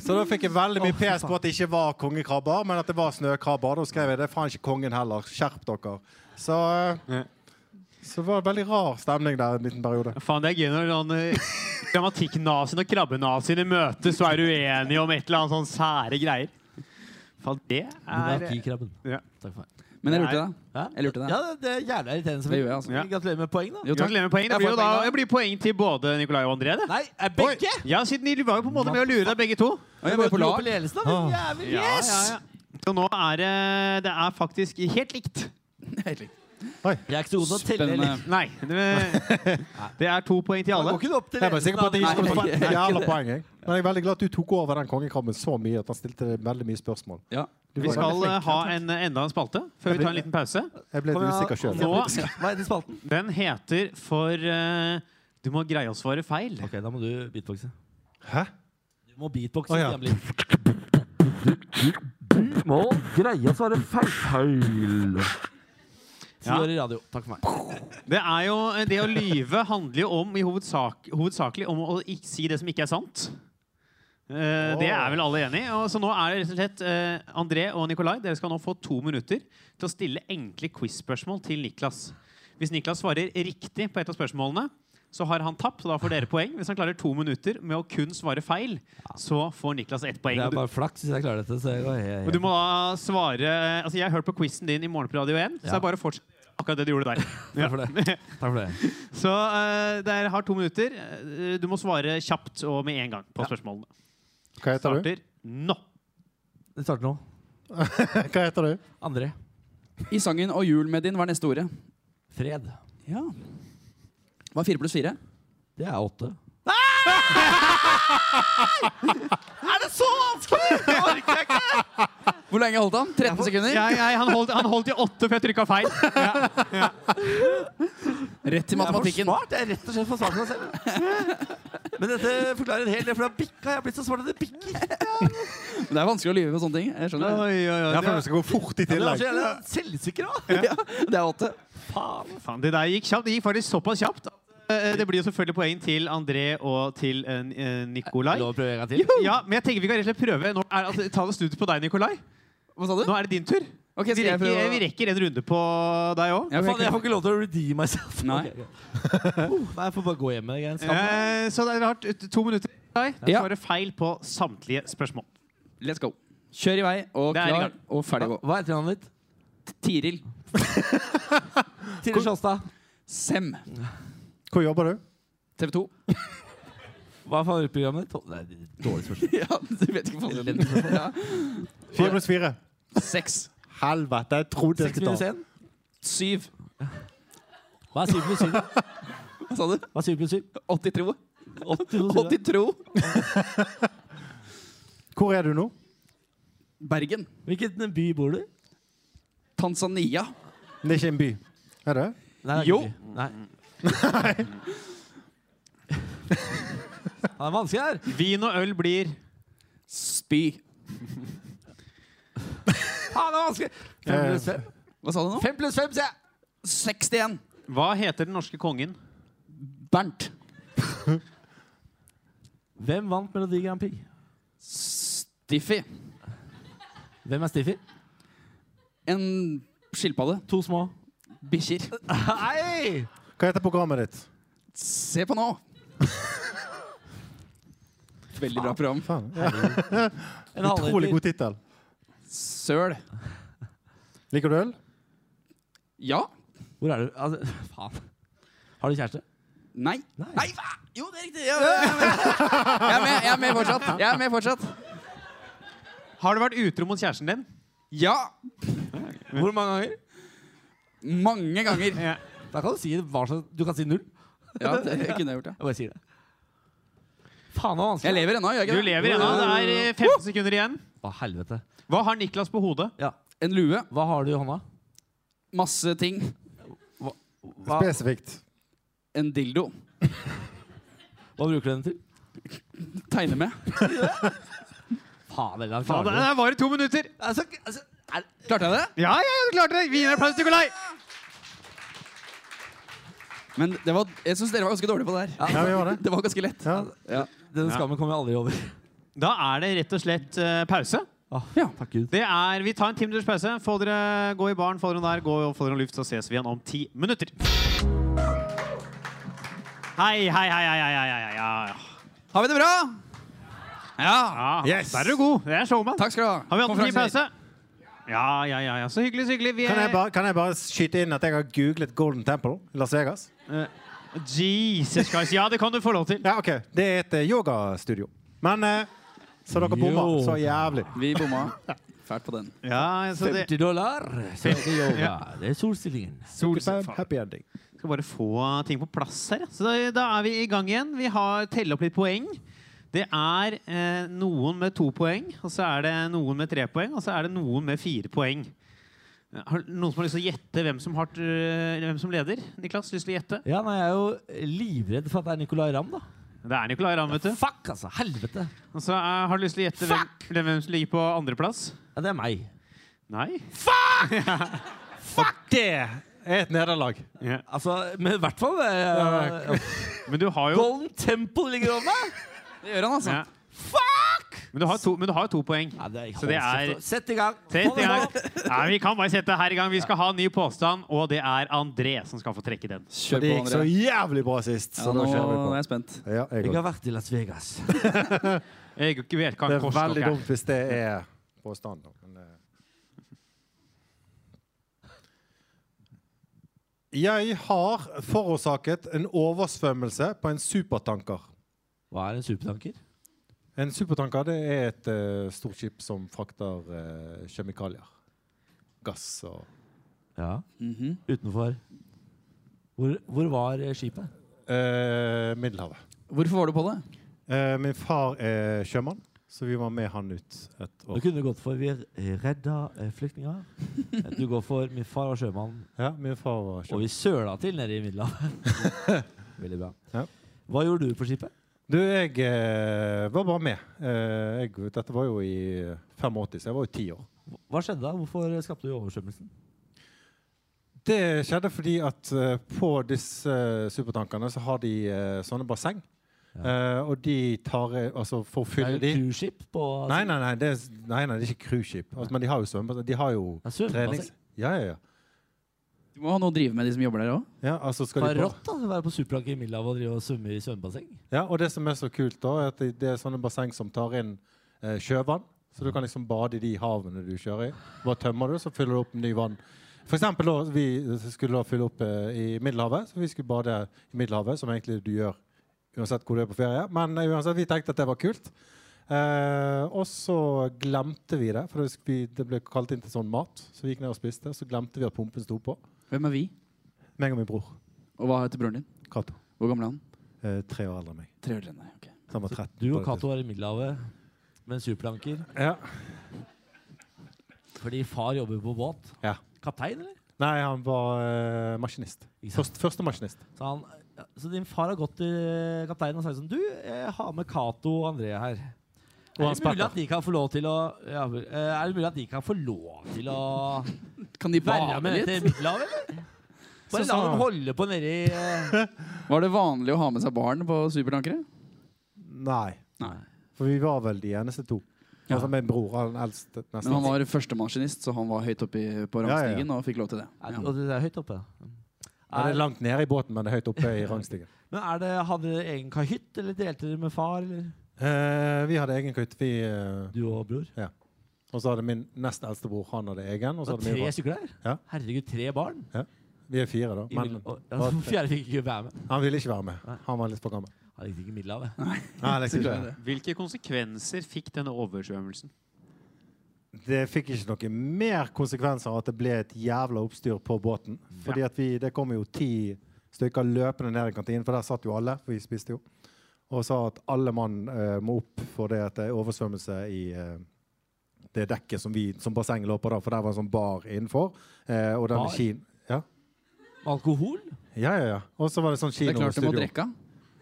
[SPEAKER 5] Så da fikk jeg veldig mye pes på at det ikke var kongekrabber, men at det var snøkrabber. Da skrev jeg 'det er faen ikke kongen heller, skjerp dere'. Så, eh, så det var en veldig rar stemning der en liten periode.
[SPEAKER 2] Faen, det er gøy når sånn eh, grammatikknazien og krabbenazien møtes og er uenige om et eller annet sånn sære greier. Faen, det er
[SPEAKER 4] Monarkikrabben.
[SPEAKER 2] Ja.
[SPEAKER 4] Takk for meg.
[SPEAKER 3] Men jeg lurte deg.
[SPEAKER 4] Hæ?
[SPEAKER 3] Jeg lurte deg.
[SPEAKER 4] Ja, det, det er jævla irriterende. som-
[SPEAKER 3] Det gjør jeg, altså.
[SPEAKER 2] Ja.
[SPEAKER 4] Gratulerer med poeng, da.
[SPEAKER 3] Jo, takk.
[SPEAKER 2] Gratulerer med poeng. Det
[SPEAKER 3] Jeg
[SPEAKER 2] blir
[SPEAKER 3] får
[SPEAKER 2] jo da
[SPEAKER 3] poeng, da.
[SPEAKER 2] det blir poeng til både Nicolai og André. det.
[SPEAKER 4] Nei, er begge?
[SPEAKER 2] Ja, siden de var jo på en måte med å lure deg begge to.
[SPEAKER 3] Og jeg var på
[SPEAKER 4] Lå på Ah.
[SPEAKER 3] lag.
[SPEAKER 4] ledelsen, da. men Jævlig.
[SPEAKER 2] Ja, ja, ja. Så nå er det Det er faktisk helt likt.
[SPEAKER 3] Helt likt.
[SPEAKER 4] Jeg er ikke så god til å telle.
[SPEAKER 3] Spennende.
[SPEAKER 4] eller-
[SPEAKER 2] Nei. Det, det er to poeng til alle.
[SPEAKER 4] Går ikke du opp til
[SPEAKER 5] Jeg var sikker på at jeg
[SPEAKER 4] ledelsen
[SPEAKER 5] ikke
[SPEAKER 4] av-
[SPEAKER 5] skulle få
[SPEAKER 4] Nei,
[SPEAKER 5] et jævla poeng. jeg. Men jeg er veldig glad at du tok over den kongekrabben så mye at han stilte deg veldig mye spørsmål.
[SPEAKER 3] Ja.
[SPEAKER 5] Du
[SPEAKER 2] Vi
[SPEAKER 5] var
[SPEAKER 2] skal
[SPEAKER 5] veldig
[SPEAKER 2] eh,
[SPEAKER 5] flink.
[SPEAKER 2] ha en, enda en spalte før vi tar en liten pause.
[SPEAKER 5] Jeg ble
[SPEAKER 4] Kom igjen,
[SPEAKER 5] usikker sjøl.
[SPEAKER 2] Nå-
[SPEAKER 4] Hva heter spalten?
[SPEAKER 2] Den heter for eh, Du må greie å svare feil.
[SPEAKER 4] Ok, da må du beatboxe.
[SPEAKER 5] Hæ?
[SPEAKER 4] Du må beatboxe.
[SPEAKER 5] Å, ja.
[SPEAKER 4] jævlig.
[SPEAKER 6] må greie å svare feil. feil.
[SPEAKER 4] Ti år i radio. Takk for meg.
[SPEAKER 2] Det er jo, det å lyve handler jo om i hovedsak, hovedsakelig om å ikke si det som ikke er sant. Eh, Det er vel alle enig i. Og Så nå er det rett og slett eh, André og Nikolai, dere skal nå få to minutter til å stille enkle quiz-spørsmål til Niklas. Hvis Niklas svarer riktig på et av spørsmålene, så har han tapt, og da får dere poeng. Hvis han klarer to minutter med å kun svare feil, så får Niklas ett poeng.
[SPEAKER 4] Det er
[SPEAKER 2] Og du-
[SPEAKER 4] bare flaks hvis jeg klarer dette. Så jeg går helt,
[SPEAKER 2] Men du må da svare Altså, jeg har hørt på quizen din i morgen på Radio 1, så det
[SPEAKER 4] Ja.
[SPEAKER 2] er bare å fortsette akkurat det du gjorde der.
[SPEAKER 4] Takk for det. Takk for det.
[SPEAKER 2] Så uh, dere har to minutter. Eh, Du må svare kjapt og med en gang på spørsmålene.
[SPEAKER 5] Hva heter du?
[SPEAKER 2] Starter nå.
[SPEAKER 4] Vi starter nå.
[SPEAKER 5] Hva heter du?
[SPEAKER 4] André.
[SPEAKER 3] I sangen 'Og jul med din' var neste ordet.
[SPEAKER 4] Fred.
[SPEAKER 3] Ja. Hva er fire pluss fire?
[SPEAKER 4] Det er åtte.
[SPEAKER 3] Hvor lenge holdt han? 13 sekunder?
[SPEAKER 2] Jeg, jeg, han, holdt, han holdt i åtte, for jeg trykka feil.
[SPEAKER 3] Rett til matematikken.
[SPEAKER 4] smart. Jeg er rett og slett for smart for meg selv. Men dette forklarer en hel del, for det har bikka. Jeg har blitt så smart at det bikker.
[SPEAKER 3] Det er vanskelig å lyve på sånne ting. Jeg
[SPEAKER 2] Oi,
[SPEAKER 3] skjønner.
[SPEAKER 2] oi, oi.
[SPEAKER 5] Jeg føler det skal gå fort i
[SPEAKER 4] Men jeg er
[SPEAKER 5] tillegg.
[SPEAKER 4] så jævla selvsikker, da.
[SPEAKER 3] Ja, det er åtte.
[SPEAKER 2] Det, faen, det der gikk kjapt. Det gikk faktisk såpass kjapt. at, eh, Det blir jo selvfølgelig poeng til André og til eh, eh, Nikolai.
[SPEAKER 4] Lov å prøve en gang til?
[SPEAKER 2] Ja, men jeg tenker vi kan rett og slett prøve. Nå er, altså, ta det snudd på deg, Nikolai.
[SPEAKER 3] Hva sa du?
[SPEAKER 2] Nå er det din tur.
[SPEAKER 3] Ok,
[SPEAKER 2] Vi
[SPEAKER 3] skal jeg
[SPEAKER 2] rekker,
[SPEAKER 3] prøve å-
[SPEAKER 2] vi rekker en runde på deg òg.
[SPEAKER 3] Ja,
[SPEAKER 4] Faen, jeg
[SPEAKER 3] jeg,
[SPEAKER 4] får ikke lov til å redeem myself.
[SPEAKER 3] Nei.
[SPEAKER 4] Ok, ok. Uh, nei, jeg får bare gå hjem med det. Skam.
[SPEAKER 2] Eh, så det er rart. To minutter til deg. Du
[SPEAKER 3] Ja.
[SPEAKER 2] svarer feil på samtlige spørsmål.
[SPEAKER 3] Let's go. Kjør i vei og
[SPEAKER 2] Det er i
[SPEAKER 3] klar
[SPEAKER 2] gang.
[SPEAKER 3] og ferdig gå.
[SPEAKER 4] Hva heter navnet ditt?
[SPEAKER 3] Tiril.
[SPEAKER 4] Tiril Sjåstad.
[SPEAKER 3] Sem.
[SPEAKER 5] Hvor jobber du?
[SPEAKER 3] TV 2.
[SPEAKER 4] Hva er favorittprogrammet ditt? Nei, det er dårlig spørsmål.
[SPEAKER 3] Ja, du vet ikke fasiten. Ja.
[SPEAKER 5] Fire pluss fire.
[SPEAKER 3] Seks.
[SPEAKER 5] Helvete, jeg trodde jeg
[SPEAKER 4] Seks
[SPEAKER 5] skulle
[SPEAKER 4] minus
[SPEAKER 5] ta den.
[SPEAKER 4] én.
[SPEAKER 3] Syv.
[SPEAKER 4] Hva er syv pluss syv?
[SPEAKER 3] Hva sa du?
[SPEAKER 4] Hva er syv pluss syv?
[SPEAKER 3] 82.
[SPEAKER 4] Åtti pluss syv, da.
[SPEAKER 3] 82.
[SPEAKER 5] Hvor er du nå?
[SPEAKER 3] Bergen.
[SPEAKER 4] Hvilken eh, by bor du i?
[SPEAKER 3] Tanzania.
[SPEAKER 5] Det er ikke en by. Er det?
[SPEAKER 4] Nei, det er
[SPEAKER 3] Jo.
[SPEAKER 4] ikke by. Nei. Han er vanskelig her.
[SPEAKER 2] Vin og øl blir
[SPEAKER 3] Spy.
[SPEAKER 4] Han er vanskelig. Fem
[SPEAKER 5] Eh,
[SPEAKER 4] pluss fem.
[SPEAKER 3] Hva sa du nå?
[SPEAKER 4] Fem pluss fem, sier jeg.
[SPEAKER 3] 61.
[SPEAKER 2] Hva heter den norske kongen?
[SPEAKER 3] Bernt.
[SPEAKER 4] Hvem vant Melodi Grand Prix?
[SPEAKER 3] Diffy.
[SPEAKER 4] Hvem er Stiffi?
[SPEAKER 3] En skilpadde.
[SPEAKER 4] To små.
[SPEAKER 3] Bikkjer.
[SPEAKER 4] Nei!
[SPEAKER 5] Hva heter programmet ditt?
[SPEAKER 3] Se på nå. Veldig bra program.
[SPEAKER 5] Faen. Ja,
[SPEAKER 4] En
[SPEAKER 5] utrolig
[SPEAKER 4] halvliter.
[SPEAKER 5] god tittel.
[SPEAKER 3] Søl.
[SPEAKER 5] Liker du øl?
[SPEAKER 3] Ja.
[SPEAKER 4] Hvor er du? Altså, faen. Har du kjæreste?
[SPEAKER 3] Nei.
[SPEAKER 4] Nei.
[SPEAKER 3] Nei, hva? Jo, det er riktig. Ja, ja, ja, ja. Jeg er med, jeg er med fortsatt. Jeg er med fortsatt.
[SPEAKER 2] Har du vært utro mot kjæresten din?
[SPEAKER 3] Ja.
[SPEAKER 4] Hvor mange ganger?
[SPEAKER 3] Mange ganger.
[SPEAKER 4] Da kan du si hva som Du kan si null.
[SPEAKER 3] Ja, det kunne jeg gjort, ja.
[SPEAKER 4] Jeg bare sier det. Faen, det var
[SPEAKER 3] Jeg
[SPEAKER 4] vanskelig.
[SPEAKER 3] lever ennå, gjør jeg
[SPEAKER 2] Du
[SPEAKER 3] ikke det?
[SPEAKER 2] lever ennå. Det er eh, 15 sekunder igjen.
[SPEAKER 4] Å, helvete.
[SPEAKER 2] Hva har Niklas på hodet?
[SPEAKER 4] Ja.
[SPEAKER 3] En lue.
[SPEAKER 4] Hva har du i hånda?
[SPEAKER 3] Masse ting.
[SPEAKER 4] Hva,
[SPEAKER 5] Spesifikt.
[SPEAKER 3] En dildo.
[SPEAKER 4] hva bruker du den til?
[SPEAKER 3] Tegne med.
[SPEAKER 4] Faen, eller,
[SPEAKER 2] Ja, det er bare to minutter.
[SPEAKER 4] Altså, altså, er,
[SPEAKER 3] Klarte jeg det?
[SPEAKER 2] Ja, ja, ja, du klarte det! Vi gir en applaus til Nikolai.
[SPEAKER 3] Men det var, jeg syns dere var ganske dårlige på det der.
[SPEAKER 5] Ja, vi gjør det.
[SPEAKER 3] Det var ganske lett.
[SPEAKER 5] Ja.
[SPEAKER 3] Ja.
[SPEAKER 4] den skammen kommer jeg aldri over.
[SPEAKER 2] Da er det rett og slett eh, pause.
[SPEAKER 4] Åh,
[SPEAKER 3] Ja.
[SPEAKER 4] Takk Gud.
[SPEAKER 2] Det er, Vi tar en ti minutters pause. Få dere gå i baren, få dere noe der, gå og få dere noe luft, så ses vi igjen om ti minutter. Hei, hei, hei, hei, hei, hei, hei, hei.
[SPEAKER 3] Har vi det bra? Ja.
[SPEAKER 2] Ja,
[SPEAKER 5] Yes.
[SPEAKER 2] Der er du god. Det er showman.
[SPEAKER 3] Takk skal du ha.
[SPEAKER 2] Har vi hatt en fin
[SPEAKER 3] Konferanser.
[SPEAKER 2] pause? Ja, ja, ja, ja. Så hyggelig, så hyggelig. Vi
[SPEAKER 5] Kan jeg,
[SPEAKER 2] er
[SPEAKER 5] bare, kan jeg bare skyte inn at jeg har googlet Golden Temple i Las Vegas?
[SPEAKER 2] Jesus Christ. Ja, det kan du få lov til.
[SPEAKER 5] Ja, OK. Det er et eh, yogastudio. Men eh, så dere bomma
[SPEAKER 4] Jo.
[SPEAKER 5] så jævlig.
[SPEAKER 3] Vi bomma. Fælt på den.
[SPEAKER 2] Ja, så det
[SPEAKER 4] 50 dollar, så er det yoga.
[SPEAKER 2] Ja.
[SPEAKER 4] Det er solstillingen.
[SPEAKER 5] Happy ending.
[SPEAKER 2] skal bare få ting på plass her. Så da, da er vi i gang igjen. Vi har telle opp litt poeng. Det er eh, noen med to poeng, og så er det noen med tre poeng, og så er det noen med fire poeng. Har noen som har lyst til å gjette hvem som, har, eh, hvem som leder? Niklas, lyst til å gjette?
[SPEAKER 4] Ja, nei, jeg er jo livredd for at det er Nicolay Ramm, da.
[SPEAKER 2] Det er Nicolay Ramm, vet du.
[SPEAKER 4] Fuck, altså! Helvete!
[SPEAKER 2] Og så er, har du lyst til å gjette hvem, hvem som ligger på andreplass?
[SPEAKER 4] Ja, det er meg.
[SPEAKER 2] Nei.
[SPEAKER 5] Fuck! Det er et nederlag.
[SPEAKER 2] Ja.
[SPEAKER 4] Altså, men i hvert fall eh,
[SPEAKER 2] Men du har jo
[SPEAKER 4] Golden Temple ligger over meg!
[SPEAKER 3] Det gjør han, altså.
[SPEAKER 2] ja. Men du har to, men du har jo to poeng.
[SPEAKER 4] Ja, det er,
[SPEAKER 2] Så det er-
[SPEAKER 4] Sett i gang!
[SPEAKER 2] Sett i gang.
[SPEAKER 4] Hold det nå.
[SPEAKER 2] Nei, vi kan bare sette her i gang. Vi skal ha en ny påstand, og det er André som skal få trekke den.
[SPEAKER 3] Kjør
[SPEAKER 5] Det
[SPEAKER 3] på,
[SPEAKER 5] gikk så
[SPEAKER 3] André.
[SPEAKER 5] jævlig bra sist.
[SPEAKER 3] Ja,
[SPEAKER 5] Så
[SPEAKER 3] nå
[SPEAKER 5] nå kjører vi
[SPEAKER 3] er
[SPEAKER 5] på.
[SPEAKER 3] jeg spent.
[SPEAKER 5] Ja, jeg
[SPEAKER 4] Jeg
[SPEAKER 5] går.
[SPEAKER 4] har vært i Las Vegas.
[SPEAKER 2] Jeg vet hva en
[SPEAKER 5] Det er veldig
[SPEAKER 2] korstokk er.
[SPEAKER 5] dumt hvis det er påstand. da, Men, eh. jeg har forårsaket en oversvømmelse på en supertanker.
[SPEAKER 4] Hva er en supertanker?
[SPEAKER 5] En supertanker det er et eh, stort skip som frakter eh, kjemikalier. Gass og
[SPEAKER 4] Ja,
[SPEAKER 3] Mhm.
[SPEAKER 4] utenfor Hvor, hvor var eh, skipet?
[SPEAKER 5] eh, Middelhavet.
[SPEAKER 3] Hvorfor var du på det?
[SPEAKER 5] Eh, min far er sjømann, så vi var med han ut et
[SPEAKER 4] Du
[SPEAKER 5] år.
[SPEAKER 4] kunne gått for 'Vi redda eh, flyktninger'. Du går for 'Min far var sjømann,
[SPEAKER 5] Ja, min far var
[SPEAKER 4] og
[SPEAKER 5] sjømann.
[SPEAKER 4] vi søla til nede i Middelhavet'. Veldig bra.
[SPEAKER 5] Ja.
[SPEAKER 4] Hva gjorde du på skipet?
[SPEAKER 5] Du, jeg eh, var bare med. Eh, jeg, dette var jo i 85, så jeg var jo ti år.
[SPEAKER 4] Hva skjedde da? Hvorfor skapte du oversvømmelsen?
[SPEAKER 5] Det skjedde fordi at eh, på disse eh, supertankene så har de eh, sånne basseng. Eh, og de tar eh, Altså, for å fylle
[SPEAKER 4] Det er
[SPEAKER 5] de
[SPEAKER 4] jo cruiseskip på altså,
[SPEAKER 5] Nei, nei, nei, det er, s- nei, nei, det er ikke cruiseskip. Altså, men de har jo svømmebasseng. De har jo
[SPEAKER 4] Ja, svømmebasseng.
[SPEAKER 5] trenings... Ja, ja, ja.
[SPEAKER 3] Du må ha noe å drive med, de som jobber der òg.
[SPEAKER 5] ja, altså skal
[SPEAKER 4] Det
[SPEAKER 5] de
[SPEAKER 4] er
[SPEAKER 5] på-
[SPEAKER 4] rått da, å være på supertanker i Middelhavet og drive og svømme i svømmebasseng.
[SPEAKER 5] Ja, og det som er så kult da, er at det- det er sånne basseng som tar inn eh, sjøvann. Så du kan liksom bade i de havene du kjører i. Bare tømmer du, så fyller du opp ny vann. For eksempel da, vi skulle da fylle opp eh, i Middelhavet, så vi skulle bade i Middelhavet, som egentlig du gjør uansett hvor du er på ferie. Men eh, uansett, vi tenkte at det var kult. Eh, og så glemte vi det, for det, sk- vi, det ble kalt inn til sånn mat. Så vi gikk ned og spiste, så glemte vi at pumpen sto på.
[SPEAKER 3] Hvem er vi?
[SPEAKER 5] Meg og min bror,
[SPEAKER 3] Og hva heter broren din?
[SPEAKER 5] Cato.
[SPEAKER 3] Hvor gammel er han?
[SPEAKER 5] Eh, tre år eldre enn meg.
[SPEAKER 3] Tre år eldre enn deg. ok.
[SPEAKER 5] Så Han var 13.
[SPEAKER 4] Du
[SPEAKER 5] på
[SPEAKER 4] og
[SPEAKER 5] det
[SPEAKER 4] Cato var i Middelhavet med en supertanker
[SPEAKER 5] tidspunktet. Ja.
[SPEAKER 4] fordi far jobber på båt.
[SPEAKER 5] ja.
[SPEAKER 4] Kaptein, eller?
[SPEAKER 5] Nei, han var eh, maskinist.
[SPEAKER 4] Ikke sant?
[SPEAKER 5] Først, første maskinist.
[SPEAKER 4] Så, han, ja, så din far har gått til kapteinen og sagt sånn Du, jeg har med Cato og André her.
[SPEAKER 5] Og
[SPEAKER 4] Er
[SPEAKER 5] hans
[SPEAKER 4] det mulig
[SPEAKER 5] pappa.
[SPEAKER 4] at de kan få lov til å ja, vel, eh, Er det mulig at de kan få lov til å
[SPEAKER 3] Kan de
[SPEAKER 4] være
[SPEAKER 3] bade
[SPEAKER 4] med
[SPEAKER 3] litt?
[SPEAKER 4] dette i Middelhavet, eller? Bare
[SPEAKER 5] Så
[SPEAKER 4] la
[SPEAKER 5] sa han.
[SPEAKER 4] dem holde på nedi eh,
[SPEAKER 3] Var det vanlig å ha med seg barn på supertankere?
[SPEAKER 5] Nei,
[SPEAKER 3] Nei.
[SPEAKER 5] for vi var vel de eneste to.
[SPEAKER 3] Ja.
[SPEAKER 5] Altså min bror, han eldste nesten.
[SPEAKER 3] Men han var førstemaskinist, så han var høyt oppe i- på
[SPEAKER 5] Ja, ja, ja.
[SPEAKER 3] rangstigen og fikk lov til det.
[SPEAKER 4] er,
[SPEAKER 3] Ja.
[SPEAKER 4] Og det er høyt oppe.
[SPEAKER 5] Ja, det er langt nede i båten, men det er høyt oppe i rangstigen.
[SPEAKER 4] Men er det, Hadde dere egen kahytt, eller delte dere med far? Eller?
[SPEAKER 5] Eh, vi hadde egen kutt, vi. eh,
[SPEAKER 4] Du og bror?
[SPEAKER 5] og så hadde min nest eldste bror, han hadde egen. Og
[SPEAKER 4] Det
[SPEAKER 5] så
[SPEAKER 4] var
[SPEAKER 5] hadde vi,
[SPEAKER 4] tre
[SPEAKER 5] bare-
[SPEAKER 4] stykker der?
[SPEAKER 5] Ja.
[SPEAKER 4] Herregud, tre barn?
[SPEAKER 5] vi er fire, da.
[SPEAKER 4] I
[SPEAKER 5] Men
[SPEAKER 4] Middel- og- ja, så Fjerde fikk ikke være med.
[SPEAKER 5] han ville ikke være med. Han var litt for gammel.
[SPEAKER 4] Han likte ikke Middelhavet.
[SPEAKER 5] Nei, det, er ikke det.
[SPEAKER 2] Hvilke konsekvenser fikk denne oversvømmelsen?
[SPEAKER 5] det fikk ikke noe mer konsekvenser at det ble et jævla oppstyr på båten. Fordi at vi, det kom jo ti stykker løpende ned i kantinen, for der satt jo alle, for vi spiste jo. Og sa at alle mann eh, må opp for det at det er oversvømmelse i eh, det dekket som, vi, som bassenget lå på da, for der var en sånn bar innenfor. Eh, og den
[SPEAKER 4] Bar?
[SPEAKER 5] med kin... Ja.
[SPEAKER 4] Alkohol?
[SPEAKER 5] Ja, ja, ja. Og så var det sånn
[SPEAKER 3] Det er klart du må
[SPEAKER 5] kinostudio.
[SPEAKER 3] drikke.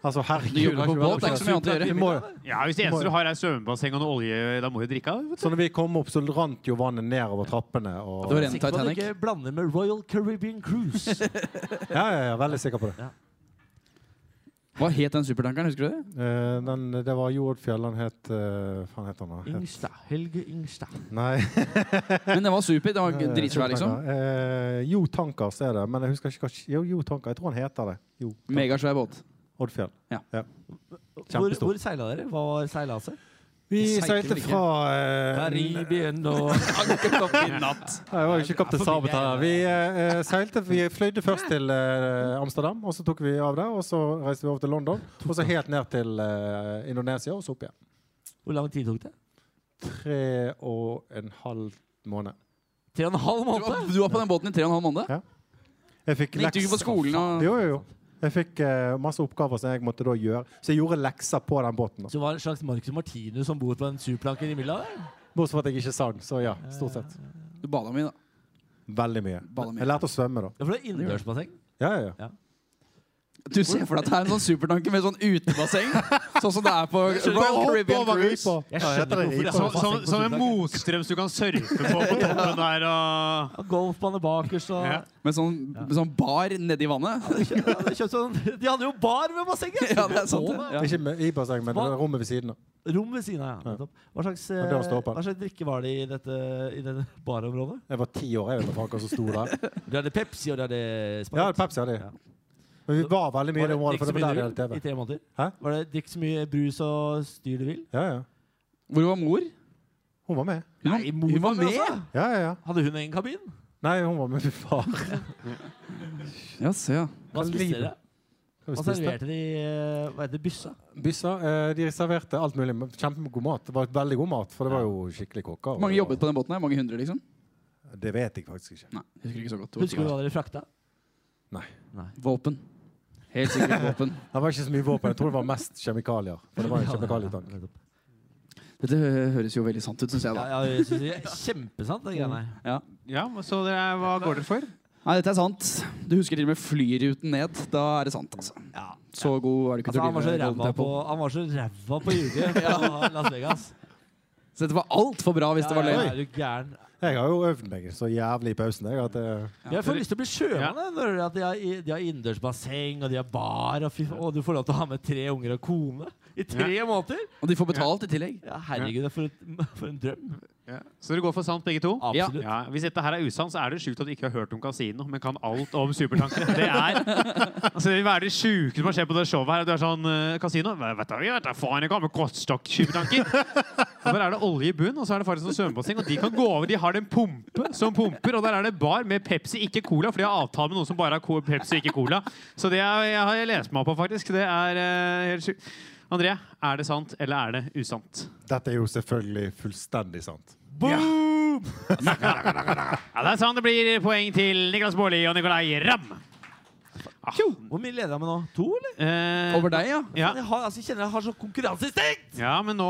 [SPEAKER 5] Altså,
[SPEAKER 3] Du
[SPEAKER 5] herregud.
[SPEAKER 3] jobber på båt, det er ikke så mye annet å
[SPEAKER 5] Vi
[SPEAKER 3] gjøre.
[SPEAKER 5] må jo
[SPEAKER 2] Ja, Hvis det eneste du har, er svømmebasseng og noe olje, da må du drikke av. vet du.
[SPEAKER 5] Så når vi kom opp, så rant jo vannet nedover trappene. Og,
[SPEAKER 3] Det var en
[SPEAKER 4] Sikker på at du
[SPEAKER 3] Titanic.
[SPEAKER 4] ikke blander med Royal Caribbean Cruise.
[SPEAKER 5] ja, ja, ja, veldig sikker på det.
[SPEAKER 3] Hva het den supertankeren, husker du det?
[SPEAKER 5] Eh, den, det var Joel Fjell, han het eh, Faen het han da?
[SPEAKER 3] Mm.
[SPEAKER 5] Het-
[SPEAKER 4] Ingstad. Helge Ingstad.
[SPEAKER 5] Nei.
[SPEAKER 3] Men den var super. Den var g- dritsvær, liksom.
[SPEAKER 5] Eh, jo Tankers er det, men jeg husker ikke hva Jo, jo Tanker, jeg tror han heter det. Jo.
[SPEAKER 3] Megasvær båt.
[SPEAKER 5] Oddfjell.
[SPEAKER 4] Hvor,
[SPEAKER 5] Kjempestor.
[SPEAKER 4] hvor seila dere? Hva var seilaset?
[SPEAKER 5] Vi
[SPEAKER 3] Jeg seilte
[SPEAKER 5] seilte
[SPEAKER 3] vel ikke.
[SPEAKER 5] fra eh,
[SPEAKER 4] Karibien og
[SPEAKER 5] Nei, jeg var jo
[SPEAKER 4] Det
[SPEAKER 5] ikke kaptein
[SPEAKER 4] er for
[SPEAKER 5] Sabeltann her. Vi eh, seilte, vi fløyde først til eh, Amsterdam, og så tok vi av der. Og så reiste vi over til London, og så helt ned til eh, Indonesia, og så opp igjen.
[SPEAKER 4] Hvor lang tid tok det?
[SPEAKER 5] tre og en halv måned.
[SPEAKER 4] Tre og en halv
[SPEAKER 3] Du var,
[SPEAKER 4] måned?
[SPEAKER 3] du var på den båten i tre og en halv måned?
[SPEAKER 5] Jeg fikk
[SPEAKER 3] Gikk du ikke på
[SPEAKER 5] lekser.
[SPEAKER 3] skolen og
[SPEAKER 5] Jo, jo, jo. Jeg fikk eh, masse oppgaver som jeg måtte da gjøre. Så jeg gjorde lekser på den båten. da.
[SPEAKER 4] Så det var en slags Marcus Martinus som bor på den surplanken i Milla?
[SPEAKER 5] Bortsett fra at jeg ikke sang. Så ja, stort sett.
[SPEAKER 3] Du bada mye, da.
[SPEAKER 5] Veldig mye.
[SPEAKER 3] Bada mye.
[SPEAKER 5] Jeg lærte å svømme, da.
[SPEAKER 4] Ja, for det er innendørsbasseng.
[SPEAKER 5] Ja, ja, ja.
[SPEAKER 3] Du ser for deg at det er en sånn supertanker med sånn utebasseng. sånn som det er på Royal Caribbean Cruise.
[SPEAKER 4] Jeg
[SPEAKER 5] Ja,
[SPEAKER 4] skjønner
[SPEAKER 5] heter det
[SPEAKER 4] ikke hvorfor de
[SPEAKER 2] Som,
[SPEAKER 4] har
[SPEAKER 2] som,
[SPEAKER 4] basseng på
[SPEAKER 2] som en
[SPEAKER 4] surplanken.
[SPEAKER 2] motstrøms du kan surfe på på toppen der og
[SPEAKER 4] Ja, Golfbane bakerst og
[SPEAKER 2] ja.
[SPEAKER 4] ja.
[SPEAKER 3] Med sånn, med sånn bar nedi vannet.
[SPEAKER 4] de kjøpte sånn, De hadde jo bar ved bassenget!
[SPEAKER 3] ja, det er sant. det. Ja.
[SPEAKER 5] Ikke med- i basseng, men det
[SPEAKER 4] Hva?
[SPEAKER 5] var rommet ved siden av.
[SPEAKER 4] Rom ved siden av, ja. nettopp. Hva slags, eh,
[SPEAKER 5] Men det var ståperen.
[SPEAKER 4] hva slags drikke var det i dette, i dette barområdet?
[SPEAKER 5] Jeg var ti år, jeg vet ikke hva som sto der.
[SPEAKER 4] De hadde Pepsi, og de hadde
[SPEAKER 5] Ja,
[SPEAKER 4] Sprite.
[SPEAKER 5] Pepsi hadde
[SPEAKER 4] Ja.
[SPEAKER 5] jeg. Men vi var veldig mye i
[SPEAKER 4] Var
[SPEAKER 5] det
[SPEAKER 4] det
[SPEAKER 5] området,
[SPEAKER 4] drikk
[SPEAKER 5] for
[SPEAKER 4] så
[SPEAKER 5] det var
[SPEAKER 4] mye du
[SPEAKER 5] der vi hadde
[SPEAKER 4] vil i
[SPEAKER 5] TV.
[SPEAKER 4] tre måneder?
[SPEAKER 5] Hæ?
[SPEAKER 4] Var det drikk så mye brus og styr du vil?
[SPEAKER 5] Ja, ja.
[SPEAKER 3] Hvor var mor?
[SPEAKER 5] Hun var med.
[SPEAKER 3] Hun, var-
[SPEAKER 4] mor
[SPEAKER 3] hun var
[SPEAKER 4] var med,
[SPEAKER 3] med!
[SPEAKER 4] altså.
[SPEAKER 5] Ja, ja, ja.
[SPEAKER 4] Hadde hun egen kabin?
[SPEAKER 5] Nei, hun var med min far.
[SPEAKER 3] Ja, se, ja.
[SPEAKER 4] Hva spiste dere?
[SPEAKER 5] Hva
[SPEAKER 4] Hva
[SPEAKER 5] spiste?
[SPEAKER 4] serverte de? eh, Hva heter det? Byssa?
[SPEAKER 5] Byssa. eh, De serverte alt mulig. men Kjempegod mat. Det var veldig god mat, for det var jo skikkelig kokker. og-
[SPEAKER 3] Hvor mange jobbet på den båten? her? Mange hundre, liksom?
[SPEAKER 5] Det vet jeg faktisk ikke.
[SPEAKER 3] Nei, jeg husker ikke så godt. Det var
[SPEAKER 4] Husker du hva dere frakta?
[SPEAKER 3] Våpen. Helt sikkert våpen.
[SPEAKER 5] Det var ikke så mye våpen. Jeg tror det var mest kjemikalier. For det var en
[SPEAKER 4] Ja,
[SPEAKER 5] kjemikalietank.
[SPEAKER 4] ja, nettopp.
[SPEAKER 3] Dette hø- høres jo veldig sant ut, syns jeg, da.
[SPEAKER 4] Ja, ja, jeg synes det er kjempesant, det greiene her.
[SPEAKER 3] Ja.
[SPEAKER 2] ja, så det er, hva går det for?
[SPEAKER 3] Nei, dette er sant. Du husker til og med flyruten ned. Da er det sant, altså.
[SPEAKER 4] Ja.
[SPEAKER 3] Så god var det ikke
[SPEAKER 4] Altså,
[SPEAKER 3] til å
[SPEAKER 4] han var så
[SPEAKER 3] drive Golden
[SPEAKER 4] ræva på,
[SPEAKER 3] Temple.
[SPEAKER 4] han var så ræva på juge på Las Vegas.
[SPEAKER 3] Så dette var altfor bra hvis det var
[SPEAKER 4] Ja, ja,
[SPEAKER 3] løgn.
[SPEAKER 4] ja, er du gæren?
[SPEAKER 5] Jeg har jo øvd meg så jævlig i pausen. Jeg, at eh,
[SPEAKER 4] Jeg får lyst til å bli sjømann. jeg, når jeg hører at De har, i- de har innendørsbasseng og de har bar, og, fy, og du får lov til å ha med tre unger og kone i tre måneder!
[SPEAKER 3] Og de får betalt i tillegg.
[SPEAKER 4] Ja, herregud, det er for, et, for en drøm.
[SPEAKER 2] Så dere går for sant, begge to?
[SPEAKER 4] Absolutt.
[SPEAKER 2] Ja, Hvis dette her er usant, så er det sjukt at du ikke har hørt om kasino, men kan alt om supertankere. Det er altså, Det vil være det sjukeste som har skjedd på det showet her. Du er sånn eh, Kasino? Hva- Vet du, jeg vet da faen ikke hva med kortstokk-supertanker. Og Der er det olje i bunnen, og så er det faktisk sånn svømmebasseng. Og de kan gå over. De har en pumpe som pumper, og der er det bar med Pepsi, ikke Cola, for de har avtale med noen som bare har co- Pepsi, ikke Cola. Så det er, jeg har jeg lest meg opp på, faktisk. Det er eh, helt sjukt. André, er det sant, eller er det usant?
[SPEAKER 5] dette er jo selvfølgelig fullstendig sant.
[SPEAKER 2] Boom! ja, det er sånn det blir poeng til Niklas Baarli og Nicolay Ramm. Ah.
[SPEAKER 4] Hvor mye leder jeg med nå? To, eller?
[SPEAKER 2] Eh,
[SPEAKER 3] Over deg, ja.
[SPEAKER 2] Ja.
[SPEAKER 4] Jeg, har, altså, jeg kjenner jeg har sånn konkurranseinstinkt!
[SPEAKER 2] ja, men nå,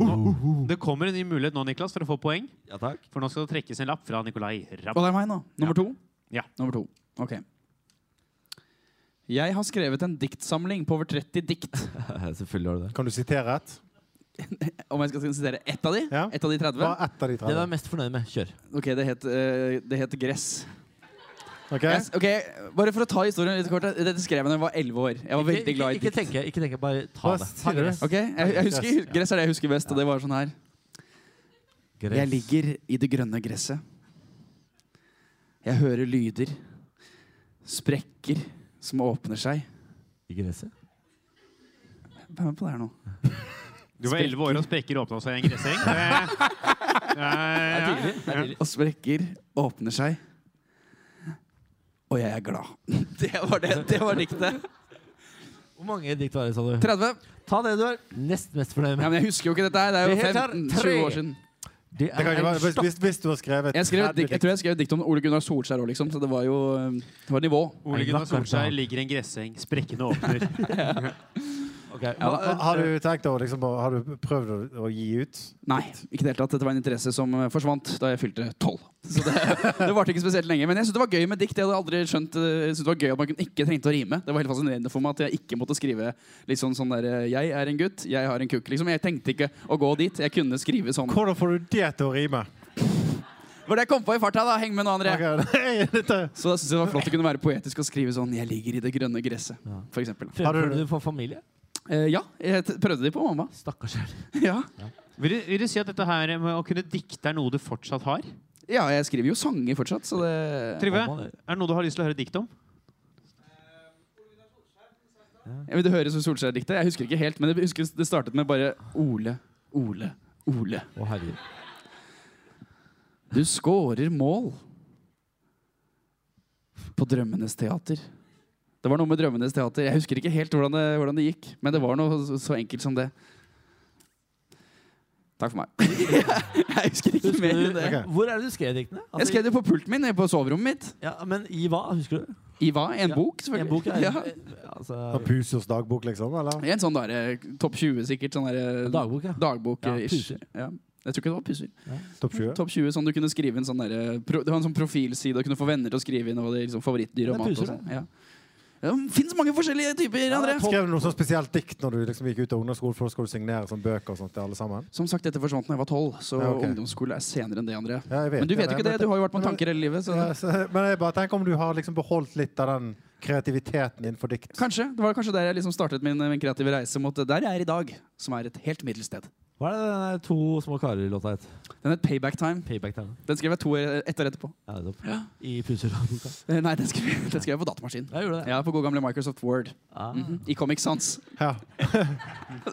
[SPEAKER 2] nå Det kommer en ny mulighet nå, Niklas, for å få poeng.
[SPEAKER 4] Ja, takk.
[SPEAKER 2] For nå skal det trekkes en lapp fra Nicolay
[SPEAKER 3] Og
[SPEAKER 2] Ramm.
[SPEAKER 3] det er meg nå. Nummer to.
[SPEAKER 2] Ja.
[SPEAKER 3] Nummer to. Ok. Jeg har skrevet en diktsamling på over 30 dikt.
[SPEAKER 4] Selvfølgelig har du det.
[SPEAKER 5] Kan du sitere ett?
[SPEAKER 3] Om jeg skal sitere ett av de?
[SPEAKER 5] Ja.
[SPEAKER 3] Ett av de 30?
[SPEAKER 5] Hva er ett av de
[SPEAKER 4] Det du er
[SPEAKER 5] 30?
[SPEAKER 4] mest fornøyd med? Kjør.
[SPEAKER 3] Ok, det het, eh, det het Gress.
[SPEAKER 5] Ok?
[SPEAKER 3] Jeg s- Ok, Bare for å ta historien litt kort. Dette skrev jeg da jeg var 11 år. Jeg var veldig glad i
[SPEAKER 4] ikke,
[SPEAKER 3] dikt.
[SPEAKER 4] ikke tenke, ikke tenke, bare ta
[SPEAKER 5] Hva
[SPEAKER 4] det.
[SPEAKER 5] sier du?
[SPEAKER 4] gress.
[SPEAKER 3] Ok, jeg, jeg husker, Gress er det jeg husker best, og det var sånn her.
[SPEAKER 4] Gress.
[SPEAKER 3] Jeg ligger i det grønne gresset. Jeg hører lyder. Sprekker som åpner seg.
[SPEAKER 4] I gresset?
[SPEAKER 3] Hvem er på det her nå?
[SPEAKER 2] Du var 11 år og sprekker åpna seg i en gresseng. Det, det er- ja.
[SPEAKER 3] Og sprekker åpner seg. Og jeg er glad. Det var det. Det var diktet.
[SPEAKER 4] Hvor mange dikt var det, sa du?
[SPEAKER 3] 30.
[SPEAKER 4] Ta det du er nest mest fornøyd
[SPEAKER 3] Ja,
[SPEAKER 4] med.
[SPEAKER 3] men jeg husker jo ikke dette her. Det
[SPEAKER 4] Det
[SPEAKER 3] er
[SPEAKER 4] heter
[SPEAKER 3] jo 15-20
[SPEAKER 4] tre.
[SPEAKER 3] år siden.
[SPEAKER 4] Det
[SPEAKER 5] Det kan
[SPEAKER 4] en
[SPEAKER 5] ikke være, hvis,
[SPEAKER 4] stokk.
[SPEAKER 5] hvis, hvis du har skrevet
[SPEAKER 3] Jeg, skrev et
[SPEAKER 5] 30
[SPEAKER 3] dikt, jeg tror jeg skrev et dikt om Ole Gunnar Solskjær òg, liksom. Så det var jo eh, det var nivå.
[SPEAKER 2] Ole Gunnar Solskjær ligger i en gresseng, sprekkene åpner.
[SPEAKER 4] Ok,
[SPEAKER 3] Ja,
[SPEAKER 4] hva-
[SPEAKER 3] da.
[SPEAKER 5] Har du tenkt å liksom, bare- Har du prøvd å, å gi ut?
[SPEAKER 3] Nei, ikke i det hele tatt. Dette var en interesse som eh, forsvant da jeg fylte tolv. Så det, det varte ikke spesielt lenge. Men jeg syntes det var gøy med dikt. Jeg hadde aldri skjønt eh, Jeg syntes det var gøy at man kun- ikke trengte å rime. Det var helt fascinerende for meg at jeg ikke måtte skrive litt sånn sånn der eh, Jeg er en gutt, jeg har en kukk. Liksom. Jeg tenkte ikke å gå dit. Jeg kunne skrive sånn. Det
[SPEAKER 5] Hvordan får du det til å rime?
[SPEAKER 3] var det jeg kom på i farta, da. Heng med nå, André.
[SPEAKER 5] Ok, nei, dette-
[SPEAKER 3] Så da synes jeg det var flott å kunne være poetisk og skrive sånn 'Jeg ligger i det grønne gresset',
[SPEAKER 4] Ja.
[SPEAKER 3] for eksempel.
[SPEAKER 5] Har
[SPEAKER 4] Fremfører
[SPEAKER 5] du-
[SPEAKER 4] du for familie?
[SPEAKER 3] Eh, ja, jeg t- prøvde det på mamma.
[SPEAKER 4] Stakkars sjel.
[SPEAKER 3] Ja.
[SPEAKER 2] Vil du, vil du si at dette her med å kunne dikte er noe du fortsatt har?
[SPEAKER 3] ja, jeg skriver jo sanger fortsatt, så det
[SPEAKER 2] Trygve, er det noe du har lyst til å høre dikt om?
[SPEAKER 3] Jeg vil høre Solskjær-diktet. Jeg husker ikke helt, men jeg husker det startet med bare Ole, Ole, Ole.
[SPEAKER 4] Å, herregud.
[SPEAKER 3] Du skårer mål på Drømmenes teater. Det var noe med Drømmenes teater. Jeg husker ikke helt hvordan det, hvordan det gikk, men det var noe så, så enkelt som det. Takk for meg. jeg husker ikke mer enn det.
[SPEAKER 5] Ok.
[SPEAKER 4] Hvor er det du skrev diktene? Altså,
[SPEAKER 3] Jeg skrev det på pulten min på soverommet mitt.
[SPEAKER 4] ja, Men i hva? Husker du?
[SPEAKER 3] I hva? En
[SPEAKER 4] Ja,
[SPEAKER 3] bok,
[SPEAKER 4] I en
[SPEAKER 3] selvfølgelig.
[SPEAKER 4] bok? Ja.
[SPEAKER 3] Ja.
[SPEAKER 4] Altså,
[SPEAKER 5] Pusers dagbok, liksom? eller?
[SPEAKER 3] I en sånn der, eh, topp 20, sikkert. Sånn der, eh,
[SPEAKER 4] dagbok, ja.
[SPEAKER 3] dagbok
[SPEAKER 4] Ja,
[SPEAKER 3] eh, ish.
[SPEAKER 4] puser.
[SPEAKER 3] ja. Jeg tror ikke det var pusser.
[SPEAKER 5] Topp 20?
[SPEAKER 3] Topp 20, sånn du kunne skrive en sånn der, eh, pro, Det var en sånn profilside, og kunne få venner til å skrive inn over liksom, favorittdyr og
[SPEAKER 4] Det er
[SPEAKER 3] mat. og
[SPEAKER 4] puser,
[SPEAKER 3] sånn. Ja. Ja, det finnes mange forskjellige typer,
[SPEAKER 4] Ja, det
[SPEAKER 3] André.
[SPEAKER 4] er
[SPEAKER 5] Skrev du noe sånn spesielt dikt når du liksom gikk ut av ungdomsskolen? For da skulle du signere sånn bøker og sånt til alle sammen?
[SPEAKER 3] Som sagt, dette forsvant da jeg var tolv, så
[SPEAKER 5] Ja, ok.
[SPEAKER 3] ungdomsskole er senere enn det, André.
[SPEAKER 5] Ja, jeg vet
[SPEAKER 3] Men du
[SPEAKER 5] det,
[SPEAKER 3] vet jo
[SPEAKER 5] men-
[SPEAKER 3] ikke det. Du har jo vært på
[SPEAKER 5] men-
[SPEAKER 3] tanker hele livet. Så
[SPEAKER 5] Ja, så, men jeg bare tenker om du har liksom beholdt litt av den kreativiteten innenfor dikt.
[SPEAKER 3] kanskje. Det var kanskje der jeg liksom startet min, min kreative reise mot der jeg er i dag, som er et helt middels sted.
[SPEAKER 4] Hva er det den der to små karer-låta het?
[SPEAKER 3] Den het Payback Time.
[SPEAKER 4] Payback Time.
[SPEAKER 3] Den skrev jeg to år etter etterpå.
[SPEAKER 4] Ja, nettopp. I Pusser-boka.
[SPEAKER 3] Eh, Nei, den skrev, den skrev jeg på datamaskin.
[SPEAKER 4] Ja, gjorde det.
[SPEAKER 3] Ja, på god gamle Microsoft Word. Mhm.
[SPEAKER 4] Ah.
[SPEAKER 3] I Comic Sans.
[SPEAKER 5] Ja.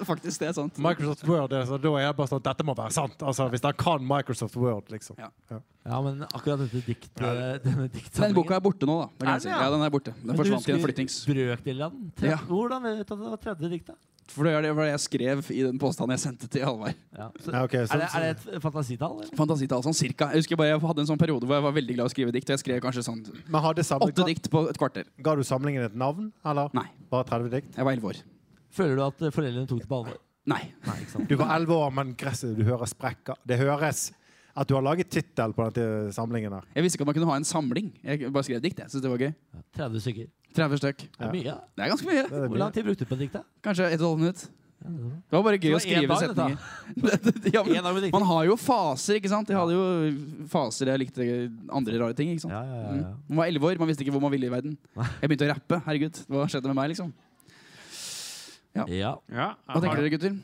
[SPEAKER 3] Faktisk, det er sant.
[SPEAKER 5] Microsoft Word, det er så, da er jeg bare sånn Dette må være sant! Altså, Hvis han kan Microsoft Word, liksom.
[SPEAKER 3] Ja.
[SPEAKER 4] ja, men akkurat dette dikt, denne
[SPEAKER 3] Den
[SPEAKER 4] diktsamlingen
[SPEAKER 3] boka er borte nå, da. Det kan
[SPEAKER 4] Er
[SPEAKER 3] jeg si.
[SPEAKER 4] den, ja?
[SPEAKER 3] Ja, den er borte. Den
[SPEAKER 4] Men du
[SPEAKER 3] forsvant i en
[SPEAKER 4] husker
[SPEAKER 3] flyttings.
[SPEAKER 4] Brøkdelen av den? Tre-
[SPEAKER 3] Ja.
[SPEAKER 4] Hvordan vet du at det var tredje diktet?
[SPEAKER 3] For det er det var det jeg skrev i den påstanden jeg sendte til Halvard.
[SPEAKER 4] Ja. Så,
[SPEAKER 5] Ja, ok, så-
[SPEAKER 4] er, det, er det et fantasitall? eller?
[SPEAKER 3] Fantasitall sånn cirka. Jeg husker bare jeg hadde en sånn periode hvor jeg var veldig glad i å skrive dikt. Og jeg skrev kanskje sånn
[SPEAKER 5] Men hadde samling,
[SPEAKER 3] åtte
[SPEAKER 5] ga,
[SPEAKER 3] dikt på et kvarter.
[SPEAKER 5] ga du samlingen et navn, eller?
[SPEAKER 3] Nei.
[SPEAKER 5] Bare 30 dikt?
[SPEAKER 3] Jeg var elleve år.
[SPEAKER 4] Føler du at eh, foreldrene tok det på alvor?
[SPEAKER 3] Nei.
[SPEAKER 4] Nei, ikke sant?
[SPEAKER 5] Du var 11 år, men gresset du hører sprekker. Det høres at du har laget tittel på den samlingen der.
[SPEAKER 3] Jeg visste ikke at man kunne ha en samling. Jeg bare skrev dikt. jeg synes det var gøy.
[SPEAKER 4] 30 stykker.
[SPEAKER 3] 30 stykk.
[SPEAKER 4] Det
[SPEAKER 5] Ja.
[SPEAKER 4] er mye. da.
[SPEAKER 3] Det er ganske mye.
[SPEAKER 5] Det
[SPEAKER 4] Hvor
[SPEAKER 5] blir-
[SPEAKER 4] lang tid brukte du på diktet?
[SPEAKER 3] Kanskje 1 12 minutt.
[SPEAKER 4] Én
[SPEAKER 3] Det sånn. var bare gøy
[SPEAKER 4] Så
[SPEAKER 3] å
[SPEAKER 4] det
[SPEAKER 3] skrive
[SPEAKER 4] var en dag,
[SPEAKER 3] setninger. ja, men,
[SPEAKER 4] dag med
[SPEAKER 3] man
[SPEAKER 4] diktet.
[SPEAKER 3] har jo faser, ikke sant? Jeg hadde jo faser jeg likte andre rare ting. ikke sant?
[SPEAKER 4] Ja, ja, ja, ja.
[SPEAKER 3] Mm. Man var 11 år, man visste ikke hvor man ville i verden. Jeg begynte å rappe. Herregud, hva skjedde med meg, liksom?
[SPEAKER 4] ja.
[SPEAKER 2] Ja,
[SPEAKER 3] Hva
[SPEAKER 2] har-
[SPEAKER 3] tenker dere, gutter?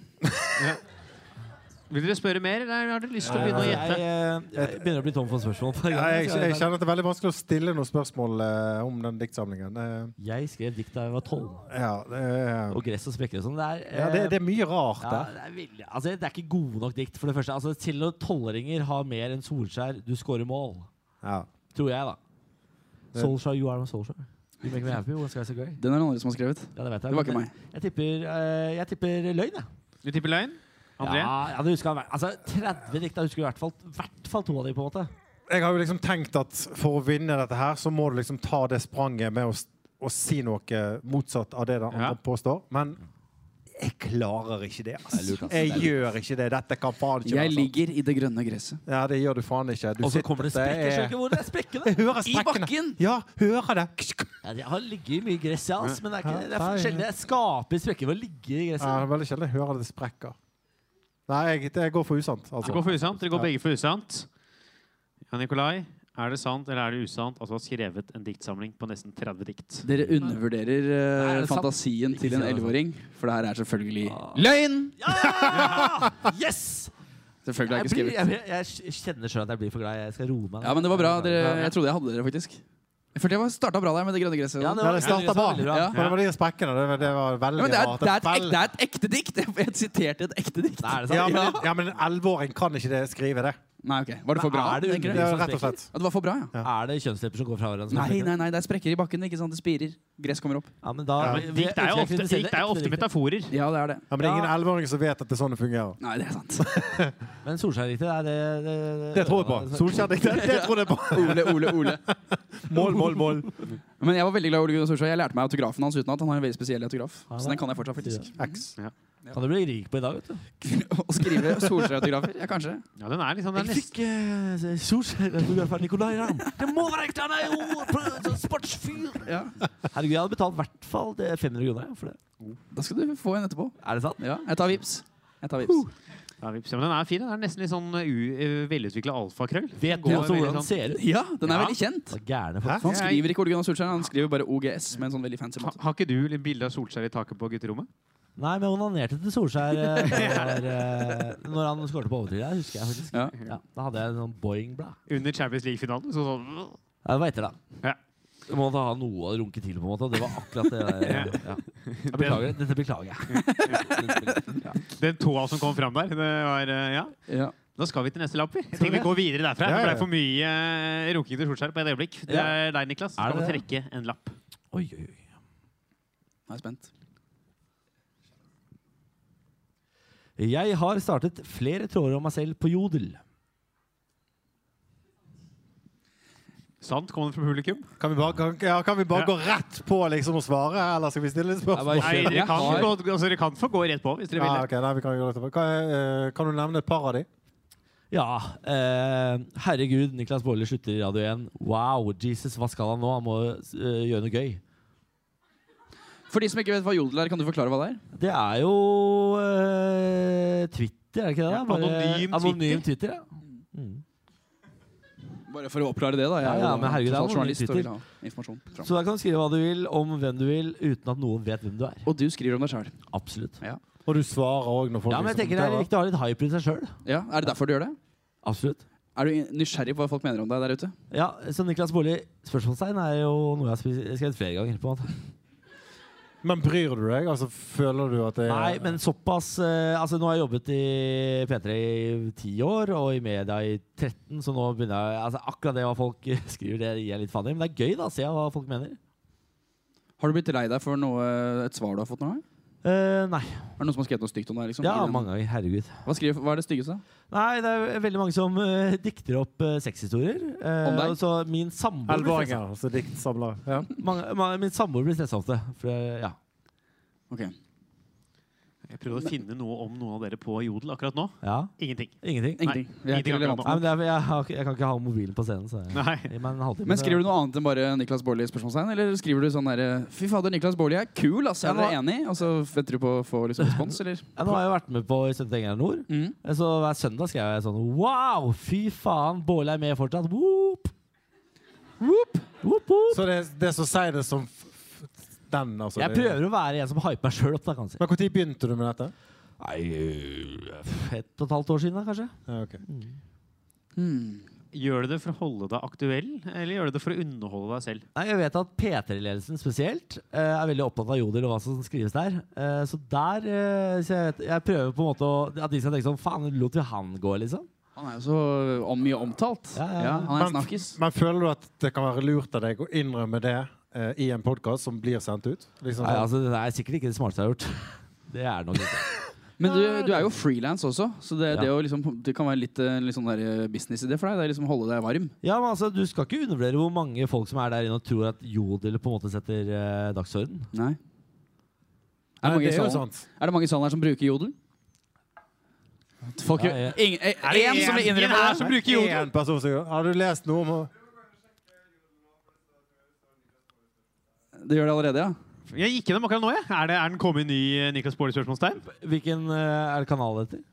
[SPEAKER 2] Vil dere spørre mer, eller har dere lyst til å
[SPEAKER 4] Jeg,
[SPEAKER 2] begynne å
[SPEAKER 4] Eh, jeg,
[SPEAKER 2] gjette?
[SPEAKER 4] eh, jeg begynner å bli tom for spørsmål. hver
[SPEAKER 5] Ja,
[SPEAKER 4] gang.
[SPEAKER 5] jeg, jeg kjenner at det er veldig vanskelig å stille noen spørsmål eh, om den diktsamlingen.
[SPEAKER 4] Jeg skrev dikt da jeg var tolv.
[SPEAKER 5] Eh, ja, det er-
[SPEAKER 4] Og gress og sprekker og sånn. Det er,
[SPEAKER 5] ja, det, det er mye rart
[SPEAKER 4] ja,
[SPEAKER 5] der.
[SPEAKER 4] det, er veldig, altså, det er ikke gode nok dikt, for det første. Altså, til og tolvåringer har mer enn Solskjær. Du scorer mål.
[SPEAKER 5] Ja.
[SPEAKER 4] Tror jeg, da.
[SPEAKER 5] Det-
[SPEAKER 4] Solskjær, you are my Solskjær. You make me happy when skies are grey.
[SPEAKER 3] Den er det andre som har skrevet.
[SPEAKER 4] Ja, det vet jeg.
[SPEAKER 3] Det var ikke
[SPEAKER 4] Men
[SPEAKER 3] meg.
[SPEAKER 4] Jeg tipper, eh, jeg tipper løgn, jeg.
[SPEAKER 2] Du tipper løgn? André?
[SPEAKER 4] Ja, ja, det husker jeg. Altså, 30 dikt. Jeg husker i hvert fall, hvert fall to av de på en måte.
[SPEAKER 5] Jeg har jo liksom tenkt at for å vinne dette her, så må du liksom ta det spranget med å, s- å si noe motsatt av det den andre
[SPEAKER 2] Ja.
[SPEAKER 5] påstår. Men jeg klarer ikke
[SPEAKER 4] Det
[SPEAKER 5] det.
[SPEAKER 4] er
[SPEAKER 5] Altså.
[SPEAKER 4] lurt, ass. Det
[SPEAKER 5] Jeg
[SPEAKER 4] er
[SPEAKER 5] gjør ikke det. Dette kan faen ikke
[SPEAKER 3] Jeg
[SPEAKER 5] sant.
[SPEAKER 3] ligger i det grønne gresset.
[SPEAKER 5] Ja, det gjør du faen ikke. Du
[SPEAKER 4] Og så kommer det
[SPEAKER 5] sitter-
[SPEAKER 4] sprekker. Skjønner
[SPEAKER 5] er-
[SPEAKER 4] ikke hvor det er sprekkene.
[SPEAKER 5] Jeg hører
[SPEAKER 3] I
[SPEAKER 5] sprekkene.
[SPEAKER 3] bakken!
[SPEAKER 5] Ja, hører det.
[SPEAKER 4] Ja, jeg har ligget i mye gress, jeg, altså, men det er, ikke, det er
[SPEAKER 5] Nei.
[SPEAKER 4] for sjelden jeg skaper sprekker ved å ligge i
[SPEAKER 5] Ja, det
[SPEAKER 4] gresset.
[SPEAKER 5] er veldig sjelden jeg hører det sprekker. Nei, jeg, det går for usant.
[SPEAKER 2] Dere
[SPEAKER 5] Altså.
[SPEAKER 2] går for usant. Dere går
[SPEAKER 5] Ja.
[SPEAKER 2] begge for usant. Ja, Nikolai. Er det sant eller er det usant at du har skrevet en diktsamling på nesten 30 dikt?
[SPEAKER 3] Dere undervurderer eh,
[SPEAKER 4] Nei, er det sant?
[SPEAKER 3] fantasien til en
[SPEAKER 4] si det, altså.
[SPEAKER 3] elleveåring, for det her er selvfølgelig Ah. løgn!
[SPEAKER 4] Yes!
[SPEAKER 3] Selvfølgelig har
[SPEAKER 4] Jeg,
[SPEAKER 3] jeg ikke
[SPEAKER 4] blir,
[SPEAKER 3] skrevet.
[SPEAKER 4] jeg, jeg kjenner sjøl at jeg blir for glad. Jeg skal roe meg.
[SPEAKER 3] Ja, men det var bra. Dere,
[SPEAKER 4] Ja,
[SPEAKER 3] jeg trodde jeg hadde dere, faktisk. Jeg følte jeg var- starta bra der med det grønne gresset.
[SPEAKER 4] Ja,
[SPEAKER 3] Ja,
[SPEAKER 4] det
[SPEAKER 5] Ja, det starta bra.
[SPEAKER 4] veldig bra.
[SPEAKER 3] Ja.
[SPEAKER 5] Men det var de sprekkene. Det, var- det var veldig
[SPEAKER 3] men det er,
[SPEAKER 5] rart.
[SPEAKER 3] det, er et, ek-
[SPEAKER 5] veldig-
[SPEAKER 3] det er et ekte dikt! Jeg siterte et ekte dikt.
[SPEAKER 4] Nei, er det sant?
[SPEAKER 5] Ja, men,
[SPEAKER 3] Ja.
[SPEAKER 5] ja, men en elleveåring kan ikke det, skrive det.
[SPEAKER 3] Nei, ok. Var det for
[SPEAKER 4] Men
[SPEAKER 3] bra?
[SPEAKER 4] er det
[SPEAKER 3] tenker
[SPEAKER 5] Det
[SPEAKER 3] du?
[SPEAKER 5] er rett og slett.
[SPEAKER 3] Ja, det var for bra, ja.
[SPEAKER 4] Er det kjønnslepper som går fra hverandre?
[SPEAKER 3] Nei, nei, nei, det er sprekker i bakken. ikke sant? Det spirer. Gress kommer opp.
[SPEAKER 4] Ja, men da,
[SPEAKER 5] Ja.
[SPEAKER 4] vi- vi-
[SPEAKER 2] Dikt er jo ofte, dikt er jo ofte metaforer.
[SPEAKER 3] Ja, det er det.
[SPEAKER 5] Ja, men det er ingen elleveåring som vet at det er sånn det fungerer.
[SPEAKER 3] Nei, det er sant.
[SPEAKER 4] Men Solskjær-diktet er det, det,
[SPEAKER 5] Det tror jeg på. Solskjær-diktet, det tror jeg på.
[SPEAKER 3] Ole, Ole, Ole.
[SPEAKER 5] Mål, mål, mål.
[SPEAKER 3] Men jeg var veldig glad i Ole Gunnar Solskjær. Jeg lærte meg autografen hans utenat. Han har en veldig spesiell autograf.
[SPEAKER 4] Ja,
[SPEAKER 3] Så
[SPEAKER 4] det-
[SPEAKER 3] den kan jeg fortsatt, faktisk.
[SPEAKER 5] X.
[SPEAKER 4] Kan du bli rik på i dag, vet du.
[SPEAKER 3] Å skrive Solskjær-autografer? Ja, kanskje.
[SPEAKER 2] Ja, den er liksom den er nesten
[SPEAKER 4] eh, Solskjær-autograf av Nicolay Ramm. Det må være ekte! Han er jo pro- sportsfyr!
[SPEAKER 3] Ja.
[SPEAKER 4] Herregud, jeg hadde betalt i hvert fall eh, det 500 kroner for det.
[SPEAKER 3] Da skal du få en etterpå.
[SPEAKER 4] Er det sant?
[SPEAKER 3] Ja, jeg tar vips. Jeg tar vips.
[SPEAKER 2] ja, vips. Ja, men den er fin. Den er nesten litt sånn velutvikla alfakrøll.
[SPEAKER 4] Vet du
[SPEAKER 2] Går
[SPEAKER 4] også
[SPEAKER 2] veldig sånn-
[SPEAKER 4] hvordan den ser ut?
[SPEAKER 3] Ja, den er
[SPEAKER 2] Ja.
[SPEAKER 3] veldig kjent.
[SPEAKER 4] Så Gærne folk.
[SPEAKER 5] Hæ?
[SPEAKER 3] For han skriver ikke Ole Gunnar Solskjær, han skriver bare OGS med en sånn veldig fancy
[SPEAKER 2] Ha,
[SPEAKER 3] måte.
[SPEAKER 2] har ikke du litt bilde av Solskjær i taket på gutterommet?
[SPEAKER 4] Nei, men jeg onanerte til Solskjær eh, når, eh, når han skåret på overtid. Det husker jeg faktisk.
[SPEAKER 3] Ja.
[SPEAKER 4] Ja, da hadde jeg en sånn boing-blad.
[SPEAKER 2] Under Champions League-finalen. Så sånn
[SPEAKER 4] Ja, det var etter, da.
[SPEAKER 2] Ja.
[SPEAKER 4] Du må ta noe å runke til, på en måte. og Det var akkurat det der. Ja. Jeg beklager. Dette beklager jeg.
[SPEAKER 2] Den tåa som kom fram der. Det var, eh, ja.
[SPEAKER 3] Ja.
[SPEAKER 2] Da skal vi til neste lapp. vi. Jeg tenker vi går videre derfra.
[SPEAKER 5] Ja, ja,
[SPEAKER 2] Det
[SPEAKER 5] ja.
[SPEAKER 2] ble for mye eh, runking til Solskjær på et øyeblikk. Det
[SPEAKER 4] Ja.
[SPEAKER 2] er deg, Niklas.
[SPEAKER 4] Er
[SPEAKER 2] Skal du
[SPEAKER 4] det
[SPEAKER 2] trekke en lapp?
[SPEAKER 4] Oi, oi, oi.
[SPEAKER 3] Jeg er spent.
[SPEAKER 4] Jeg har startet flere tråder om meg selv på Jodel.
[SPEAKER 2] Sant? Kom det fra publikum?
[SPEAKER 5] Kan vi bare, kan, ja, kan vi
[SPEAKER 2] Ja.
[SPEAKER 5] bare gå rett på liksom å svare, eller skal vi stille et spørsmål?
[SPEAKER 4] Nei,
[SPEAKER 2] Nei, dere
[SPEAKER 3] Jeg
[SPEAKER 2] kan,
[SPEAKER 3] har-
[SPEAKER 2] gå, altså, dere kan få gå rett på hvis dere vil.
[SPEAKER 5] Ja,
[SPEAKER 2] det.
[SPEAKER 5] ok, nei, vi kan, gå rett på. kan, eh, kan du nevne et par av de?
[SPEAKER 4] Ja. Eh, herregud, Niklas Baarli slutter i Radio 1. Wow, Jesus, hva skal han nå? Han må eh, gjøre noe gøy.
[SPEAKER 3] For de som ikke vet hva jodel er, kan du forklare hva det er?
[SPEAKER 4] Det er jo eh, Twitter, er det ikke det?
[SPEAKER 2] Ja,
[SPEAKER 4] da? Bare-
[SPEAKER 2] anonym
[SPEAKER 4] anonym Twitter ja.
[SPEAKER 3] Bare for å oppklare det, da. Jeg
[SPEAKER 4] Ja,
[SPEAKER 3] er
[SPEAKER 4] ja,
[SPEAKER 3] jo
[SPEAKER 4] men herregud, det er
[SPEAKER 3] total
[SPEAKER 4] noen
[SPEAKER 3] journalist og
[SPEAKER 4] nyheter.
[SPEAKER 3] vil ha informasjon. fram.
[SPEAKER 4] Så der kan du skrive hva du vil om hvem du vil, uten at noen vet hvem du er.
[SPEAKER 3] Og du skriver om deg sjøl.
[SPEAKER 4] Absolutt.
[SPEAKER 5] Og du svarer òg når folk
[SPEAKER 4] Ja, men jeg tenker
[SPEAKER 5] liksom
[SPEAKER 4] Det er
[SPEAKER 5] kommenterer.
[SPEAKER 4] viktig å ha litt hype i seg sjøl.
[SPEAKER 3] Ja, er det derfor du gjør det?
[SPEAKER 4] Absolutt.
[SPEAKER 3] Er du nysgjerrig på hva folk mener om deg der ute?
[SPEAKER 4] Ja, så Niklas Baarli, spørsmålstegn er jo noe jeg har spi- skrevet flere ganger. på en måte.
[SPEAKER 5] Men bryr du deg? Altså, føler du at det
[SPEAKER 4] Nei, men såpass eh, Altså, nå har jeg jobbet i P3 i ti år, og i media i 13, så nå begynner jeg altså, Akkurat det hva folk skriver, det gir jeg litt faen i. Men det er gøy, da, å se hva folk mener.
[SPEAKER 3] Har du blitt lei deg for noe, et svar du har fått noen gang?
[SPEAKER 4] Eh, nei.
[SPEAKER 3] Er det noen som har skrevet noe stygt om deg? Liksom,
[SPEAKER 4] Ja,
[SPEAKER 3] i den-
[SPEAKER 4] mange ganger. Herregud.
[SPEAKER 3] hva, skriver, hva er det styggeste?
[SPEAKER 4] Nei, det er veldig mange som eh, dikter opp eh, sexhistorier. Eh,
[SPEAKER 3] Om deg?
[SPEAKER 4] og så min samboer blir stressa.
[SPEAKER 5] Elleveåringer, altså diktsamler. Ja.
[SPEAKER 4] Mange- ma- Min samboer blir stressa ofte. For, eh, ja.
[SPEAKER 3] Ok.
[SPEAKER 2] Jeg prøvde å finne noe om noen av dere på Jodel akkurat nå.
[SPEAKER 4] ja.
[SPEAKER 2] Ingenting.
[SPEAKER 4] Ingenting.
[SPEAKER 3] Ingenting. Vi er
[SPEAKER 2] ingenting
[SPEAKER 3] ikke
[SPEAKER 2] akkurat
[SPEAKER 3] relevant.
[SPEAKER 2] nå.
[SPEAKER 4] Nei, men det er, jeg, har, ikke- jeg kan ikke ha mobilen på scenen. Så jeg,
[SPEAKER 2] Nei.
[SPEAKER 4] Gi meg en halvtime,
[SPEAKER 3] Men skriver
[SPEAKER 4] så-
[SPEAKER 3] du noe annet enn bare Niklas Baarli? spørsmålstegn? Eller skriver du sånn derre Fy fader, Niklas Baarli er kul, ass! Er
[SPEAKER 4] Ja,
[SPEAKER 3] dere enig? Og så venter du på å få liksom respons, eller?
[SPEAKER 4] ja, Nå har jeg vært med på i Søndag England Nord.
[SPEAKER 3] Mm.
[SPEAKER 4] Eh, Så hver søndag skrev jeg sånn Wow, fy faen, Båle er med fortsatt. Whoop. Whoop. Whoop, whoop.
[SPEAKER 5] Så det, det er så sier det som f f- den, altså.
[SPEAKER 4] Jeg
[SPEAKER 5] det-
[SPEAKER 4] prøver å være en som hyper meg sjøl opp. da, kan man si.
[SPEAKER 5] Men når begynte du med dette?
[SPEAKER 4] Nei,
[SPEAKER 3] øh,
[SPEAKER 4] eh, Et og et halvt år siden, da, kanskje.
[SPEAKER 5] Ja, ok.
[SPEAKER 3] Hmm.
[SPEAKER 2] Gjør du det for å holde deg aktuell, eller gjør du det for å underholde deg selv?
[SPEAKER 4] Nei, jeg vet at P3-ledelsen spesielt eh, er veldig opptatt av jodel og hva som skrives der. Eh, så der eh, så jeg, vet, jeg prøver på en måte å, at de skal tenke sånn Faen, lot vi han gå, liksom?
[SPEAKER 3] Han er jo så eh, om, mye omtalt.
[SPEAKER 4] Ja,
[SPEAKER 3] Ja,
[SPEAKER 4] ja, ja.
[SPEAKER 3] han er en
[SPEAKER 5] Men-
[SPEAKER 3] snakkis.
[SPEAKER 5] Men føler du at det kan være lurt av deg å innrømme det eh, i en podkast som blir sendt ut? Liksom,
[SPEAKER 4] Nei,
[SPEAKER 5] sånn.
[SPEAKER 4] altså, det er sikkert ikke det smarteste jeg har gjort. Det er det nok ikke.
[SPEAKER 3] Men du, du er jo frilans også, så det, det,
[SPEAKER 4] Ja.
[SPEAKER 3] å liksom, det kan være litt, eh, litt sånn der, eh, businessidé for deg. Det er liksom holde deg varm.
[SPEAKER 4] Ja, men altså, Du skal ikke undervurdere hvor mange folk som er der inne og tror at jodel på en måte setter eh, dagsorden.
[SPEAKER 3] Nei. Er,
[SPEAKER 5] Nei,
[SPEAKER 3] mange i
[SPEAKER 5] det er jo
[SPEAKER 3] salen,
[SPEAKER 5] sant.
[SPEAKER 3] er det mange i salen her som bruker jodel? Folk,
[SPEAKER 4] Ja, ja.
[SPEAKER 3] Ingen, eh, en som vil innrømme
[SPEAKER 2] her som bruker jodel?
[SPEAKER 5] En person som gjør Har du lest noe om
[SPEAKER 3] det gjør det allerede, ja.
[SPEAKER 2] Jeg gikk gjennom akkurat nå, jeg. Er, det, er den kommet ny eh, Niklas Baarli-spørsmålstegn?
[SPEAKER 4] Hvilken eh, er det kanal det heter?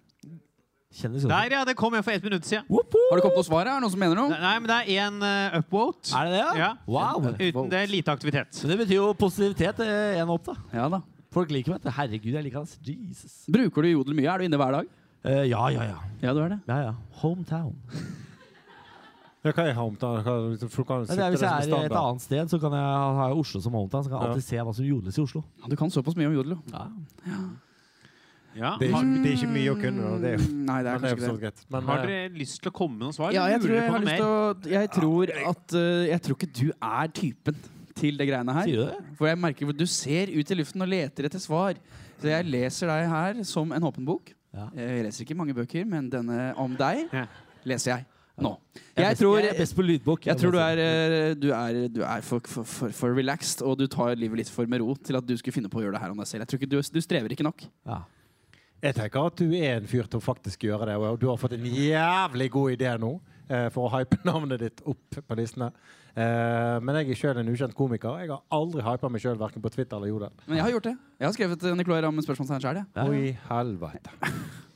[SPEAKER 4] Kjendis. også.
[SPEAKER 2] Der, ja. Det kom en for ett minutt siden.
[SPEAKER 4] Whoop, whoop.
[SPEAKER 3] Har det kommet noe svar? her? Er det noen som mener noe?
[SPEAKER 2] Nei, men det er én upvote.
[SPEAKER 4] Er det det, ja?
[SPEAKER 2] Ja.
[SPEAKER 4] Wow.
[SPEAKER 2] Uten det lite aktivitet.
[SPEAKER 4] Men det betyr jo positivitet eh, en opp, da.
[SPEAKER 3] Ja da.
[SPEAKER 4] Folk liker meg. Herregud, jeg liker hans. Jesus.
[SPEAKER 3] Bruker du jodel mye? Er du inne hver dag?
[SPEAKER 4] Eh, ja, ja, ja.
[SPEAKER 3] Ja, du er det.
[SPEAKER 4] Ja, ja. Hometown.
[SPEAKER 5] ja, Hva er hometown? Hva- liksom, for du kan
[SPEAKER 4] Det
[SPEAKER 5] sitte
[SPEAKER 4] er, hvis
[SPEAKER 5] det som
[SPEAKER 4] jeg er
[SPEAKER 5] standard.
[SPEAKER 4] et annet sted, så kan jeg ha Oslo som hometown. Så kan jeg
[SPEAKER 5] Ja.
[SPEAKER 4] alltid se hva som jodles i Oslo.
[SPEAKER 3] Ja, Du kan såpass mye om jodel, jo.
[SPEAKER 2] Ja.
[SPEAKER 5] Det er,
[SPEAKER 2] Har,
[SPEAKER 5] ikke, det er ikke mye
[SPEAKER 2] Mm.
[SPEAKER 5] å kunne. da. Det er jo
[SPEAKER 3] Mm, Nei, det er
[SPEAKER 5] men det er
[SPEAKER 3] kanskje
[SPEAKER 5] jo
[SPEAKER 3] ikke
[SPEAKER 5] for
[SPEAKER 3] det.
[SPEAKER 5] så vidt greit. Men,
[SPEAKER 2] har
[SPEAKER 5] eh,
[SPEAKER 2] dere lyst til å komme med noen svar?
[SPEAKER 3] Ja, jeg
[SPEAKER 2] Lurer
[SPEAKER 3] tror jeg
[SPEAKER 2] på
[SPEAKER 3] har
[SPEAKER 2] noe
[SPEAKER 3] lyst til å Jeg tror at eh, Jeg tror ikke du er typen til det greiene her.
[SPEAKER 4] Sier du det?
[SPEAKER 3] For jeg merker at du ser ut i luften og leter etter svar. Så jeg leser deg her som en åpen bok.
[SPEAKER 4] Ja.
[SPEAKER 3] Jeg leser ikke mange bøkker, men denne om deg
[SPEAKER 2] Ja.
[SPEAKER 3] leser jeg nå.
[SPEAKER 4] er
[SPEAKER 3] Jeg
[SPEAKER 4] best-
[SPEAKER 3] tror,
[SPEAKER 4] jeg er best på lydbok.
[SPEAKER 3] jeg tror du
[SPEAKER 4] må
[SPEAKER 3] er,
[SPEAKER 4] si.
[SPEAKER 3] eh, du er, du er for, for, for, for relaxed, og du tar livet litt for med ro til at du skulle finne på å gjøre det her om deg selv. Jeg tror ikke du, du strever ikke nok.
[SPEAKER 4] ja.
[SPEAKER 5] jeg tenker at du er en fyr til å faktisk gjøre det. Og du har fått en jævlig god idé nå eh, for å hype navnet ditt opp på listene. Eh, men jeg er sjøl en ukjent komiker. Jeg har aldri hypa meg sjøl verken på Twitter eller Jodel.
[SPEAKER 3] Men jeg har gjort det. Jeg har skrevet eh, Nicolay Ramm spørsmålstegn sjøl, jeg.
[SPEAKER 4] Ja.
[SPEAKER 5] Oi, helvete.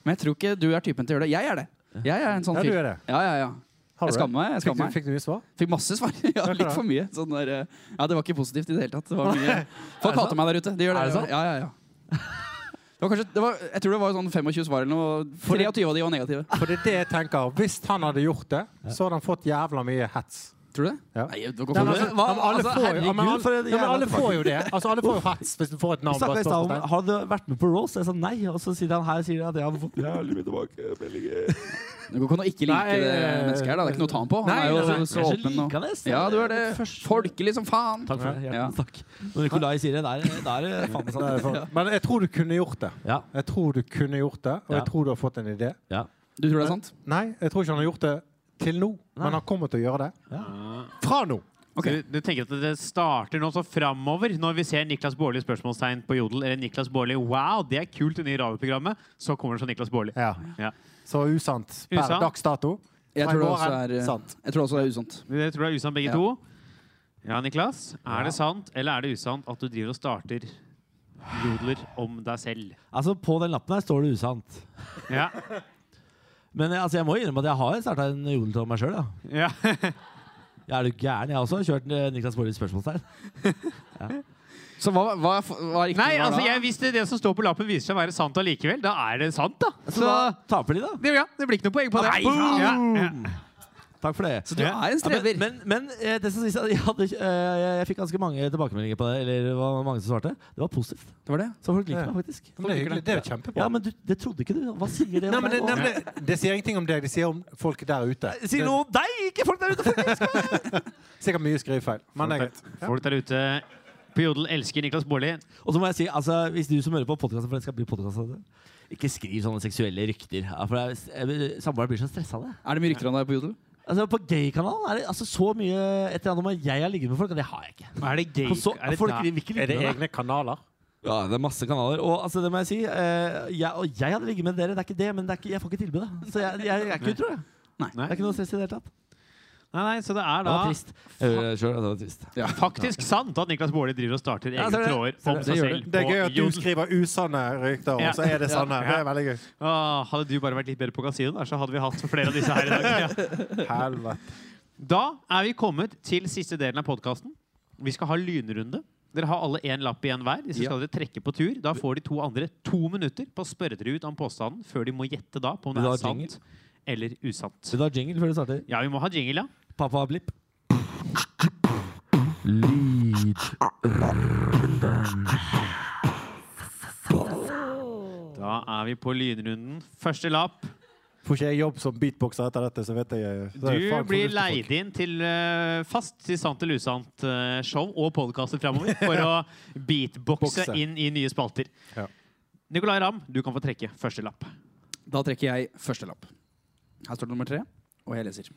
[SPEAKER 3] Men jeg tror ikke du er typen til å gjøre det. Jeg er det. Jeg er en sånn
[SPEAKER 5] Ja,
[SPEAKER 3] fyr.
[SPEAKER 5] du er det.
[SPEAKER 3] Ja, ja, ja.
[SPEAKER 5] Har
[SPEAKER 3] Jeg
[SPEAKER 5] du
[SPEAKER 3] skammer meg. jeg
[SPEAKER 5] Fikk du,
[SPEAKER 3] skammer meg.
[SPEAKER 5] fikk du mye svar?
[SPEAKER 3] Fikk masse svar. Ja,
[SPEAKER 5] Hva er
[SPEAKER 3] litt
[SPEAKER 5] det?
[SPEAKER 3] for mye. Sånn der, eh, ja, det var ikke positivt i det hele tatt. Det var mye. Folk hater meg der ute. De gjør det.
[SPEAKER 4] Er det sant?
[SPEAKER 3] Ja, ja, ja. Det var kanskje, det var, jeg tror det var sånn 25 svar eller noe. og 23 av de var negative.
[SPEAKER 5] Ah. For det er det jeg tenker. Hvis han hadde gjort det, så hadde han fått jævla mye hets.
[SPEAKER 3] Tror du det?
[SPEAKER 5] Ja.
[SPEAKER 3] Nei, det går
[SPEAKER 5] Ja, men
[SPEAKER 3] ikke.
[SPEAKER 5] altså,
[SPEAKER 4] Hva-
[SPEAKER 5] ja, men alle
[SPEAKER 4] altså,
[SPEAKER 5] får jo- ja, men
[SPEAKER 4] herregud,
[SPEAKER 5] alle-
[SPEAKER 4] for en
[SPEAKER 5] ja, men
[SPEAKER 4] jævla
[SPEAKER 5] alle får jo det. Altså, alle får jo hets hvis du får et
[SPEAKER 4] Vi
[SPEAKER 5] navn. bare
[SPEAKER 4] snakket i stad om
[SPEAKER 5] spørsmålstegn.
[SPEAKER 4] Har du vært med på Rose? Jeg sa nei, og så sitter han her og sier at jeg har fått jævlig mye tilbakemeldinger.
[SPEAKER 3] det går ikke an å ikke like
[SPEAKER 5] Nei,
[SPEAKER 3] det
[SPEAKER 5] eh,
[SPEAKER 3] mennesket her. da. Det er ikke noe å ta ham på. Han
[SPEAKER 4] Nei,
[SPEAKER 3] er jo
[SPEAKER 4] altså,
[SPEAKER 3] så
[SPEAKER 4] jeg er så
[SPEAKER 3] åpen. Og...
[SPEAKER 4] likende, så
[SPEAKER 3] Ja, du er det.
[SPEAKER 4] det første-
[SPEAKER 3] Folkelig som faen.
[SPEAKER 4] Takk for det.
[SPEAKER 3] Ja.
[SPEAKER 4] Hjertens takk. Når Nikolai sier det, da er det- da er det faen meg
[SPEAKER 5] Nei,
[SPEAKER 4] sant.
[SPEAKER 5] for- Men jeg tror du kunne gjort det.
[SPEAKER 4] Ja.
[SPEAKER 5] Jeg tror du kunne gjort det, og
[SPEAKER 4] Ja.
[SPEAKER 5] jeg tror du har fått en idé.
[SPEAKER 4] ja.
[SPEAKER 3] Du tror det er sant?
[SPEAKER 5] Nei, jeg tror ikke han har gjort det til nå, men han kommer til å gjøre det. Fra nå!
[SPEAKER 3] Ok.
[SPEAKER 2] Så Du, du tenker at det starter nå så framover, når vi ser Niklas Baarli spørsmålstegn på Jodel, eller Niklas Baarli Wow, det er kult, det nye radioprogrammet. Så kommer det sånn Niklas Baarli.
[SPEAKER 5] Ja.
[SPEAKER 2] Ja.
[SPEAKER 5] Så usant per
[SPEAKER 2] Usant.
[SPEAKER 5] dags dato.
[SPEAKER 3] Jeg
[SPEAKER 5] Fra i
[SPEAKER 3] tror, det
[SPEAKER 5] går
[SPEAKER 3] også er, eh,
[SPEAKER 5] sant.
[SPEAKER 3] jeg tror også det er usant.
[SPEAKER 2] Det tror jeg er usant, begge
[SPEAKER 3] Ja.
[SPEAKER 2] to. Ja, Niklas. Er det sant, eller er det usant at du driver og starter jodler om deg selv?
[SPEAKER 4] Altså, på den lappen her står det usant.
[SPEAKER 2] Ja.
[SPEAKER 4] Men eh, altså, jeg må innrømme at jeg har starta en jodeltråd meg sjøl.
[SPEAKER 2] ja.
[SPEAKER 4] Jeg er du gæren? Jeg har også kjørt eh, Niklas Baarlis spørsmålstegn.
[SPEAKER 3] Så hva, hva, hva er riktig
[SPEAKER 2] Nei,
[SPEAKER 3] svar
[SPEAKER 2] altså,
[SPEAKER 3] da?
[SPEAKER 2] jeg, hvis det, det som står på lappen viser seg å være sant allikevel, da er det sant, da.
[SPEAKER 3] Altså,
[SPEAKER 4] Så da taper de, da.
[SPEAKER 2] Det, ja, det blir ikke noe poeng på det.
[SPEAKER 4] Nei,
[SPEAKER 2] Boom! Ja, ja.
[SPEAKER 4] Takk for det.
[SPEAKER 3] Så du er en
[SPEAKER 4] Ja, men,
[SPEAKER 3] strever.
[SPEAKER 4] men, men eh, det som sies er at jeg, hadde, ikke- eh, jeg, jeg fikk ganske mange tilbakemeldinger på det. Eller det var mange som svarte. Det var positivt.
[SPEAKER 3] det var det.
[SPEAKER 4] Så folk liker
[SPEAKER 5] Ja.
[SPEAKER 4] meg faktisk.
[SPEAKER 5] Men det er hyggelig. Det er jo
[SPEAKER 4] Ja,
[SPEAKER 5] kjempebra.
[SPEAKER 4] men du, det trodde ikke du. Hva sier det? om
[SPEAKER 5] Nei, men det,
[SPEAKER 4] meg?
[SPEAKER 5] nei, men Eh, det, det sier ingenting om deg, det sier om folk der ute.
[SPEAKER 4] Det sier noe om deg, ikke folk der ute! faktisk.
[SPEAKER 5] Sikkert mye skrivefeil. Men det er greit.
[SPEAKER 2] Folk der ute på Jodel elsker Niklas Baarli.
[SPEAKER 4] Og så må jeg si, altså, hvis du som hører på podkasten, for den skal bli podkast ikke skriv sånne seksuelle rykter. Ja, for jeg- jeg- Samboeren blir så stressa av det.
[SPEAKER 3] Er det mye rykter om deg på Jodel?
[SPEAKER 4] Altså, på gaykanalen er det altså, så mye et eller annet om at jeg har ligget med folk, og det har jeg ikke.
[SPEAKER 2] Er det gay?
[SPEAKER 4] Og så,
[SPEAKER 2] er det
[SPEAKER 4] folk,
[SPEAKER 2] da-
[SPEAKER 4] vil ikke ligge
[SPEAKER 5] Er det
[SPEAKER 4] med meg.
[SPEAKER 5] egne kanaler?
[SPEAKER 4] Ja, det er masse kanaler. Og altså, det må jeg si. eh, jeg, og jeg hadde ligget med dere, det er ikke det, men det er ikke, jeg får ikke tilbudet. Så jeg, jeg, jeg er ikke utro, jeg. Det er ikke noe stress i det hele tatt.
[SPEAKER 2] Nei, nei, så det er da
[SPEAKER 4] Det var trist. Eh, Sjøl, det var trist.
[SPEAKER 2] faktisk sant at Niklas Baarli driver og starter
[SPEAKER 4] Ja,
[SPEAKER 2] egne
[SPEAKER 4] ser du det?
[SPEAKER 2] tråder
[SPEAKER 4] Ser du
[SPEAKER 2] om seg
[SPEAKER 4] det?
[SPEAKER 3] Det gjør
[SPEAKER 2] selv.
[SPEAKER 5] Det er
[SPEAKER 2] på
[SPEAKER 5] gøy at du
[SPEAKER 2] Jodel.
[SPEAKER 5] skriver usanne rykter,
[SPEAKER 2] Ja.
[SPEAKER 5] og så er det sanne. Det er veldig gøy.
[SPEAKER 2] Åh, hadde du bare vært litt bedre på kasino, der, så hadde vi hatt flere av disse her i dag. Ja.
[SPEAKER 5] Helvete.
[SPEAKER 2] Da er vi kommet til siste delen av podkasten. Vi skal ha lynrunde. Dere har alle én lapp igjen hver. Hvis skal dere trekke på tur, da får de to andre to minutter på å spørre dere ut om påstanden før de må gjette da på om det
[SPEAKER 4] Vil du
[SPEAKER 2] er
[SPEAKER 4] ha jingle?
[SPEAKER 2] sant eller usant.
[SPEAKER 4] Vil du ha jingle før du starter?
[SPEAKER 2] Ja, vi må ha jingle, ja.
[SPEAKER 4] Pappa har blipp.
[SPEAKER 2] Da er vi på lynrunden. Første lapp.
[SPEAKER 5] Får ikke jeg jobb som beatboxer etter dette, så vet jeg eh, så er det
[SPEAKER 2] Du
[SPEAKER 5] faen for
[SPEAKER 2] blir
[SPEAKER 5] lurt folk.
[SPEAKER 2] leid inn til eh, fast til Sant eller usant-show og podkaster framover for å beatboxe
[SPEAKER 5] Bokse.
[SPEAKER 2] inn i nye spalter.
[SPEAKER 5] Ja.
[SPEAKER 2] Nicolay Ramm, du kan få trekke første lapp.
[SPEAKER 3] Da trekker jeg første lapp. Her står det nummer tre, og jeg leser.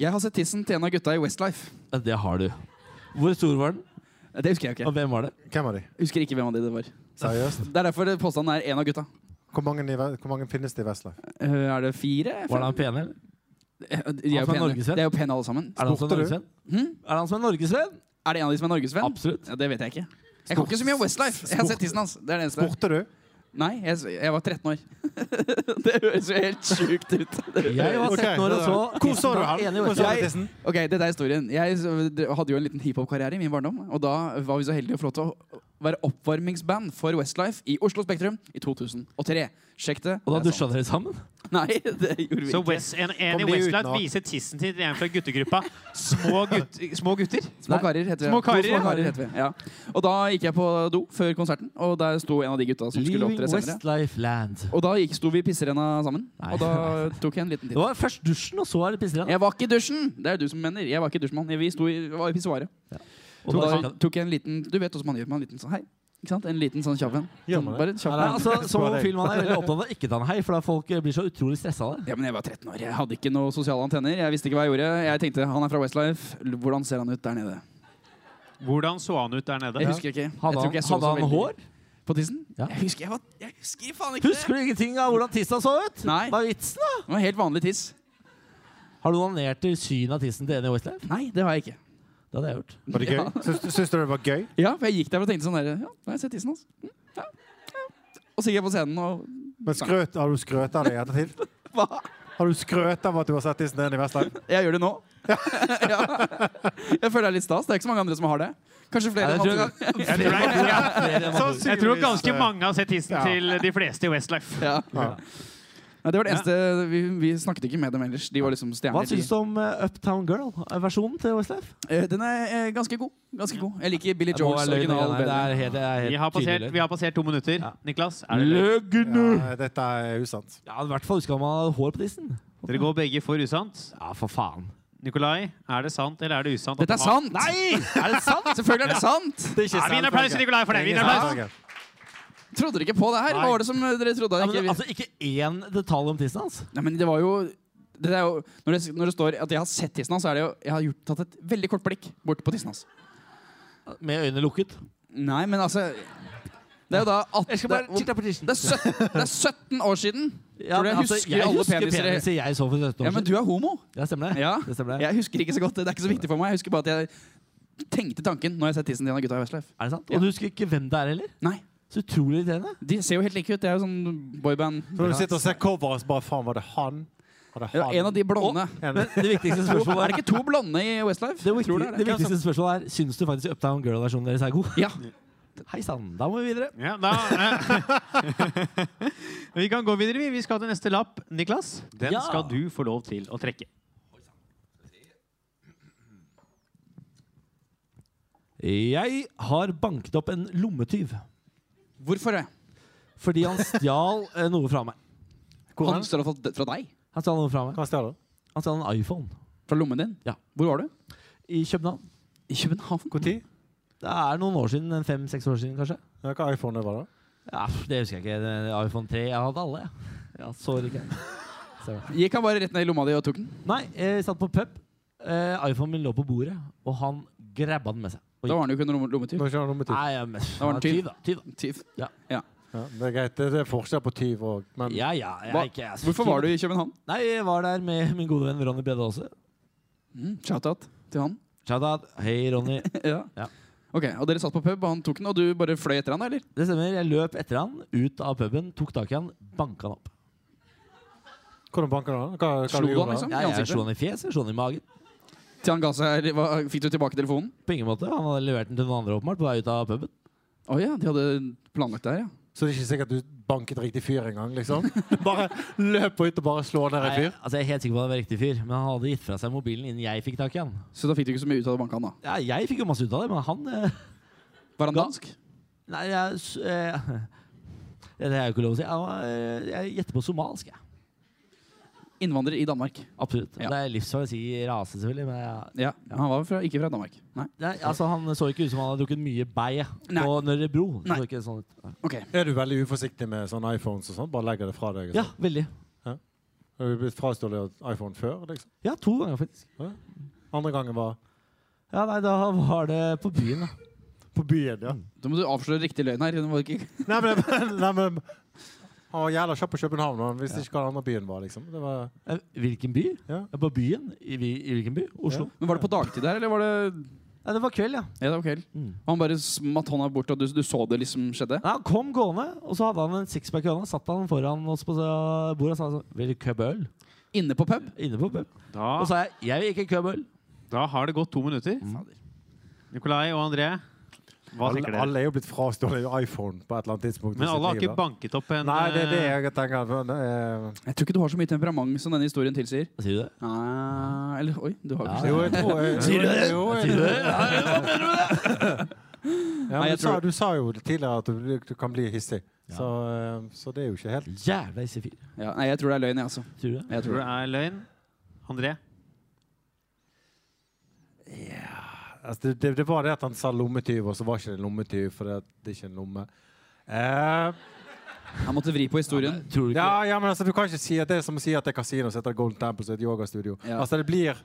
[SPEAKER 3] Jeg har sett tissen til en av gutta i Westlife.
[SPEAKER 4] Det har du. Hvor stor var den,
[SPEAKER 3] Det husker jeg jo ikke.
[SPEAKER 4] og hvem var det?
[SPEAKER 5] Hvem er de?
[SPEAKER 3] Husker ikke hvem av de det var.
[SPEAKER 5] Seriøst?
[SPEAKER 3] Det er derfor påstanden er en av gutta.
[SPEAKER 5] Hvor mange, i, Ve- hvor mange finnes det i Vestland?
[SPEAKER 3] Eh, Er det fire?
[SPEAKER 4] Var det han pene? eller?
[SPEAKER 3] Eh, De er jo
[SPEAKER 4] Han som er
[SPEAKER 3] pene.
[SPEAKER 4] norgesvenn?
[SPEAKER 3] Det er jo pene alle sammen.
[SPEAKER 4] Er det han som
[SPEAKER 5] Spurte
[SPEAKER 4] er
[SPEAKER 5] du?
[SPEAKER 4] norgesvenn? Hm? Er det han som er norgesvenn?
[SPEAKER 3] Er det en av de som er norgesvenn?
[SPEAKER 4] Absolutt.
[SPEAKER 3] Ja, det vet jeg ikke. Jeg kan ikke så mye om Westlife. Jeg har sett tissen hans. Det er det eneste.
[SPEAKER 5] Borte, du?
[SPEAKER 3] Nei, jeg, jeg var 13 år. det høres jo helt sjukt ut.
[SPEAKER 4] Jeg var
[SPEAKER 5] Ok,
[SPEAKER 4] 17 år og så
[SPEAKER 5] Hvor så du han?
[SPEAKER 4] Enig i
[SPEAKER 5] Hvor så du
[SPEAKER 4] Westlife.
[SPEAKER 5] tissen?
[SPEAKER 3] Ok, dette er historien. Jeg s- d- hadde jo en liten hiphop-karriere i min barndom. Og da var vi så heldige å få lov til å være oppvarmingsband for Westlife i Oslo Spektrum i 2003. Sjekk det.
[SPEAKER 4] Og da
[SPEAKER 3] Det er
[SPEAKER 4] dusja dere sammen?
[SPEAKER 3] sant. Nei, det gjorde vi
[SPEAKER 2] Så
[SPEAKER 3] ikke.
[SPEAKER 2] West, en, en i
[SPEAKER 5] Kom de ut
[SPEAKER 2] Westlife
[SPEAKER 5] nå?
[SPEAKER 2] viser tissen til en fra guttegruppa. Små, gutt, små gutter.
[SPEAKER 3] Små karer heter vi.
[SPEAKER 2] Små karer,
[SPEAKER 3] små
[SPEAKER 2] ja.
[SPEAKER 3] karer heter vi. Ja. Og da gikk jeg på do før konserten, og der sto en av de gutta som skulle
[SPEAKER 4] Leaving
[SPEAKER 3] opptre senere.
[SPEAKER 4] Westlife Land.
[SPEAKER 3] Og da gikk, sto vi i pisserenna sammen.
[SPEAKER 4] Nei.
[SPEAKER 3] Og da tok jeg en liten
[SPEAKER 4] Det
[SPEAKER 3] titt.
[SPEAKER 4] var først dusjen, og så er det pisserenna.
[SPEAKER 3] Jeg var ikke i dusjen! Det er du som mener. Jeg var ikke i dusjmann. Vi sto i, var i pissoaret.
[SPEAKER 4] Og
[SPEAKER 3] Og
[SPEAKER 4] da-
[SPEAKER 3] da tok jeg en liten Du vet også man gjør med en liten sånn hei. Ikke sant? En liten sånn kjapp en.
[SPEAKER 5] Gjør
[SPEAKER 3] Sånn,
[SPEAKER 5] man det?
[SPEAKER 3] Bare kjapp
[SPEAKER 5] Nei,
[SPEAKER 4] Nei,
[SPEAKER 3] en.
[SPEAKER 4] altså, Som
[SPEAKER 5] Spør deg.
[SPEAKER 4] homofil mann er jeg veldig opptatt av å ikke ta en hei, for da folk eh, blir så utrolig stressa av det.
[SPEAKER 3] Ja, men Jeg var 13 år. Jeg hadde ikke noe sosiale antenner. Jeg visste ikke hva jeg gjorde. Jeg tenkte han er fra Westlife. L- Hvordan ser han ut der nede?
[SPEAKER 2] Hvordan så han ut der nede?
[SPEAKER 3] Jeg husker ikke. jeg
[SPEAKER 4] Hadde
[SPEAKER 3] tror
[SPEAKER 4] han,
[SPEAKER 3] ikke jeg så
[SPEAKER 4] hadde
[SPEAKER 3] så
[SPEAKER 4] han
[SPEAKER 3] veldig-
[SPEAKER 4] hår?
[SPEAKER 3] På tissen?
[SPEAKER 4] Ja.
[SPEAKER 3] Jeg husker jeg var Jeg husker faen ikke
[SPEAKER 4] Husker du ingenting av hvordan tissa så ut?
[SPEAKER 3] Nei.
[SPEAKER 4] Hva er vitsen, da?
[SPEAKER 3] det! Det var helt vanlig tiss.
[SPEAKER 4] Har du onanert til synet av tissen til Eddie Westlife?
[SPEAKER 3] Nei, det har jeg ikke.
[SPEAKER 4] Det hadde jeg gjort.
[SPEAKER 5] Var det gøy? Syns, syns du det var gøy?
[SPEAKER 3] Ja, for jeg gikk der og tenkte sånn der, Ja, nå har jeg sett tissen hans. Mm, Ja, ja. Og så gikk jeg på scenen og
[SPEAKER 5] Men skrøt, har du skrøt av det i ettertid?
[SPEAKER 3] Hva?
[SPEAKER 5] Har du skrøt av at du har sett tissen din i Vestland?
[SPEAKER 3] Jeg gjør det nå. ja. Jeg føler det er litt stas. Det er ikke så mange andre som har det. Kanskje flere.
[SPEAKER 4] Nei,
[SPEAKER 3] enn
[SPEAKER 4] jeg tror
[SPEAKER 3] Mats
[SPEAKER 2] Jeg
[SPEAKER 3] Ullgaard.
[SPEAKER 2] tror, jeg,
[SPEAKER 4] Flere enn man tror.
[SPEAKER 2] eh, jeg tror ganske mange har sett tissen
[SPEAKER 5] Ja.
[SPEAKER 2] til de fleste i Westlife.
[SPEAKER 3] ja.
[SPEAKER 5] Ja.
[SPEAKER 3] Nei, det var det eneste vi, vi snakket ikke med dem ellers. De var liksom stjerner.
[SPEAKER 4] Hva syns du om eh, Uptown Girl-versjonen til Westlife?
[SPEAKER 3] de. Eh, Den er eh, ganske god. Ganske god. Jeg liker Billy
[SPEAKER 4] Det må
[SPEAKER 3] Joels
[SPEAKER 4] være løgn,
[SPEAKER 3] original
[SPEAKER 4] nei, Det
[SPEAKER 3] bedre.
[SPEAKER 4] er helt, det er helt
[SPEAKER 2] Vi har passert,
[SPEAKER 4] tydelig løgn.
[SPEAKER 2] vi har passert to minutter.
[SPEAKER 4] Ja.
[SPEAKER 2] Niklas, er det løgn?
[SPEAKER 4] Løgn!
[SPEAKER 5] Ja, dette er usant.
[SPEAKER 4] Ja, i hvert fall skal man ha hår på tissen.
[SPEAKER 2] Dere går begge for usant.
[SPEAKER 4] Ja, for faen.
[SPEAKER 2] Nikolai, er det sant eller er det usant? at
[SPEAKER 3] Dette er
[SPEAKER 2] du har-
[SPEAKER 3] sant! Nei! Er det sant? Selvfølgelig er det sant!
[SPEAKER 5] Det er
[SPEAKER 2] Ja, vi gir en applaus til Nikolai for det! Vi gir en applaus.
[SPEAKER 3] Trodde dere ikke på det her? Hva
[SPEAKER 4] Nei.
[SPEAKER 3] var det som eh, dere trodde?
[SPEAKER 4] Ja,
[SPEAKER 3] ikke
[SPEAKER 4] men,
[SPEAKER 3] vi-
[SPEAKER 4] altså, ikke én detalj om tissen hans.
[SPEAKER 3] Nei, men det var jo det er jo, når det, når det står at jeg har sett tissen hans, så er det jo Jeg har gjort, tatt et veldig kort blikk bort på tissen hans.
[SPEAKER 4] Med øynene lukket.
[SPEAKER 3] Nei, men altså Det er jo da at,
[SPEAKER 4] Jeg skal bare
[SPEAKER 3] det,
[SPEAKER 4] kikke deg på tissen.
[SPEAKER 3] det, er 17, det er 17 år siden!
[SPEAKER 4] Ja,
[SPEAKER 3] Tror du jeg
[SPEAKER 4] men altså,
[SPEAKER 3] husker alle peniser jeg-
[SPEAKER 4] peniser jeg så for 17 år
[SPEAKER 3] Ja, men du er homo.
[SPEAKER 4] Ja, stemmer det.
[SPEAKER 3] Ja.
[SPEAKER 4] det stemmer det.
[SPEAKER 3] Jeg husker ikke så godt. Det er ikke så viktig for meg. Jeg husker bare at jeg tenkte tanken når jeg har sett tissen til en av gutta i Westlife.
[SPEAKER 4] Er det sant?
[SPEAKER 3] Ja.
[SPEAKER 4] Og du husker ikke hvem det er heller?
[SPEAKER 3] Nei.
[SPEAKER 4] Så utrolig irriterende.
[SPEAKER 3] De ser jo helt like ut. Det er jo sånn boyband.
[SPEAKER 5] Så når du sitter og ser coveret, så bare faen, var det han? Var det
[SPEAKER 3] Det var
[SPEAKER 5] han?
[SPEAKER 3] En av de blonde.
[SPEAKER 5] En-
[SPEAKER 4] Men det viktigste
[SPEAKER 3] To-
[SPEAKER 4] spørsmålet
[SPEAKER 3] Er
[SPEAKER 4] er
[SPEAKER 3] det ikke to blonde i Westlife?
[SPEAKER 4] det, viktig,
[SPEAKER 3] Tror
[SPEAKER 4] det, viktigste spørsmålet er Syns du faktisk Uptown Girl-versjonen deres er god?
[SPEAKER 3] Ja.
[SPEAKER 4] Hei sann, da må vi videre.
[SPEAKER 2] Ja, da eh, Vi kan gå videre, vi. Vi skal til neste lapp. Niklas, den
[SPEAKER 4] Ja.
[SPEAKER 2] skal du få lov til å trekke.
[SPEAKER 4] Jeg har banket opp en lommetyv
[SPEAKER 3] Hvorfor det?
[SPEAKER 4] fordi han stjal eh, noe fra meg.
[SPEAKER 5] Hvor
[SPEAKER 3] Han
[SPEAKER 5] er det?
[SPEAKER 3] stjal fra fra deg?
[SPEAKER 4] Han stjal noe fra meg.
[SPEAKER 5] Hva stjal du?
[SPEAKER 4] Han stjal en iPhone
[SPEAKER 3] Fra lommen din?
[SPEAKER 4] Ja.
[SPEAKER 3] Hvor var du?
[SPEAKER 4] i København.
[SPEAKER 3] I København.
[SPEAKER 5] Når?
[SPEAKER 4] Det er noen år siden. en Fem-seks år siden, kanskje.
[SPEAKER 5] Hva iPhone det var da?
[SPEAKER 4] Ja, pff, Det husker jeg ikke. Det er iPhone 3. Jeg hadde alle, jeg. Ja, så ikke jeg.
[SPEAKER 3] Gikk han bare rett ned i lomma di og tok den?
[SPEAKER 4] Nei, jeg satt på pub. Eh, iPhonen min lå på bordet, og han grabba den med seg. Og
[SPEAKER 3] Da var han jo ikke en lomme- lommetyv.
[SPEAKER 5] Nå skjønner du nummer tyv.
[SPEAKER 4] Nei, ja, men,
[SPEAKER 3] Da var den tyv.
[SPEAKER 4] da. Tyv, da.
[SPEAKER 3] Tyv.
[SPEAKER 5] Ja, det er greit. Det er forskjell på tyv og men
[SPEAKER 4] Ja, ja, jeg
[SPEAKER 3] Hva-
[SPEAKER 4] er ikke jeg er så
[SPEAKER 3] Hvorfor
[SPEAKER 4] tyv.
[SPEAKER 3] var du i København?
[SPEAKER 4] Nei, jeg var der med min gode venn Ronny Brede Aase.
[SPEAKER 3] Mm, Shout-out til han.
[SPEAKER 4] Shout out. Hei, Ronny.
[SPEAKER 3] Ja.
[SPEAKER 4] Ja.
[SPEAKER 3] Ok, Og dere satt på pub, og han tok den, og du bare fløy etter han, eller?
[SPEAKER 4] Det stemmer. Jeg løp etter han, ut av puben, tok tak i han, banka han opp.
[SPEAKER 5] Hvordan banker du han? Hva, hva
[SPEAKER 3] Slo du
[SPEAKER 5] gjorde
[SPEAKER 3] han, liksom? I
[SPEAKER 4] Jeg, jeg
[SPEAKER 3] ansiktet?
[SPEAKER 4] slo han i fjeset, slo han i magen.
[SPEAKER 3] Til han ga seg, eller hva, fikk du tilbake telefonen?
[SPEAKER 4] På ingen måte. Han hadde levert den til noen andre, åpenbart, på vei ut av puben.
[SPEAKER 3] Å ja, de hadde planlagt det her, ja.
[SPEAKER 5] Så det er ikke sikkert du banket riktig fyr engang, liksom? Du bare løper ut og bare slår ned en
[SPEAKER 4] Nei,
[SPEAKER 5] fyr?
[SPEAKER 4] altså, jeg er helt sikker på at han var riktig fyr, men han hadde gitt fra seg mobilen innen jeg fikk tak i han.
[SPEAKER 3] Så da fikk du ikke så mye ut av det banka han, da.
[SPEAKER 4] Ja, jeg fikk jo masse ut av det, men han eh,
[SPEAKER 3] Var han
[SPEAKER 4] Ga-
[SPEAKER 3] dansk?
[SPEAKER 4] Nei, jeg s- eh, Det er jo ikke lov å si. Jeg, var, eh, jeg gjetter på somalisk, jeg.
[SPEAKER 3] Innvandrer i Danmark.
[SPEAKER 4] Absolutt.
[SPEAKER 3] Ja.
[SPEAKER 4] Det er livsfarlig å si rase, selvfølgelig, men jeg,
[SPEAKER 3] Ja, Han var fra, ikke fra Danmark. Nei.
[SPEAKER 4] Nei, altså Han så ikke ut som han hadde drukket mye bei
[SPEAKER 3] Nei.
[SPEAKER 4] på Nørrebro. Det
[SPEAKER 3] Nei.
[SPEAKER 4] Så ikke sånn ut.
[SPEAKER 3] Ok.
[SPEAKER 5] Er du veldig uforsiktig med sånne iPhones og sånn? Bare legger det fra deg? og
[SPEAKER 4] Ja,
[SPEAKER 5] sånn?
[SPEAKER 4] veldig.
[SPEAKER 5] Har du blitt frastjålet iPhone før? liksom?
[SPEAKER 4] Ja, to ganger, faktisk.
[SPEAKER 5] Andre gangen var
[SPEAKER 4] Ja, nei, Da var det på byen, da.
[SPEAKER 5] på byen, ja.
[SPEAKER 3] Da må du avsløre riktig løgn her. Den var ikke...
[SPEAKER 5] Nei, men, nei, men Å, jævla kjapp på København, men visste ikke hva den andre byen var, liksom. Det var
[SPEAKER 4] Eh, Hvilken by?
[SPEAKER 5] Ja.
[SPEAKER 4] På byen? I, vi- i hvilken by? Oslo.
[SPEAKER 3] Men Var det på dagtid her, eller var det
[SPEAKER 4] Nei, det var kveld, ja.
[SPEAKER 3] Ja, det var kveld.
[SPEAKER 4] Mm.
[SPEAKER 3] Og han bare smatt hånda bort, og du, du så det liksom skjedde?
[SPEAKER 4] Nei, han kom gående, og så hadde han en sixpack i hånda. Satt han foran oss på så- bordet og sa sånn Vil du købbe øl?
[SPEAKER 3] Inne på pub?
[SPEAKER 4] Inne på pub.
[SPEAKER 2] Da,
[SPEAKER 4] Og så sa jeg Jeg vil ikke købbe øl.
[SPEAKER 2] da har det gått to minutter. Nikolai og André, hva
[SPEAKER 5] alle,
[SPEAKER 2] tenker dere?
[SPEAKER 5] alle er jo blitt frastjålet iPhone på et eller annet tidspunkt. i
[SPEAKER 2] Men
[SPEAKER 5] sitt
[SPEAKER 2] alle har
[SPEAKER 5] liv,
[SPEAKER 2] ikke
[SPEAKER 5] da.
[SPEAKER 2] banket opp en
[SPEAKER 5] Nei, det er det
[SPEAKER 2] eh,
[SPEAKER 5] jeg tenker. Men, eh,
[SPEAKER 3] Jeg tror ikke du har så mye temperament som denne historien tilsier.
[SPEAKER 4] Sier du det?
[SPEAKER 3] Ah, eller oi, du har kanskje
[SPEAKER 5] jo, jeg tror jeg-
[SPEAKER 4] Sier du det?
[SPEAKER 5] Jo, jeg-
[SPEAKER 4] Sier du det?
[SPEAKER 5] Ja,
[SPEAKER 3] Nei,
[SPEAKER 5] men
[SPEAKER 3] jeg
[SPEAKER 5] du, sa,
[SPEAKER 3] tror-
[SPEAKER 5] du sa jo tidligere at du, du kan bli hissig, så, eh, så det er jo ikke helt
[SPEAKER 4] Jævla IC4.
[SPEAKER 3] ja, Nei, jeg tror det er løgn, jeg, altså.
[SPEAKER 4] Sier du det?
[SPEAKER 3] Jeg
[SPEAKER 2] eh, Tror
[SPEAKER 3] tror
[SPEAKER 2] du
[SPEAKER 3] det.
[SPEAKER 2] det er løgn? André?
[SPEAKER 5] altså, det, det, det var det at han sa lommetyv, og så var ikke det en lommetyv, for det, at det er ikke en lomme. Eh,
[SPEAKER 3] Han måtte vri på historien.
[SPEAKER 4] Tror du ikke
[SPEAKER 5] ja, ja, men altså, du kan ikke si at det er som å si at det er kasino som heter Golden Temple, som er et yogastudio.
[SPEAKER 3] Ja.
[SPEAKER 5] Altså, det blir,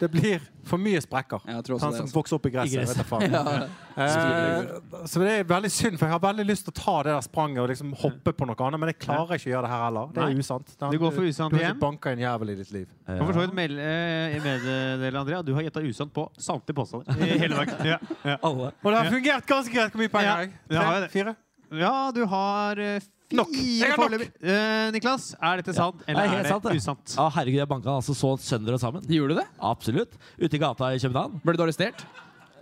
[SPEAKER 5] det blir for mye sprekker.
[SPEAKER 3] Ja, jeg tror også
[SPEAKER 5] han
[SPEAKER 3] det,
[SPEAKER 5] som
[SPEAKER 3] altså.
[SPEAKER 5] vokser opp i gresset.
[SPEAKER 4] I gresset.
[SPEAKER 5] Vet du faen. Eh, så det er veldig synd, for jeg har veldig lyst til å ta det der spranget og liksom hoppe på noe annet, men jeg klarer ikke å gjøre det her heller. Det
[SPEAKER 2] Nei.
[SPEAKER 5] er usant.
[SPEAKER 2] Du går for usant
[SPEAKER 5] Du har
[SPEAKER 2] igjen.
[SPEAKER 5] ikke banka en jævel i ditt liv.
[SPEAKER 2] Kan for så vidt melde- eh, meddele, André, at du har gjetta usant på samtlige påstander i hele dagen. Ja, ja.
[SPEAKER 4] Alle.
[SPEAKER 5] Og det har fungert ganske greit. Hvor mye penger
[SPEAKER 2] Ja,
[SPEAKER 5] har jeg?
[SPEAKER 2] det har jeg
[SPEAKER 5] Tre?
[SPEAKER 2] det.
[SPEAKER 5] Fire?
[SPEAKER 2] Ja, du har eh, fire
[SPEAKER 5] Nok. Jeg har nok.
[SPEAKER 2] foreløpig. Eh, Niklas, er dette sant, eller
[SPEAKER 4] Nei,
[SPEAKER 2] er,
[SPEAKER 4] helt sant,
[SPEAKER 2] det
[SPEAKER 4] det.
[SPEAKER 2] usant?
[SPEAKER 4] Å, herregud, jeg banka han altså så sønder og sammen.
[SPEAKER 3] Gjorde du det?
[SPEAKER 4] Absolutt. Ute i gata i København.
[SPEAKER 3] Ble du arrestert?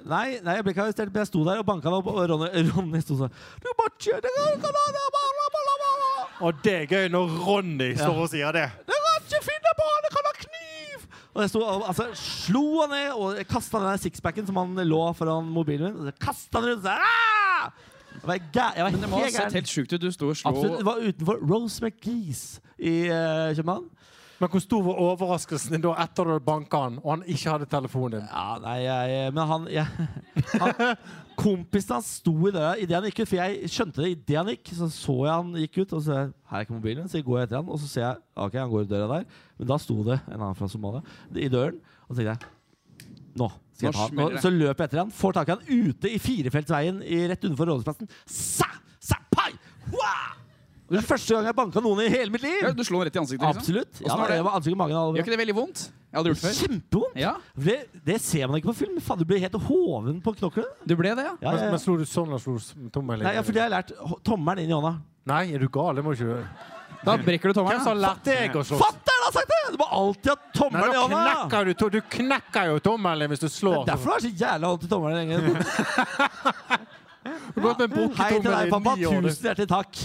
[SPEAKER 4] Nei, nei, jeg ble ikke arrestert, men jeg sto der og banka han opp, og Ronny, Ronny sto sånn «Du må kjøre deg, kan du ha det, bla, bla, bla, bla, bla».
[SPEAKER 5] Og det er gøy når Ronny står og sier det.
[SPEAKER 4] Det var ikke finne på, han kan ha kniv! Og jeg sto, og- altså, slo han ned og kasta den der sixpacken som han lå foran mobilen min. Kasta den rundt seg. Ah! Jeg var, gæ jeg var
[SPEAKER 3] Men det må ha
[SPEAKER 4] helt
[SPEAKER 3] sett
[SPEAKER 4] gæren.
[SPEAKER 3] helt sjukt ut. Du sto og slo
[SPEAKER 4] Absolutt. Det var utenfor Rose McGees i eh, København.
[SPEAKER 5] Men hvor stor var overraskelsen din da etter du banka han, og han ikke hadde telefonen din?
[SPEAKER 4] Ja, nei, jeg Men han, jeg, han Kompisen hans sto i døra idet han gikk ut, for jeg skjønte det idet han gikk. Så så jeg han gikk ut, og så Her er ikke mobilen, så jeg går etter han, og så ser jeg Ok, han går i døra der, men da sto det en annen fra Somalia i døren, og så tenkte jeg nå skal jeg
[SPEAKER 3] Nå
[SPEAKER 4] ta han.
[SPEAKER 3] smeller
[SPEAKER 4] Og
[SPEAKER 3] det.
[SPEAKER 4] Så løper jeg etter han, får tak i han ute i firefeltsveien i, rett utenfor Rådhusplassen. Sa! Sa! Pai! Hua! Det er første gang jeg banka noen i hele mitt liv!
[SPEAKER 3] Ja, du slo han rett i ansiktet? liksom?
[SPEAKER 4] Absolutt. Ja,
[SPEAKER 3] Hvordan var
[SPEAKER 4] det
[SPEAKER 3] det?
[SPEAKER 4] var ansiktet i magen. og alt.
[SPEAKER 3] Gjør ikke det veldig vondt? Jeg hadde gjort det før.
[SPEAKER 4] Kjempevondt!
[SPEAKER 3] Ja,
[SPEAKER 4] Det, det ser man ikke på film. Faen, du blir helt hoven på knoklene.
[SPEAKER 3] Du ble det, ja?
[SPEAKER 4] Ja,
[SPEAKER 5] Men,
[SPEAKER 4] ja, ja.
[SPEAKER 5] men slo du sånn eller slo du s- tommelen?
[SPEAKER 4] Nei, ja, for det har jeg lært. Ho- Tommelen inn i hånda.
[SPEAKER 5] Nei, er du gal? Det må ikke du
[SPEAKER 3] Da brekker du
[SPEAKER 5] Hvem
[SPEAKER 3] tommelen.
[SPEAKER 5] som har
[SPEAKER 3] da.
[SPEAKER 5] lært deg å slåss?
[SPEAKER 4] Fatter'n har sagt det! Du må alltid ha
[SPEAKER 5] Nei,
[SPEAKER 4] tommelen i
[SPEAKER 5] da
[SPEAKER 4] hånda!
[SPEAKER 5] knekker du, to- du knekker jo tommelen din hvis du
[SPEAKER 4] Det
[SPEAKER 5] slår.
[SPEAKER 4] er derfor du har så jævla vondt i tommelen lenge.
[SPEAKER 5] Du har gått med en brukket
[SPEAKER 4] Hei til
[SPEAKER 5] tommel
[SPEAKER 4] deg,
[SPEAKER 5] i
[SPEAKER 4] pappa.
[SPEAKER 5] ni år. du.
[SPEAKER 4] Tusen hjertelig takk.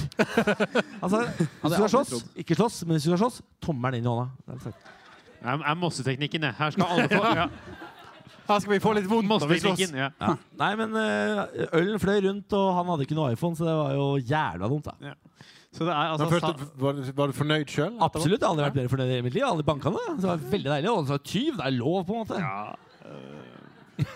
[SPEAKER 4] Altså, hvis du
[SPEAKER 3] hadde
[SPEAKER 4] skal
[SPEAKER 3] jeg aldri
[SPEAKER 4] slåss, ikke slåss, men hvis du skal slåss, tommelen inn i hånda. Det er helt sant.
[SPEAKER 2] Det er, er mosseteknikken, det. Her skal alle få ja.
[SPEAKER 5] Her skal vi få litt vondt når vi slåss.
[SPEAKER 2] Mosseteknikken, ja.
[SPEAKER 4] Nei, men eh, ølen fløy rundt, og han hadde ikke noe iPhone, så det var jo jævla dumt, da.
[SPEAKER 2] Så det er altså
[SPEAKER 5] Men følte, du- var, du- var du fornøyd sjøl?
[SPEAKER 4] Absolutt. Jeg har aldri vært bedre fornøyd i mitt liv. Jeg har Aldri banka noe. Så det var veldig deilig. Og så var tyv. Det er lov, på en måte.
[SPEAKER 2] Ja, øh,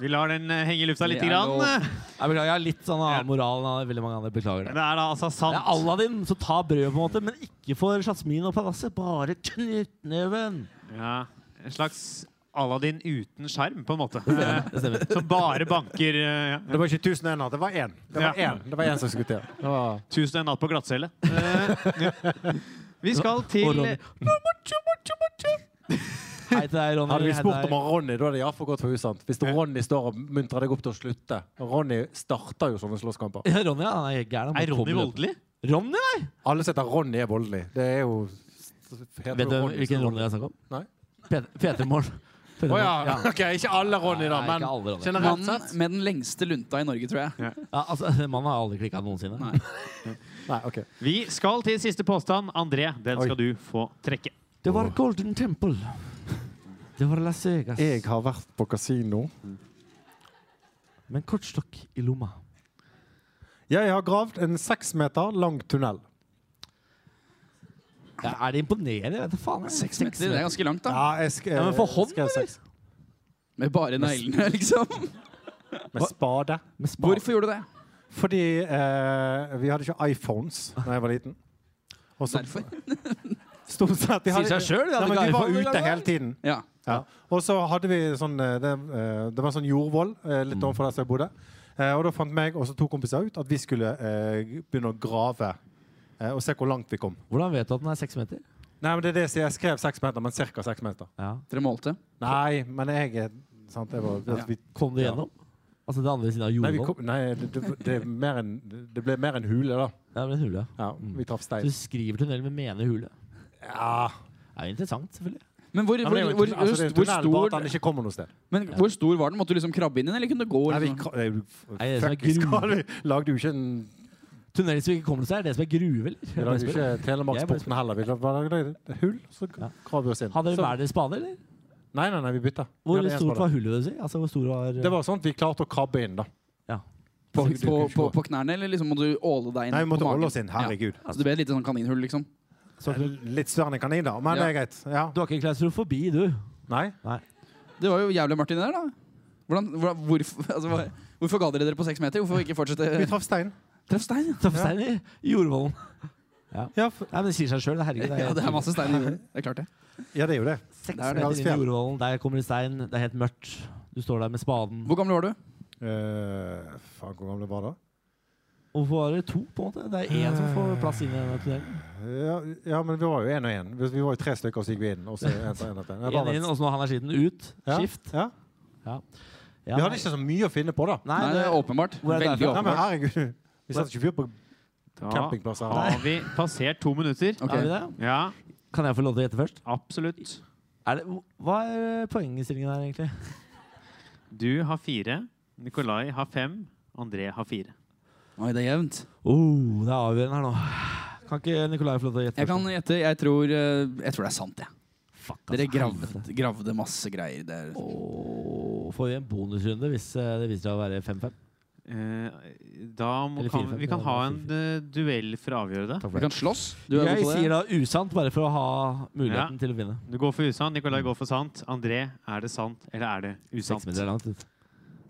[SPEAKER 2] Vi lar den eh, henge i lufta lite
[SPEAKER 3] Det er
[SPEAKER 2] grann.
[SPEAKER 3] lov.
[SPEAKER 4] Jeg beklager, jeg har litt sånn
[SPEAKER 2] Ja.
[SPEAKER 4] annen moral enn veldig mange andre. Beklager
[SPEAKER 2] Men
[SPEAKER 4] det.
[SPEAKER 2] det er da altså
[SPEAKER 4] Det er
[SPEAKER 2] sant.
[SPEAKER 4] Aladdin som tar brødet, på en måte, men ikke for Jasmin og palasset. Bare knyttneven.
[SPEAKER 2] Ja, en slags Aladdin uten skjerm, på en måte. Eh, Som bare banker eh, ja.
[SPEAKER 5] Det var ikke 1001, det var én. Det var
[SPEAKER 2] Ja.
[SPEAKER 5] én Det var én som skulle til. Det var-
[SPEAKER 2] 1001 natt på glattcelle. Eh, ja. Vi skal
[SPEAKER 4] Og
[SPEAKER 2] til
[SPEAKER 4] Ronny. Hei til deg, Ronny.
[SPEAKER 5] Hadde vi
[SPEAKER 4] Hei til
[SPEAKER 5] spurt om
[SPEAKER 4] deg.
[SPEAKER 5] Ronny, da er det iallfall gått for usant. Hvis Ronny står og muntrer deg opp til å slutte. Og Ronny starter jo sånne slåsskamper.
[SPEAKER 4] Ja, Ronny ja, han er helt gæren. han
[SPEAKER 2] Er
[SPEAKER 4] bare
[SPEAKER 2] Ronny
[SPEAKER 4] kommer opp.
[SPEAKER 2] voldelig?
[SPEAKER 4] Ronny, nei!
[SPEAKER 5] Alle setter Ronny er voldelig. Det er jo Heter
[SPEAKER 4] Vet du
[SPEAKER 5] jo Ronny,
[SPEAKER 4] hvilken
[SPEAKER 5] så-
[SPEAKER 4] Ronny jeg snakker om?
[SPEAKER 5] Nei.
[SPEAKER 4] P3-morgen.
[SPEAKER 5] Å ja. OK, ikke alle Ronny, da,
[SPEAKER 4] Nei,
[SPEAKER 5] men
[SPEAKER 4] ikke alle Ronny.
[SPEAKER 5] generelt
[SPEAKER 3] Mannen
[SPEAKER 5] sett.
[SPEAKER 3] med den lengste lunta i Norge, tror jeg.
[SPEAKER 4] Ja, altså, Mannen har aldri klikka noensinne.
[SPEAKER 3] Nei.
[SPEAKER 5] Nei, ok.
[SPEAKER 2] Vi skal til siste påstand. André, den
[SPEAKER 5] Oi.
[SPEAKER 2] skal du få trekke.
[SPEAKER 4] Det var Golden Temple. Det var Las Vegas.
[SPEAKER 5] Jeg har vært på kasino.
[SPEAKER 4] Med en kortstokk i lomma.
[SPEAKER 5] Jeg har gravd en seks meter lang tunnel.
[SPEAKER 4] Ja, er det imponerende? Jeg vet da faen. jeg.
[SPEAKER 3] Seks meter, det er ganske langt, da.
[SPEAKER 5] Ja, jeg sk
[SPEAKER 4] Ja, men for hånd,
[SPEAKER 5] skrev
[SPEAKER 4] eller?
[SPEAKER 5] seks.
[SPEAKER 3] Med bare neglene, liksom.
[SPEAKER 5] Med spade.
[SPEAKER 4] Med spa-
[SPEAKER 3] Hvorfor gjorde du det?
[SPEAKER 5] Fordi eh, vi hadde ikke iPhones da jeg var liten. Og så-
[SPEAKER 3] Derfor.
[SPEAKER 5] Stort sett. de
[SPEAKER 4] Sier seg selv, de
[SPEAKER 5] Nei,
[SPEAKER 4] hadde
[SPEAKER 5] men
[SPEAKER 4] ikke
[SPEAKER 5] vi var
[SPEAKER 4] iPhone
[SPEAKER 5] ute
[SPEAKER 4] engang.
[SPEAKER 5] hele tiden.
[SPEAKER 3] Ja.
[SPEAKER 5] Ja. Og så hadde vi sånn eh, Det, eh, det var sånn jordvoll eh,
[SPEAKER 4] Mm.
[SPEAKER 5] litt overfor der som jeg bodde. Eh, Og da fant meg og så to kompiser ut at vi skulle eh, begynne å grave. eh, Og se hvor langt vi kom.
[SPEAKER 4] Hvordan vet du at den er seks meter?
[SPEAKER 5] Nei, men det er det jeg sier. Jeg skrev seks meter, men ca. seks meter.
[SPEAKER 4] Ja.
[SPEAKER 3] Dere målte.
[SPEAKER 5] Nei, men jeg er sant, jeg var,
[SPEAKER 3] Ja.
[SPEAKER 5] vi,
[SPEAKER 4] Kom du
[SPEAKER 5] Ja.
[SPEAKER 4] gjennom? Altså det andre siden av
[SPEAKER 5] Nei, vi
[SPEAKER 4] jordvoll?
[SPEAKER 5] kom, nei det, det, det, er mer en, det ble mer en hule, da.
[SPEAKER 4] Ja, men en hule. ja.
[SPEAKER 5] Ja, vi traff
[SPEAKER 4] Så
[SPEAKER 5] stein.
[SPEAKER 4] du skriver tunnel, men mener hule.
[SPEAKER 5] Ja.
[SPEAKER 4] Det er jo interessant, selvfølgelig.
[SPEAKER 3] Men hvor,
[SPEAKER 5] Nei,
[SPEAKER 3] hvor,
[SPEAKER 5] men det er jo
[SPEAKER 3] hvor, hvor,
[SPEAKER 5] en tunnel, altså, det er jo en tunnel, bare at
[SPEAKER 3] stor,
[SPEAKER 5] han ikke kommer noe sted.
[SPEAKER 3] men hvor stor var den? Måtte du liksom krabbe inn i den, eller kunne du gå?
[SPEAKER 5] Nei, vi,
[SPEAKER 3] Liksom?
[SPEAKER 5] kra- nei, du-
[SPEAKER 4] Nei, det er
[SPEAKER 5] fuck,
[SPEAKER 4] sånn
[SPEAKER 5] vi
[SPEAKER 4] gruve.
[SPEAKER 5] skal, vi lagde jo ikke en
[SPEAKER 4] Tunnel som ikke kommer seg, er det som er gruve,
[SPEAKER 5] Vi
[SPEAKER 4] eller?
[SPEAKER 5] lagde jo ikke Telemarksporten heller. Vi lagde bare lagde et hull, så
[SPEAKER 4] Ja.
[SPEAKER 5] graver vi oss inn.
[SPEAKER 4] Hadde dere
[SPEAKER 5] Så-
[SPEAKER 4] hver deres spade, eller?
[SPEAKER 5] Nei, nei, nei, vi bytta. Vi
[SPEAKER 4] Hvor
[SPEAKER 5] hadde en
[SPEAKER 4] stort
[SPEAKER 5] spade.
[SPEAKER 4] var hullet, vil du si? Altså, hvor stor var
[SPEAKER 5] sånn Det var sånn at vi klarte å krabbe inn, da.
[SPEAKER 4] Ja.
[SPEAKER 3] På, på,
[SPEAKER 5] Så du kunne ikke
[SPEAKER 3] på,
[SPEAKER 5] gå.
[SPEAKER 3] på knærne, eller liksom måtte du åle deg inn?
[SPEAKER 5] Nei, vi måtte
[SPEAKER 3] på magen?
[SPEAKER 5] holde oss inn. Herregud.
[SPEAKER 3] Ja. Så det ble et lite sånn kaninhull, liksom?
[SPEAKER 5] Det er Litt større enn en kanin, da, men det er greit. Ja.
[SPEAKER 4] Du har ikke klaustrofobi, du.
[SPEAKER 5] Nei?
[SPEAKER 3] Det var jo jævlig mørkt inni der, da. Hvordan, hvordan, hvorfor, altså, hva- hvorfor ga dere dere på seks meter? Hvorfor ikke
[SPEAKER 5] Vi
[SPEAKER 3] fortsette
[SPEAKER 5] traff stein.
[SPEAKER 3] Treff stein!
[SPEAKER 4] Traff stein i jordvollen.
[SPEAKER 5] Ja, f-
[SPEAKER 4] Nei, men det sier seg sjøl. Herregud.
[SPEAKER 3] Ja, det er masse stein i jorden. Det er klart, det.
[SPEAKER 5] ja, det er jo det.
[SPEAKER 4] seks
[SPEAKER 3] det er det.
[SPEAKER 4] meter inn i jordvollen. Der kommer det stein. Det er helt mørkt. Du står der med spaden.
[SPEAKER 3] Hvor gammel var du?
[SPEAKER 5] Eh, faen, hvor gammel var jeg da?
[SPEAKER 4] Hvorfor var det to, på en måte? Det er én som får plass inn i denne tunnelen.
[SPEAKER 5] Ja, ja, men vi var jo én og én. Vi var jo tre stykker, og så gikk vi inn. Og så en etter en etter en. Jeg var
[SPEAKER 4] Én
[SPEAKER 5] vel-
[SPEAKER 4] inn, og så når han er skitten, ut.
[SPEAKER 5] Ja,
[SPEAKER 4] Skift.
[SPEAKER 5] Ja.
[SPEAKER 4] Ja,
[SPEAKER 5] Vi hadde ikke så mye å finne på, da.
[SPEAKER 4] Nei,
[SPEAKER 3] Nei, det er åpenbart.
[SPEAKER 4] Hvor er det
[SPEAKER 3] Veldig
[SPEAKER 4] derfra?
[SPEAKER 5] Nei, men
[SPEAKER 3] åpenbart.
[SPEAKER 5] herregud. Vi satte ikke fyr på
[SPEAKER 2] Da
[SPEAKER 5] campingplasser. her.
[SPEAKER 2] har vi passert to minutter.
[SPEAKER 3] Ok.
[SPEAKER 4] Er vi det?
[SPEAKER 2] Ja,
[SPEAKER 4] Kan jeg få lov til å gjette først?
[SPEAKER 2] absolutt.
[SPEAKER 4] Er det, hva er poengstillingen her, egentlig?
[SPEAKER 2] Du har fire. Nikolai har fem. André har fire.
[SPEAKER 3] Oi, det er jevnt.
[SPEAKER 4] Oh, det er avgjørende her nå. Kan ikke Nikolai få lov til å gjette?
[SPEAKER 3] Jeg kan gjette. Jeg tror, eh, jeg tror det er sant, jeg.
[SPEAKER 4] Fuck,
[SPEAKER 3] Dere
[SPEAKER 4] altså,
[SPEAKER 3] gravde,
[SPEAKER 4] helvete.
[SPEAKER 3] gravde masse greier der.
[SPEAKER 4] Åh, får vi en bonusrunde hvis eh, det viser seg å være 5-5?
[SPEAKER 2] Eh, da må,
[SPEAKER 4] Eller
[SPEAKER 2] kan,
[SPEAKER 4] 4-5,
[SPEAKER 2] vi kan
[SPEAKER 4] ja,
[SPEAKER 2] ha
[SPEAKER 4] det er
[SPEAKER 2] en eh, duell for å avgjøre det.
[SPEAKER 4] Takk
[SPEAKER 3] Vi
[SPEAKER 4] for det.
[SPEAKER 3] kan slåss. Du er
[SPEAKER 4] Jeg
[SPEAKER 3] god på det.
[SPEAKER 4] sier da usant bare for å ha muligheten
[SPEAKER 2] Ja.
[SPEAKER 4] til å vinne.
[SPEAKER 2] Du går for usant, Nikolai går for sant. André, er det sant eller er det
[SPEAKER 4] Seks
[SPEAKER 2] usant?
[SPEAKER 4] minutter er langt. ut.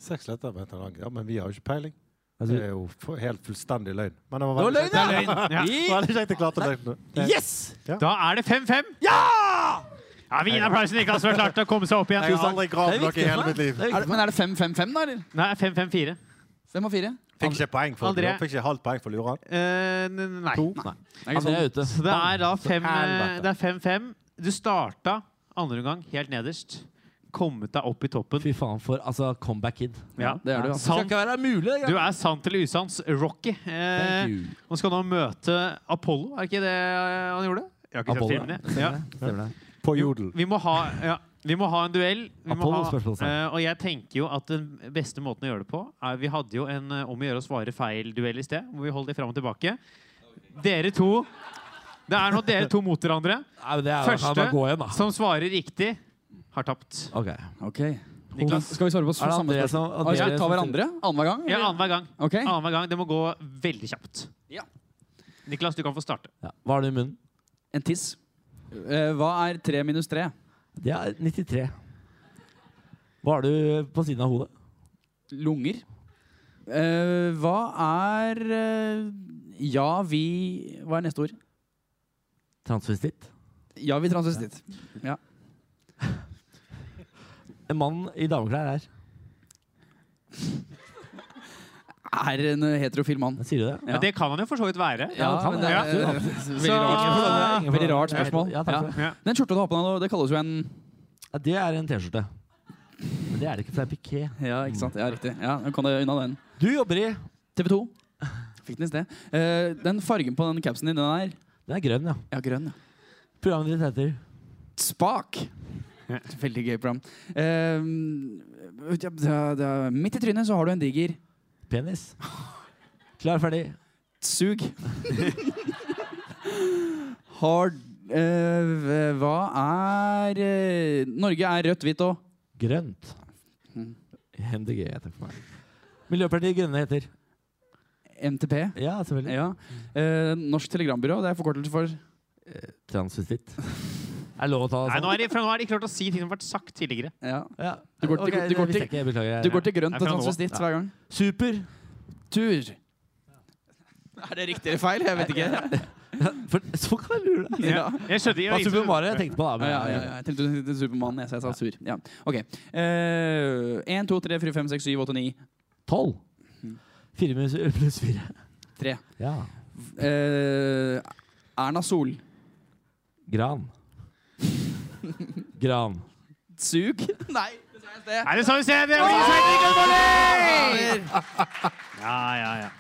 [SPEAKER 5] Seks letter med en lang. Ja, men vi har jo ikke peiling.
[SPEAKER 4] Altså,
[SPEAKER 5] Det er jo fu- helt fullstendig løgn.
[SPEAKER 4] det
[SPEAKER 5] Men det var
[SPEAKER 4] var
[SPEAKER 5] veldig
[SPEAKER 4] løgn,
[SPEAKER 5] kjekt.
[SPEAKER 4] ja!
[SPEAKER 2] Ja.
[SPEAKER 5] Veldig kjekt jeg klarte det.
[SPEAKER 4] Yes!
[SPEAKER 2] Da er det 5-5! Ja! ja vi gir en applaus til Niklas som har klart å komme seg opp
[SPEAKER 5] Jeg
[SPEAKER 2] igjen.
[SPEAKER 5] har aldri gravd noe i hele
[SPEAKER 4] meg.
[SPEAKER 5] mitt liv.
[SPEAKER 4] Det er
[SPEAKER 3] Er det,
[SPEAKER 4] viktig.
[SPEAKER 3] men er det 5-5-5, da? eller?
[SPEAKER 2] Nei, 5-5-4.
[SPEAKER 3] Fem og fire?
[SPEAKER 5] Fikk ikke poeng for
[SPEAKER 2] André.
[SPEAKER 5] det. Fikk ikke halvt poeng for luren.
[SPEAKER 2] Eh, n- n- nei.
[SPEAKER 5] To.
[SPEAKER 4] Nei.
[SPEAKER 3] Det er ikke
[SPEAKER 4] André
[SPEAKER 3] sånn.
[SPEAKER 4] er ute.
[SPEAKER 2] Så det er da
[SPEAKER 4] Så
[SPEAKER 2] fem, eh,
[SPEAKER 4] helvete.
[SPEAKER 2] det er 5-5. Du starta andre omgang helt nederst. Kommet deg opp i toppen.
[SPEAKER 4] Fy faen for altså, comeback kid.
[SPEAKER 2] Ja.
[SPEAKER 3] Det er du, altså.
[SPEAKER 4] Skal
[SPEAKER 2] Sant.
[SPEAKER 4] ikke være mulig. det,
[SPEAKER 2] Du
[SPEAKER 4] grann.
[SPEAKER 2] er sant eller usants Rocky. Eh,
[SPEAKER 4] Thank you.
[SPEAKER 2] nå skal han møte Apollo, er ikke det eh, han gjorde? Jeg har ikke
[SPEAKER 4] Apollo,
[SPEAKER 2] sett filmene. Ja.
[SPEAKER 4] Stemmer det.
[SPEAKER 5] På jodel.
[SPEAKER 2] Vi må ha, ja, vi må ha en duell. Vi må
[SPEAKER 4] Apollo
[SPEAKER 2] ha,
[SPEAKER 4] spørsmålstegn.
[SPEAKER 2] eh, og jeg tenker jo at den beste måten å gjøre det på er, Vi hadde jo en eh, om å gjøre å svare feil-duell i sted, hvor vi holdt det fram og tilbake. Dere to Det er nå dere to mot hverandre.
[SPEAKER 4] Nei, men det er, Første.
[SPEAKER 2] Første Sånn.
[SPEAKER 4] Bare gå igjen, da.
[SPEAKER 2] som svarer riktig, har tapt.
[SPEAKER 4] Ok.
[SPEAKER 3] Ok.
[SPEAKER 2] Niklas.
[SPEAKER 3] Skal vi svare på
[SPEAKER 4] Er det
[SPEAKER 3] samme
[SPEAKER 4] André
[SPEAKER 3] spørsmål?
[SPEAKER 4] som-
[SPEAKER 3] Ah, Skal
[SPEAKER 4] André
[SPEAKER 3] vi ta
[SPEAKER 4] som-
[SPEAKER 3] hverandre annenhver gang?
[SPEAKER 2] Ja,
[SPEAKER 3] eller?
[SPEAKER 2] annenhver gang.
[SPEAKER 3] Ok.
[SPEAKER 2] Annenhver gang. Det må gå veldig kjapt.
[SPEAKER 3] Ja.
[SPEAKER 2] Niklas, du kan få starte.
[SPEAKER 4] Ja. Hva har du i munnen?
[SPEAKER 3] En tiss. Eh, hva er tre minus tre?
[SPEAKER 4] Det er 93. Hva har du på siden av hodet?
[SPEAKER 3] Lunger. Eh, hva er eh, Ja, vi Hva er neste ord?
[SPEAKER 4] Transvestitt.
[SPEAKER 3] Ja, vi transvestitt.
[SPEAKER 4] En mann i dameklær er
[SPEAKER 3] Er en eh, heterofil mann.
[SPEAKER 4] Sier du det?
[SPEAKER 3] Ja.
[SPEAKER 2] Men det kan han jo for så vidt være.
[SPEAKER 4] Ja, det kan
[SPEAKER 3] men
[SPEAKER 4] det.
[SPEAKER 3] er-
[SPEAKER 4] Ja.
[SPEAKER 3] Veldig rart.
[SPEAKER 2] Så-
[SPEAKER 3] Veldig rart spørsmål.
[SPEAKER 4] Ja, takk for det.
[SPEAKER 2] Ja.
[SPEAKER 3] Den skjorta du har på deg nå, det kalles jo en
[SPEAKER 4] Ja, det er en T-skjorte. Men det er det ikke, for det er piké.
[SPEAKER 3] Ja, ikke sant? Ja, riktig. Ja, nå kan du unna den.
[SPEAKER 4] Du jobber i
[SPEAKER 3] TV 2. Fikk den i sted. Eh, den fargen på den capsen din, den er
[SPEAKER 4] Den er grønn, ja.
[SPEAKER 3] Ja, grønn. ja.
[SPEAKER 4] Programmet ditt heter
[SPEAKER 3] Spak! Veldig gøy program. Eh, ja, da- da- midt i trynet så har du en diger
[SPEAKER 4] Penis. Klar, ferdig.
[SPEAKER 3] sug. har eh, Hva er eh, Norge er rødt, hvitt og
[SPEAKER 4] Grønt. MDG heter det for meg. Miljøpartiet De Grønne heter
[SPEAKER 3] MTP.
[SPEAKER 4] Ja, selvfølgelig.
[SPEAKER 3] Ja. Eh, Norsk Telegrambyrå, det er forkortelse for
[SPEAKER 4] Eh, Transvestitt. Er det lov å ta
[SPEAKER 2] Nei,
[SPEAKER 4] sånn?
[SPEAKER 2] nå er det, fra nå er det ikke klart å si ting som har vært sagt tidligere.
[SPEAKER 3] ja.
[SPEAKER 4] ja.
[SPEAKER 3] Du går- du
[SPEAKER 4] Ok,
[SPEAKER 3] går- du
[SPEAKER 4] det
[SPEAKER 3] går
[SPEAKER 4] visste
[SPEAKER 3] til-
[SPEAKER 4] jeg ikke, jeg beklager.
[SPEAKER 3] Du går til grønt
[SPEAKER 2] Nei,
[SPEAKER 3] og
[SPEAKER 2] fra nå av.
[SPEAKER 3] transvestitt hver gang.
[SPEAKER 4] Super.
[SPEAKER 3] Tur. Er det riktig eller feil? Jeg vet ikke.
[SPEAKER 4] For, så kan jeg lure deg.
[SPEAKER 3] Ja.
[SPEAKER 2] Jeg skjønner
[SPEAKER 4] Det var Super
[SPEAKER 2] jeg-
[SPEAKER 4] Mario jeg tenkte på, da.
[SPEAKER 3] Ja,
[SPEAKER 4] Men,
[SPEAKER 3] ja, ja, ja. Jeg tenkte du tenkte Supermann, jeg, så jeg sa sur. Ja. OK. Uh, 1, 2, 3, 4, 5, 6, 7, 8, 9.
[SPEAKER 4] 12. Fire minus pluss fire.
[SPEAKER 3] 3.
[SPEAKER 4] Ja.
[SPEAKER 3] Eh, Erna Sol.
[SPEAKER 4] Gran. Gran.
[SPEAKER 3] Sug? Nei. Det
[SPEAKER 2] Nei, det sa vi se! Det var ikke sagt, Niklas Baarli! Ja, ja, ja.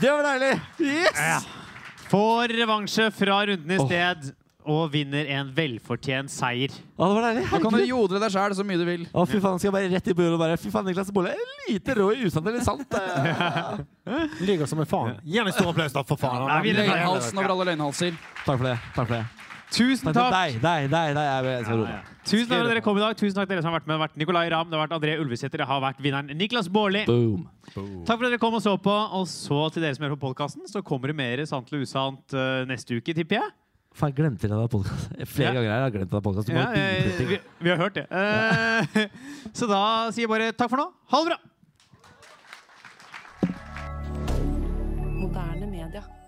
[SPEAKER 4] Det var deilig! Yes!
[SPEAKER 2] Ja. Får revansje fra runden i sted og vinner en velfortjent seier.
[SPEAKER 4] Å, det var deilig.
[SPEAKER 3] Da kan du
[SPEAKER 4] Herregud.
[SPEAKER 3] jodle deg sjæl så mye du vil.
[SPEAKER 4] Å, fy faen, skal jeg bare rett i bordet og bare Fy faen, Niklas Bolle er lite rå i usant eller sant. eh.
[SPEAKER 5] Ligger som en faen. Gi han en stor applaus, da, for faen.
[SPEAKER 2] Nei, vi-
[SPEAKER 3] Løgnhalsen over alle løgnhalser.
[SPEAKER 4] Takk for det. Takk for det.
[SPEAKER 2] Tusen
[SPEAKER 4] Takk for
[SPEAKER 2] takk!
[SPEAKER 4] deg, deg, deg. deg. Jeg, jeg skal roe
[SPEAKER 2] Ja, ja.
[SPEAKER 4] meg.
[SPEAKER 2] Tusen takk for at dere kom i dag. Tusen takk til dere som har vært med. Det har vært Nicolay Ramm, det har vært André Ulvesæter, det har vært vinneren Niklas Baarli.
[SPEAKER 4] Boom.
[SPEAKER 2] Takk for at dere kom og så på. Og så til dere som hører på podkasten, så kommer det mer sant eller usant eh, neste uke, tipper jeg.
[SPEAKER 4] Faen, jeg glemte det av podkasten. Flere
[SPEAKER 2] Ja.
[SPEAKER 4] ganger her har jeg glemt det av podkasten.
[SPEAKER 2] Ja, eh, vi, vi har hørt det. Eh, så da sier jeg bare takk for nå. Ha det bra!
[SPEAKER 7] Moderne media.